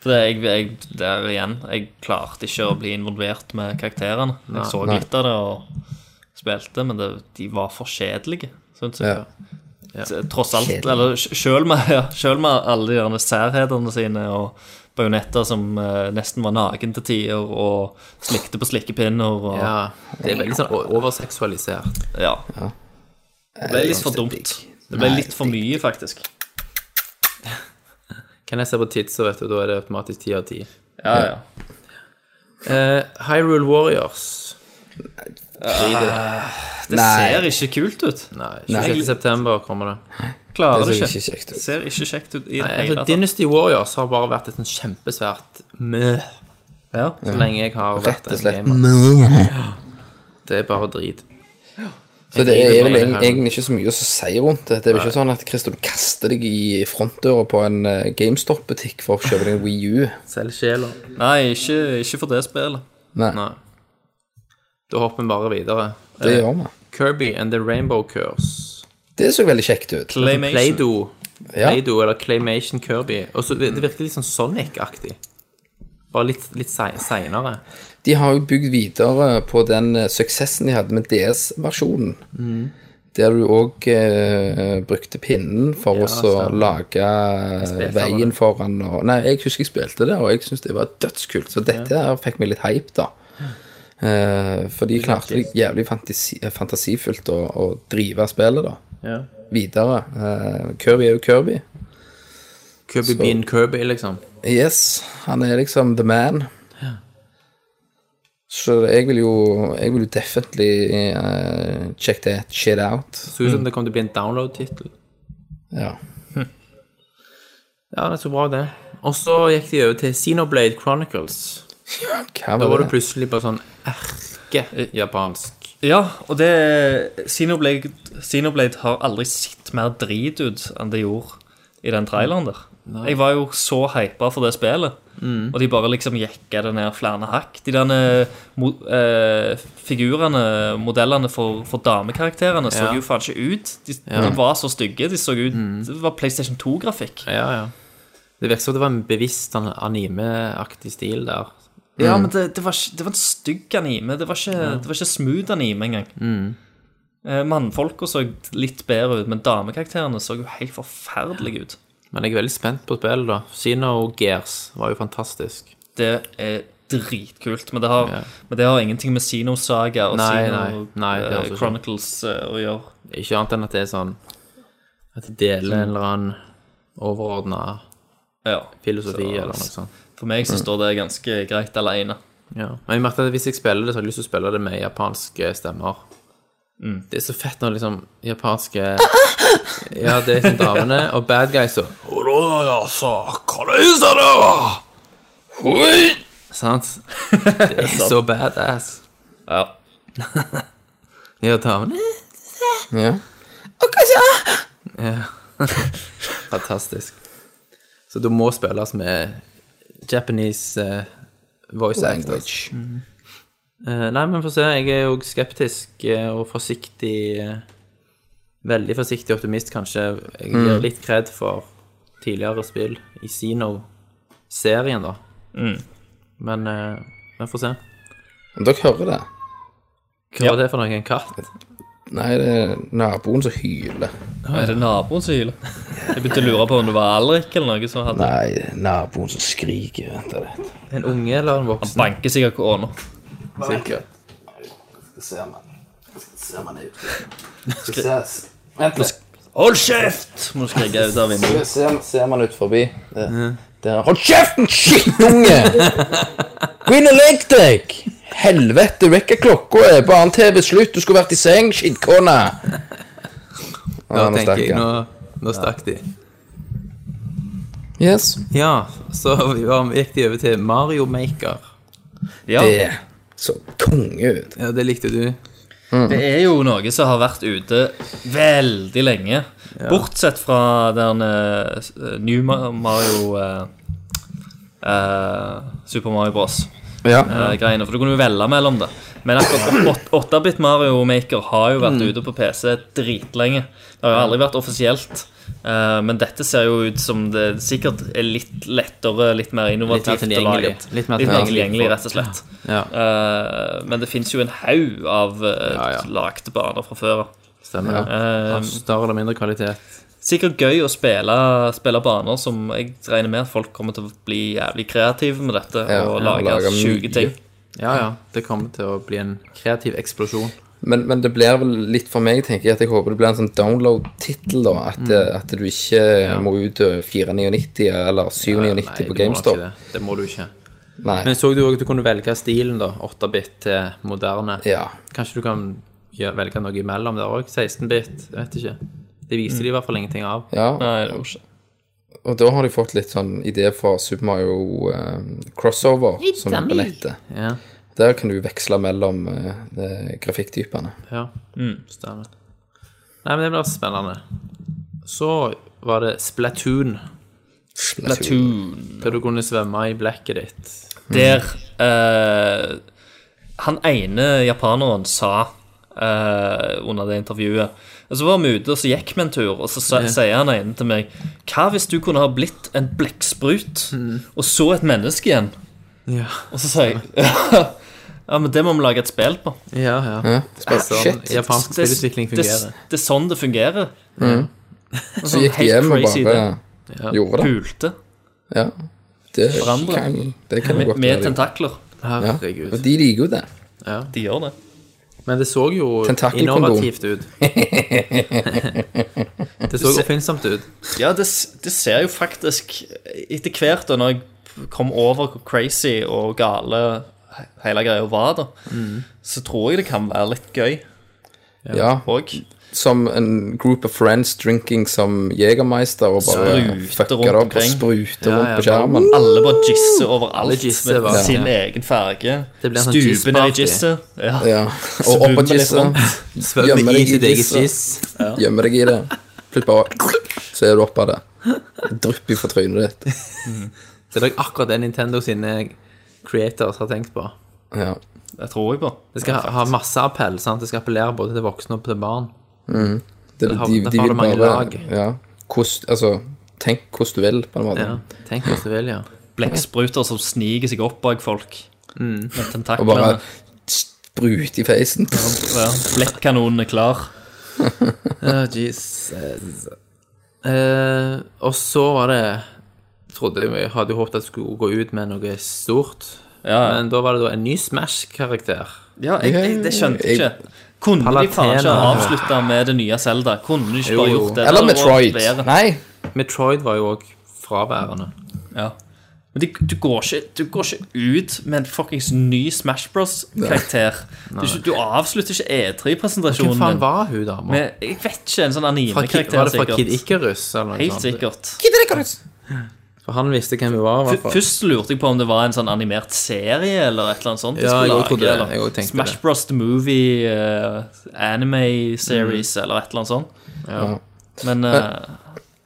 For det, jeg, jeg, der igjen, jeg klarte ikke å bli involvert med karakterene. Jeg så nei. litt av det og spilte, men det, de var for kjedelige, syns jeg. Ja. Så Tross alt. Kjedelig. Eller sj- selv med, ja, selv med alle de derne særhetene sine og bajonetter som eh, nesten var naken til tider og slikte på slikkepinner og Ja, Ja. det er veldig sånn o- overseksualisert. Det ble litt for dumt. Det ble litt for mye, faktisk. Kan jeg se på tidser, vet du, da er det automatisk 10 av 10. Ja, ja. Eh, Hyrule Warriors. Det ser ikke kult ut. Nei, 26. september kommer det. Klarer Det så det ikke. ikke kjekt ut. Ser ikke kjekt ut i det Nei, hele altså, Dynasty Warriors har bare vært et sånn kjempesvært møh Ja. så lenge jeg har vært Rett og en slett. gamer. Det er bare drit. Så det er Jeg vel liker det egen- her. egentlig ikke så mye å si rundt det. Det er vel ikke sånn at Christer, du kaster deg i frontdøra på en eh, GameStop-butikk for å kjøpe deg en Wii U. Selv sjela. Nei, ikke, ikke for det spillet. Nei, Nei. Da hopper vi bare videre. Eh, det gjør vi. Kirby and the Rainbow Curse. Det så veldig kjekt ut. Claymation. Play-Doh. Ja. Play-Doh eller Claymation Kirby. Og så Det det virker litt sånn Sonic-aktig. Bare litt, litt sei- seinere. De har jo bygd videre på den eh, suksessen de hadde med DS-versjonen. Mm. Der du òg eh, brukte pinnen for å så lage eh, spilte veien det. foran og Nei, jeg husker jeg spilte det, og jeg syntes det var dødskult. Så dette her fikk meg litt hype, da. Eh, for de klarte det jævlig fantasi, fantasifullt å, å drive spillet, da. Ja. Videre. Eh, Kirby er jo Kirby. Kirby Bean Kirby, liksom. Yes, han er liksom the man. Så jeg vil jo Jeg vil jo definitely eh, check that shit out. Så ut som det kom til å bli en download-tittel. Ja. Ja, det er så bra, det. Og så gikk de over til Xenoblade Chronicles. Hva Da var var det det? plutselig bare sånn erke-japansk. Ja, og det Xenoblade, Xenoblade har aldri sett mer drit ut enn det gjorde i den traileren der. Jeg var jo så hypa for det spillet, og de bare liksom jekka det ned flere hakk. De derne mo eh, figurene, modellene for, for damekarakterene, så Ja. jo faen ikke ut. De, de var så stygge. De så ut Det var PlayStation 2-grafikk. Ja, ja. Det virker som det var en bevisst sånn anime-aktig stil der. Ja, Mm. men det, det, var, ikke- det var en stygg anime. Det var ikke, det var ikke smooth anime engang. Mm. Eh, Mannfolka så litt bedre ut, men damekarakterene så jo helt forferdelige ut. Men jeg er veldig spent på spillet, da. Xeno Gears var jo fantastisk. Det er dritkult, men det har, Ja. men det har ingenting med Sino-saga og Nei, Sino nei, nei, det har eh, altså ikke. Chronicles eh, å gjøre. Ikke annet enn at det er sånn At de deler en eller annen overordna Ja. filosofi Så- eller noe sånt. For meg Mm. så står det ganske greit alene. Ja. Men jeg merket at hvis jeg spiller det, så har jeg lyst til å spille det med japanske stemmer. Det er så fett når liksom japanske Ja, det er som damene, og bad guys og Sant? Det er så badass. Ja. Ja, damene Ja. Fantastisk. Så du må spilles med Japanese eh, voice actors. Language. Eh, nei, men få se. Jeg er jo skeptisk eh, og forsiktig eh, Veldig forsiktig optimist, kanskje. Jeg gir litt kred for tidligere spill i Zeno-serien, da. Mm. Men eh, vi får se. Men dere hører det? Hva var det for noe? En katt? Nei, det er naboen som hyler. Er det naboen som hyler? Jeg begynte å lure på om det var Alrik eller noe som hadde Nei, det er naboen som skriker. Vent litt. En unge eller en Han voksen? banker sikkert kona. Sikkert. Skal se om han Ser man ut. Skal se. Vent litt. Hold kjeft! Må du skrike ut av vinduet. Ser, ser man ut forbi det, det er, Hold kjeften, skittunge! Gå inn og legg deg! Helvete, vekk er klokka er på annen TV slutt, du skulle vært i seng, skittkone! Da Ja, nå tenker stakk jeg, han. nå, nå stakk de. Yes. Ja, så vi var, gikk de over til Mario Maker. Ja, Det så konge ut. Ja, det likte du. det er jo noe som har vært ute veldig lenge. Bortsett fra den eh, s- eh, New Ma- Mario eh, eh, Super Mario Bros. Ja. eh, greiene, for du kunne jo velge mellom det. Men akkurat 8-bit Mario Maker har jo vært Mm. ute på PC dritlenge. Det har jo aldri vært offisielt. eh, men dette ser jo ut som det sikkert er litt lettere, litt mer innovativt. tilgjengelig. å lage. Litt mer litt mer tilgjengelig. tilgjengelig, rett og slett. Ja, Eh, men det fins jo en haug av eh, Ja, ja. lagde baner fra før. stemmer det. Eh, Av Større eller mindre kvalitet. sikkert gøy å spille, spille baner som jeg regner med at folk kommer til å bli jævlig kreative med dette Ja, og ja, lage lage sjuke mye. ting. Ja, ja. Det kommer til å bli en kreativ eksplosjon. Men, men det blir vel litt for meg, tenker jeg, at jeg håper det blir en sånn download-tittel, da. At, Mm. at du ikke må ut over 499 eller 799 Nei, du må på GameStop. ikke Det. det må du ikke. Nei. Men så du òg at du kunne velge stilen, da. 8-bit til moderne. Ja. Kanskje du kan gjø- velge noe imellom der òg? 16-bit? Jeg vet ikke. Det viser de i hvert fall ingenting av. ja. Nei, det var ikke. Og da har de fått litt sånn idé fra Super Mario eh, Crossover, som det heter. Ja. Der kan du veksle mellom eh, de grafikktypene. Ja, stemmer. Nei, men det blir spennende. Så var det Splatoon, Platoon. der du kunne svømme i blekket ditt. Mm. Der eh, han ene japaneren sa eh, under det intervjuet og Så var vi ute, og så gikk vi en tur, og så sa, sier han ene til meg Hva hvis du kunne ha blitt en blekksprut, Mm. og så et menneske igjen? Ja, Og så sier jeg Ja, men det må vi lage et spill på. ja. ja. Det er sånn Shit. japansk Det- spillutvikling det- fungerer. Det er sånn det fungerer. Mm. Så sånn gikk de hjem og bare gjorde det. Pulte Ja. Det Forandre. kan, det kan jo med, godt være. med det. tentakler. Ja. Herregud. Og de liker jo det. De gjør det. Men det så jo Tentakelkondom. innovativt ut. det så oppfinnsomt ut. Ja, det, s- det ser jo faktisk Etter hvert da når jeg kom over hvor crazy og gale he- hele greia var, da, Mm. så tror jeg det kan være litt gøy Ja. òg. Som en group of friends drinking som Jegermeister og bare Spruter fucker rundt det opp og omkring. spruter rundt ja, på bare- skjermen. Alle bare jisser overalt jisser med bare. sin Ja. egen farge. Det blir en sånn Stuper ned i jissparty. jisset. Ja. Ja. Og opp Svømmer og litt tisse. rundt. Svømme i sitt eget disse. kiss. Gjemmer deg i det. Plutselig bare Så er du oppe av det. Drypper fra trynet ditt. Det er nok akkurat det Nintendo sine creators har tenkt på. Ja. Det tror jeg på. Det skal ha- ha masse appell. sant? Det skal appellere både til voksne og til barn. Det, har- de, derfor de har vil du mange bare lag. Ja. Hvordan, altså, tenk hvordan du vil, på en måte. Ja, Tenk hvis du vil, ja. Blekkspruter som sniker seg opp bak folk med Og tentaklene. bare sprute i feisen. Ja, Blekkanonen er klar. Ja, Jesus. Eh, og så var det Trodde jeg jeg hadde jo håpet at det skulle gå ut med noe stort. Ja. Men da var det da en ny Smash-karakter. Ja, jeg, jeg, det skjønte jeg Jeg- ikke. Kunne de faen ikke Palatena. avslutta med det nye Zelda? Kunne de ikke bare Jo. gjort det? Eller Det hadde vært Metroid. bedre. Nei. Metroid var jo òg fraværende. Ja. Men de, du, går ikke, du går ikke ut med en fuckings ny Smash Bros-karakter. Du, ikke- du avslutter ikke Hvem E3-presentasjonen faen var hun, dama? med Jeg vet ikke, en sånn Fra Ki- Var anime-karakter, det fra Kid sikkert. Icarus? Eller noe Helt sånt? sikkert. For han visste hvem hun var, i hvert F- fall. Først lurte jeg på om det var en sånn animert serie eller et eller annet sånt. de Ja, skulle jeg lage, trodde det. eller Jeg også tenkte Smash det. Bros. The Movie, eh, anime series Mm. eller et eller annet sånt. Men eh,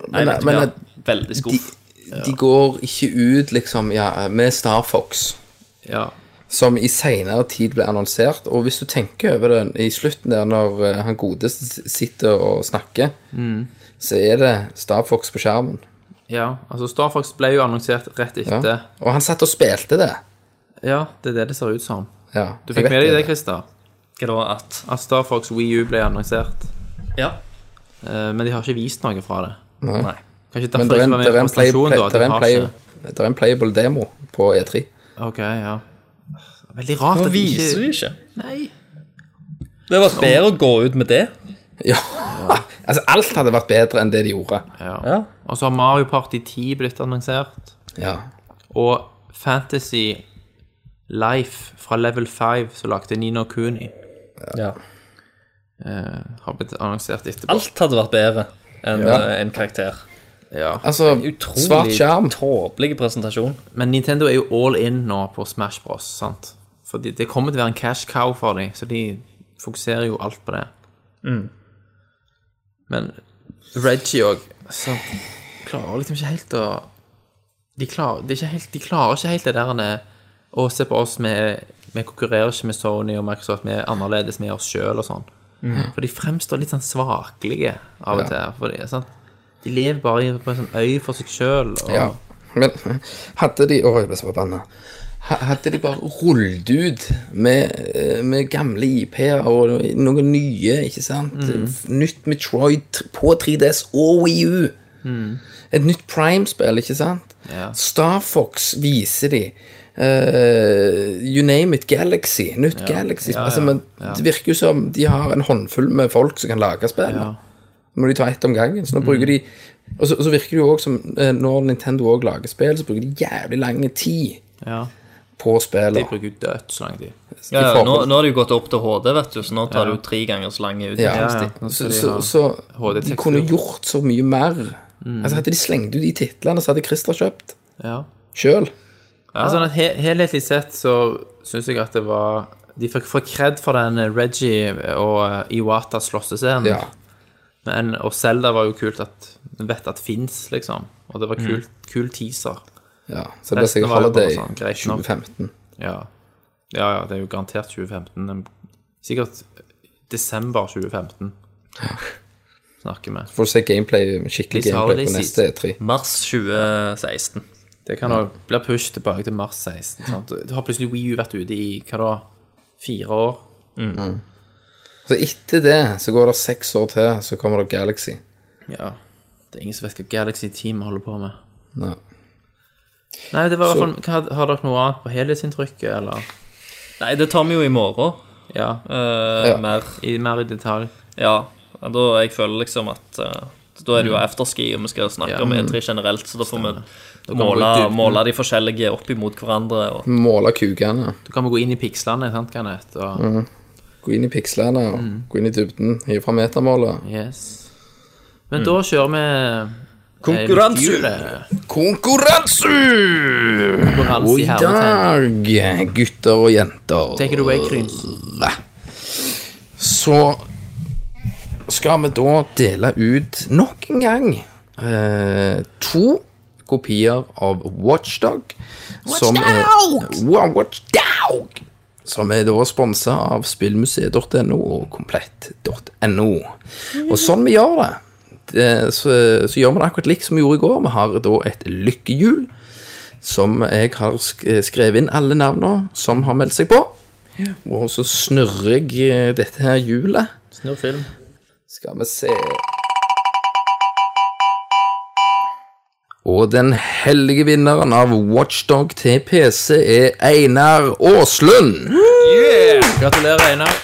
Nei, Men- vet du men- hva? Veldig De, skuff. de går ikke ut, liksom, ja, med Star Fox. Ja. som i senere tid ble annonsert. Og hvis du tenker over det i slutten der når eh, han godeste s- sitter og snakker, Mm. så er det Star Fox på skjermen. ja. Altså, Star Fox ble jo annonsert rett Ja. etter. Og han satt og spilte det. Ja, det er det det ser ut som. Ja, Du jeg fikk vet med deg det, Christer? Hva da at At Star Fox Wii U ble annonsert. Ja. Eh, men de har ikke vist noe fra det. Nei. Kanskje Men derfor det er de en, var med det er i en, play, presentasjonen, da. det er De en, har play, ikke det er en playable demo på E3. Ok, ja. Veldig rart at de ikke vi ikke. Nei. Det hadde vært bedre å gå ut med det. Ja. altså, alt hadde vært bedre enn det de gjorde. ja. Og så har Mario Party 10 blitt annonsert. Ja. Og Fantasy Life fra Level 5, som lagde Nino Kuni, eh, har blitt annonsert etterpå. Alt hadde vært bedre enn Ja. eh, en karakter. Ja. Altså, Utrolig svart skjerm. tåpelig presentasjon. Men Nintendo er jo all in nå på Smash Bros. sant? Fordi det kommer til å være en cash cow for dem, så de fokuserer jo alt på det. Mm. Men Reggie òg klarer liksom ikke helt å de klarer, det er ikke helt, de klarer ikke helt det der han er, Å, se på oss, vi, vi konkurrerer ikke med Sony og Microsoft, vi er annerledes med oss sjøl og sånn. For de fremstår litt sånn svakelige av og til. For de, sant? de lever bare i- på en sånn øy for seg sjøl. Ja. Men hadde de Å, jeg ble så forbanna. Ha- Hadde de bare rullet ut med, eh, med gamle IP-er og noen nye, ikke sant? Mm. Nytt Metroid t- på 3DS og Wii U. Et nytt Prime-spill, ikke sant? Ja. Star Fox viser de. Eh, you name it. Galaxy. Nytt Galaxy. ja, Altså, men Det virker jo som de har en håndfull med folk som kan lage spill. Ja. Mm. Nå må de ta ett om gangen. Så nå bruker de og så, og så virker det jo òg som eh, når Nintendo òg lager spill, så bruker de jævlig lang tid Ja. på spillet. De bruker jo dødt så lang tid. i Ja, nå, forhold- nå har det jo gått opp til HD, vet du, så nå tar det jo tre ganger så lang Ja. utviklingstid. Nå Så, skal de så, ha- så HD-tekst de kunne ut. gjort så Mm. mye mer. Altså Hadde de slengt ut de titlene, så hadde Christer kjøpt ja. sjøl. Altså, sånn at he helhetlig sett så syns jeg at det var De fikk for kred for den eh, Reggie og eh, Iwata slåssescenen. Ja. Men, og Zelda var jo kult at en vet at fins, liksom. Og det var kul, kul teaser. ja. Så det blir sikkert var jo bare Holiday sånn, greit nok. 2015. Ja. ja, ja, det er jo garantert 2015. Den- Sikkert desember 2015 snakker vi. Får du se gameplay, skikkelig Hvis gameplay Holiday på neste E E3. Mars 2016. Det kan òg bli pushet tilbake til mars 16. Sant? Da har plutselig Wii U vært ute i hva da, fire år. Så etter det så går det seks år til, så kommer det Galaxy. Ja. Det er ingen som vet hva Galaxy Team holder på med. Nei. Nei, det var i hvert fall hva- Har dere noe annet på helhetsinntrykket, eller? Nei, det tar vi jo i morgen. Ja, eh, Ja. Mer. i, mer i detalj. Ja. Da jeg føler liksom at eh, da er det jo afterski, og vi skal snakke Ja. om E3 generelt, så da får vi vi gå måle, i dybden. måle de forskjellige opp imot hverandre. Og, Måle kukene. Du kan vi gå inn i pikslene, sant, Kenneth? Og, Gå inn i pikslene, og Mm. gå inn i dybden. Hive fra metermålet. Yes. Men da kjører eh, vi Konkurranse! Konkurranse! Konkurranse! Og i dag, gutter og jenter Take it away, Kryms. Så skal vi da dele ut nok en gang eh, to kopier av Watchdog. Som er, wow, Watchdog! Som er da sponsa av spillmuseet.no og komplett.no. Og sånn vi gjør det, det så, så gjør vi det akkurat likt som vi gjorde i går. Vi har da et lykkehjul som jeg har sk- skrevet inn alle navnene som har meldt seg på. Og så snurrer jeg eh, dette her hjulet. Snurr film. Skal vi se Og den heldige vinneren av Watchdog til PC er Einar Aaslund. Gratulerer, Einar.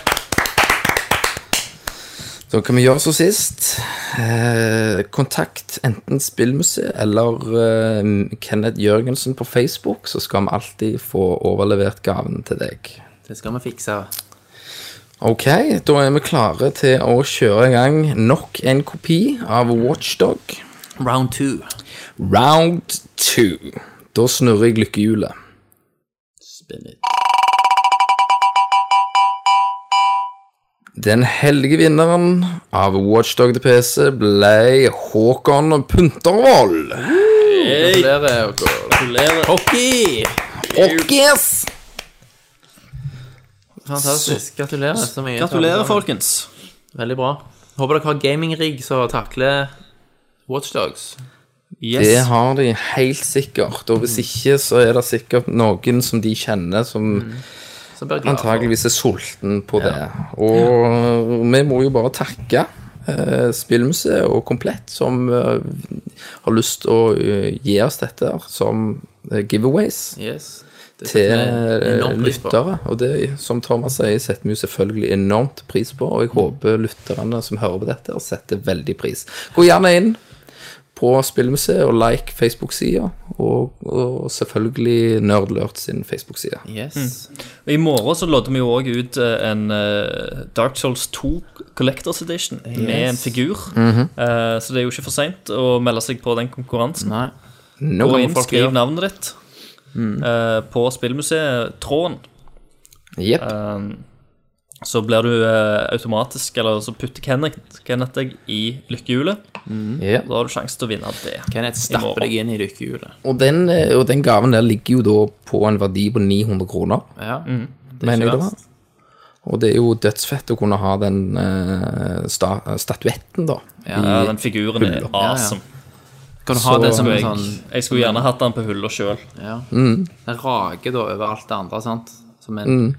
Da kan vi gjøre som sist. Eh, kontakt enten Spillmuseet eller eh, Kenneth Jørgensen på Facebook, så skal vi alltid få overlevert gaven til deg. Det skal vi fikse. Ok, da er vi klare til å kjøre i gang nok en kopi av Watchdog. Round two. Round two. Da snurrer jeg lykkehjulet. Spin it. Den heldige vinneren av Watchdog til PC ble Håkon Puntervold. Gratulerer. Gratulerer. Hockey! Og yes! Fantastisk. Gratulerer så mye. gratulerer, folkens. Veldig bra. Håper dere har gaming-rigg som takler Watchdogs. Det Yes. har de helt sikkert. Og hvis ikke, så er det sikkert noen som de kjenner, som Så blir jeg glad for. antageligvis er sulten på det. Og vi må jo bare takke eh, Spillmuseet og Komplett, som eh, har lyst til å eh, gi oss dette her som eh, giveaways. Yes. Det til setter vi eh, enorm pris på. lyttere. Og det, som Thomas sier, setter vi jo selvfølgelig enormt pris på. Og jeg Mm. håper lytterne som hører på dette, setter veldig pris. Gå gjerne inn på Spillmuseet og like Facebook-sida, og, og selvfølgelig Nerdlurt sin Facebook-side. Yes. I morgen så lodder vi jo òg ut eh, en eh, Dark Souls 2 Collectors Edition med en figur. Eh, så det er jo ikke for seint å melde seg på den konkurransen. Nei. No, Gå inn, folk- skriv navnet ditt eh, på spillmuseet Tråden. Jep. Så blir du eh, automatisk, eller så putter Kenneth, Kenneth deg i lykkehjulet. ja. Da har du sjanse til å vinne det. Kenneth I morgen. stapper deg inn i lykkehjulet. Og, den, eh, og den gaven der ligger jo da på en verdi på 900 kroner, Ja. Det er mener ikke jeg det verst. var. Og det er jo dødsfett å kunne ha den eh, sta statuetten, da. Ja, den figuren er Hullet. awesome. Kan du ha Så- det som en Jeg, sånn jeg skulle gjerne hatt den på hylla sjøl. Ja. Mm. Den rager da over alt det andre, sant? Som en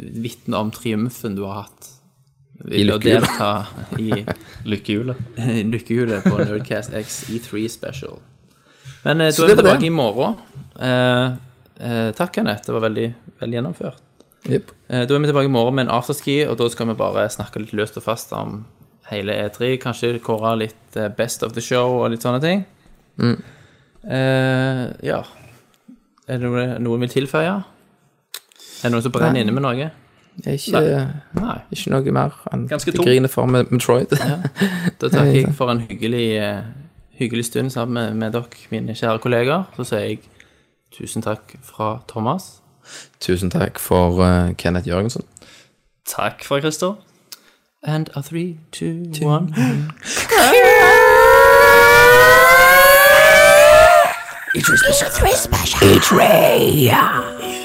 vitne om triumfen du har hatt. Ved å lykkehjulet. delta i Lykkehjulet. lykkehjulet på Nerdcast X E3 Special. Men eh, Så da det er vi var det. tilbake i morgen. Eh, eh, takk, Kenneth. Det var veldig, veldig gjennomført. Jep. Eh, da er vi tilbake i morgen med en afterski, og da skal vi bare snakke litt løst og fast om hele E3. Kanskje kåre litt eh, Best of the Show og litt sånne ting. Mm. Eh, ja. Er det noe noen vil tilføye? Er det noen som brenner inne med noe? Det er ikke Nei. Ikke noe mer enn Ganske det tom. griner for med Metroid. Da takker jeg for en hyggelig, eh, hyggelig stund sammen med, med dere, mine kjære kollegaer. Så sier jeg Tusen takk fra Thomas. Tusen takk for eh, Kenneth Jørgensen. Takk fra Christer. And a three, two, one.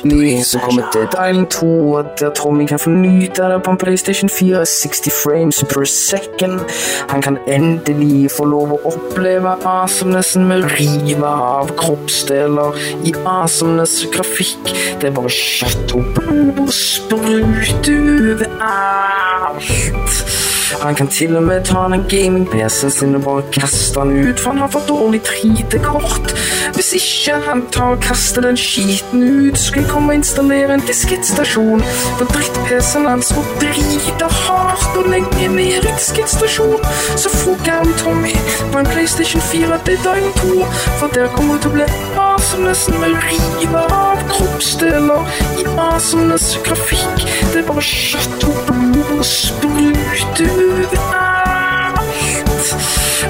Ny som kommer til Dylan 2, og der tror vi kan fornyte det på en PlayStation 4, 60 frames per second. Han kan endelig få lov å oppleve awesomenessen med å rive av kroppsdeler i awesomeness grafikk. Det er bare kjøtt og blod og sprut overalt. Han kan til og med ta den gaming-PC-en sin og bare kaste den ut, for han har for dårlig 3D-kort. Hvis ikke han tar og kaster den skiten ut, skal jeg komme og installere en diskettstasjon. For dritt-PC-en hans må drite hardt og legge ned i diskettstasjon. Så får han Tommy på en PlayStation 4 til Dying 2, for der kommer det til å bli awesomeness med å rive av kroppsdeler i awesomeness grafikk. Det er bare kjøtt og blod og sprut overalt.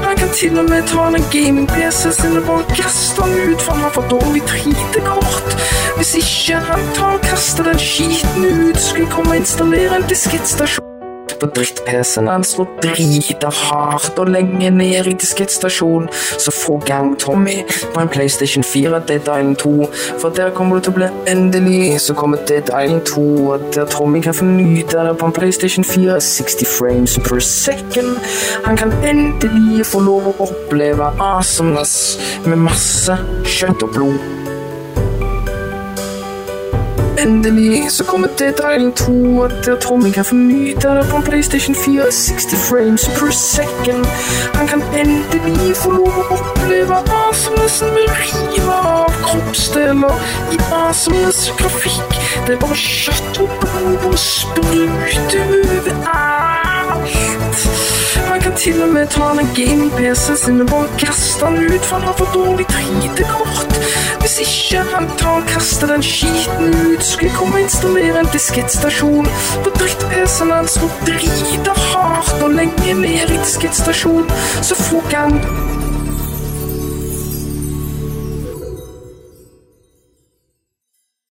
Han kan til og med ta den gaming-PC-en sin og bare kaste den ut, for han har for dårlig 3D-kort. Hvis ikke han tar og kaster den skiten ut, skal jeg komme og installere en diskettstasjon på dritt-PC-en hans og drite hardt og lenge ned i diskettstasjon. Så få gang Tommy på en PlayStation 4 Dead Island 2, for der kommer det til å bli endelig. Så kommer Dead Island 2, og der Tommy kan fornyte det på en PlayStation 4, 60 frames per second. Han kan endelig få lov å oppleve awesomeness med masse kjøtt og blod. Endelig så kommer Dead Island 2, og der tror vi kan fornyte det på en PlayStation 4, 60 frames per second. Han kan endelig få lov å oppleve awesomenessen med å rive av kroppsdeler i awesomeness grafikk. Det er bare kjøtt og blod og sprut overalt. Han kan til og med ta den gaming-PC-en sin og bare kaste den ut, for han har for dårlig 3D-kort. Hvis ikke han tar og kaster den skiten ut, skal jeg komme og installere en diskettstasjon. På dritt-PC-en hans må drite hardt og legge ned i diskettstasjon, så får han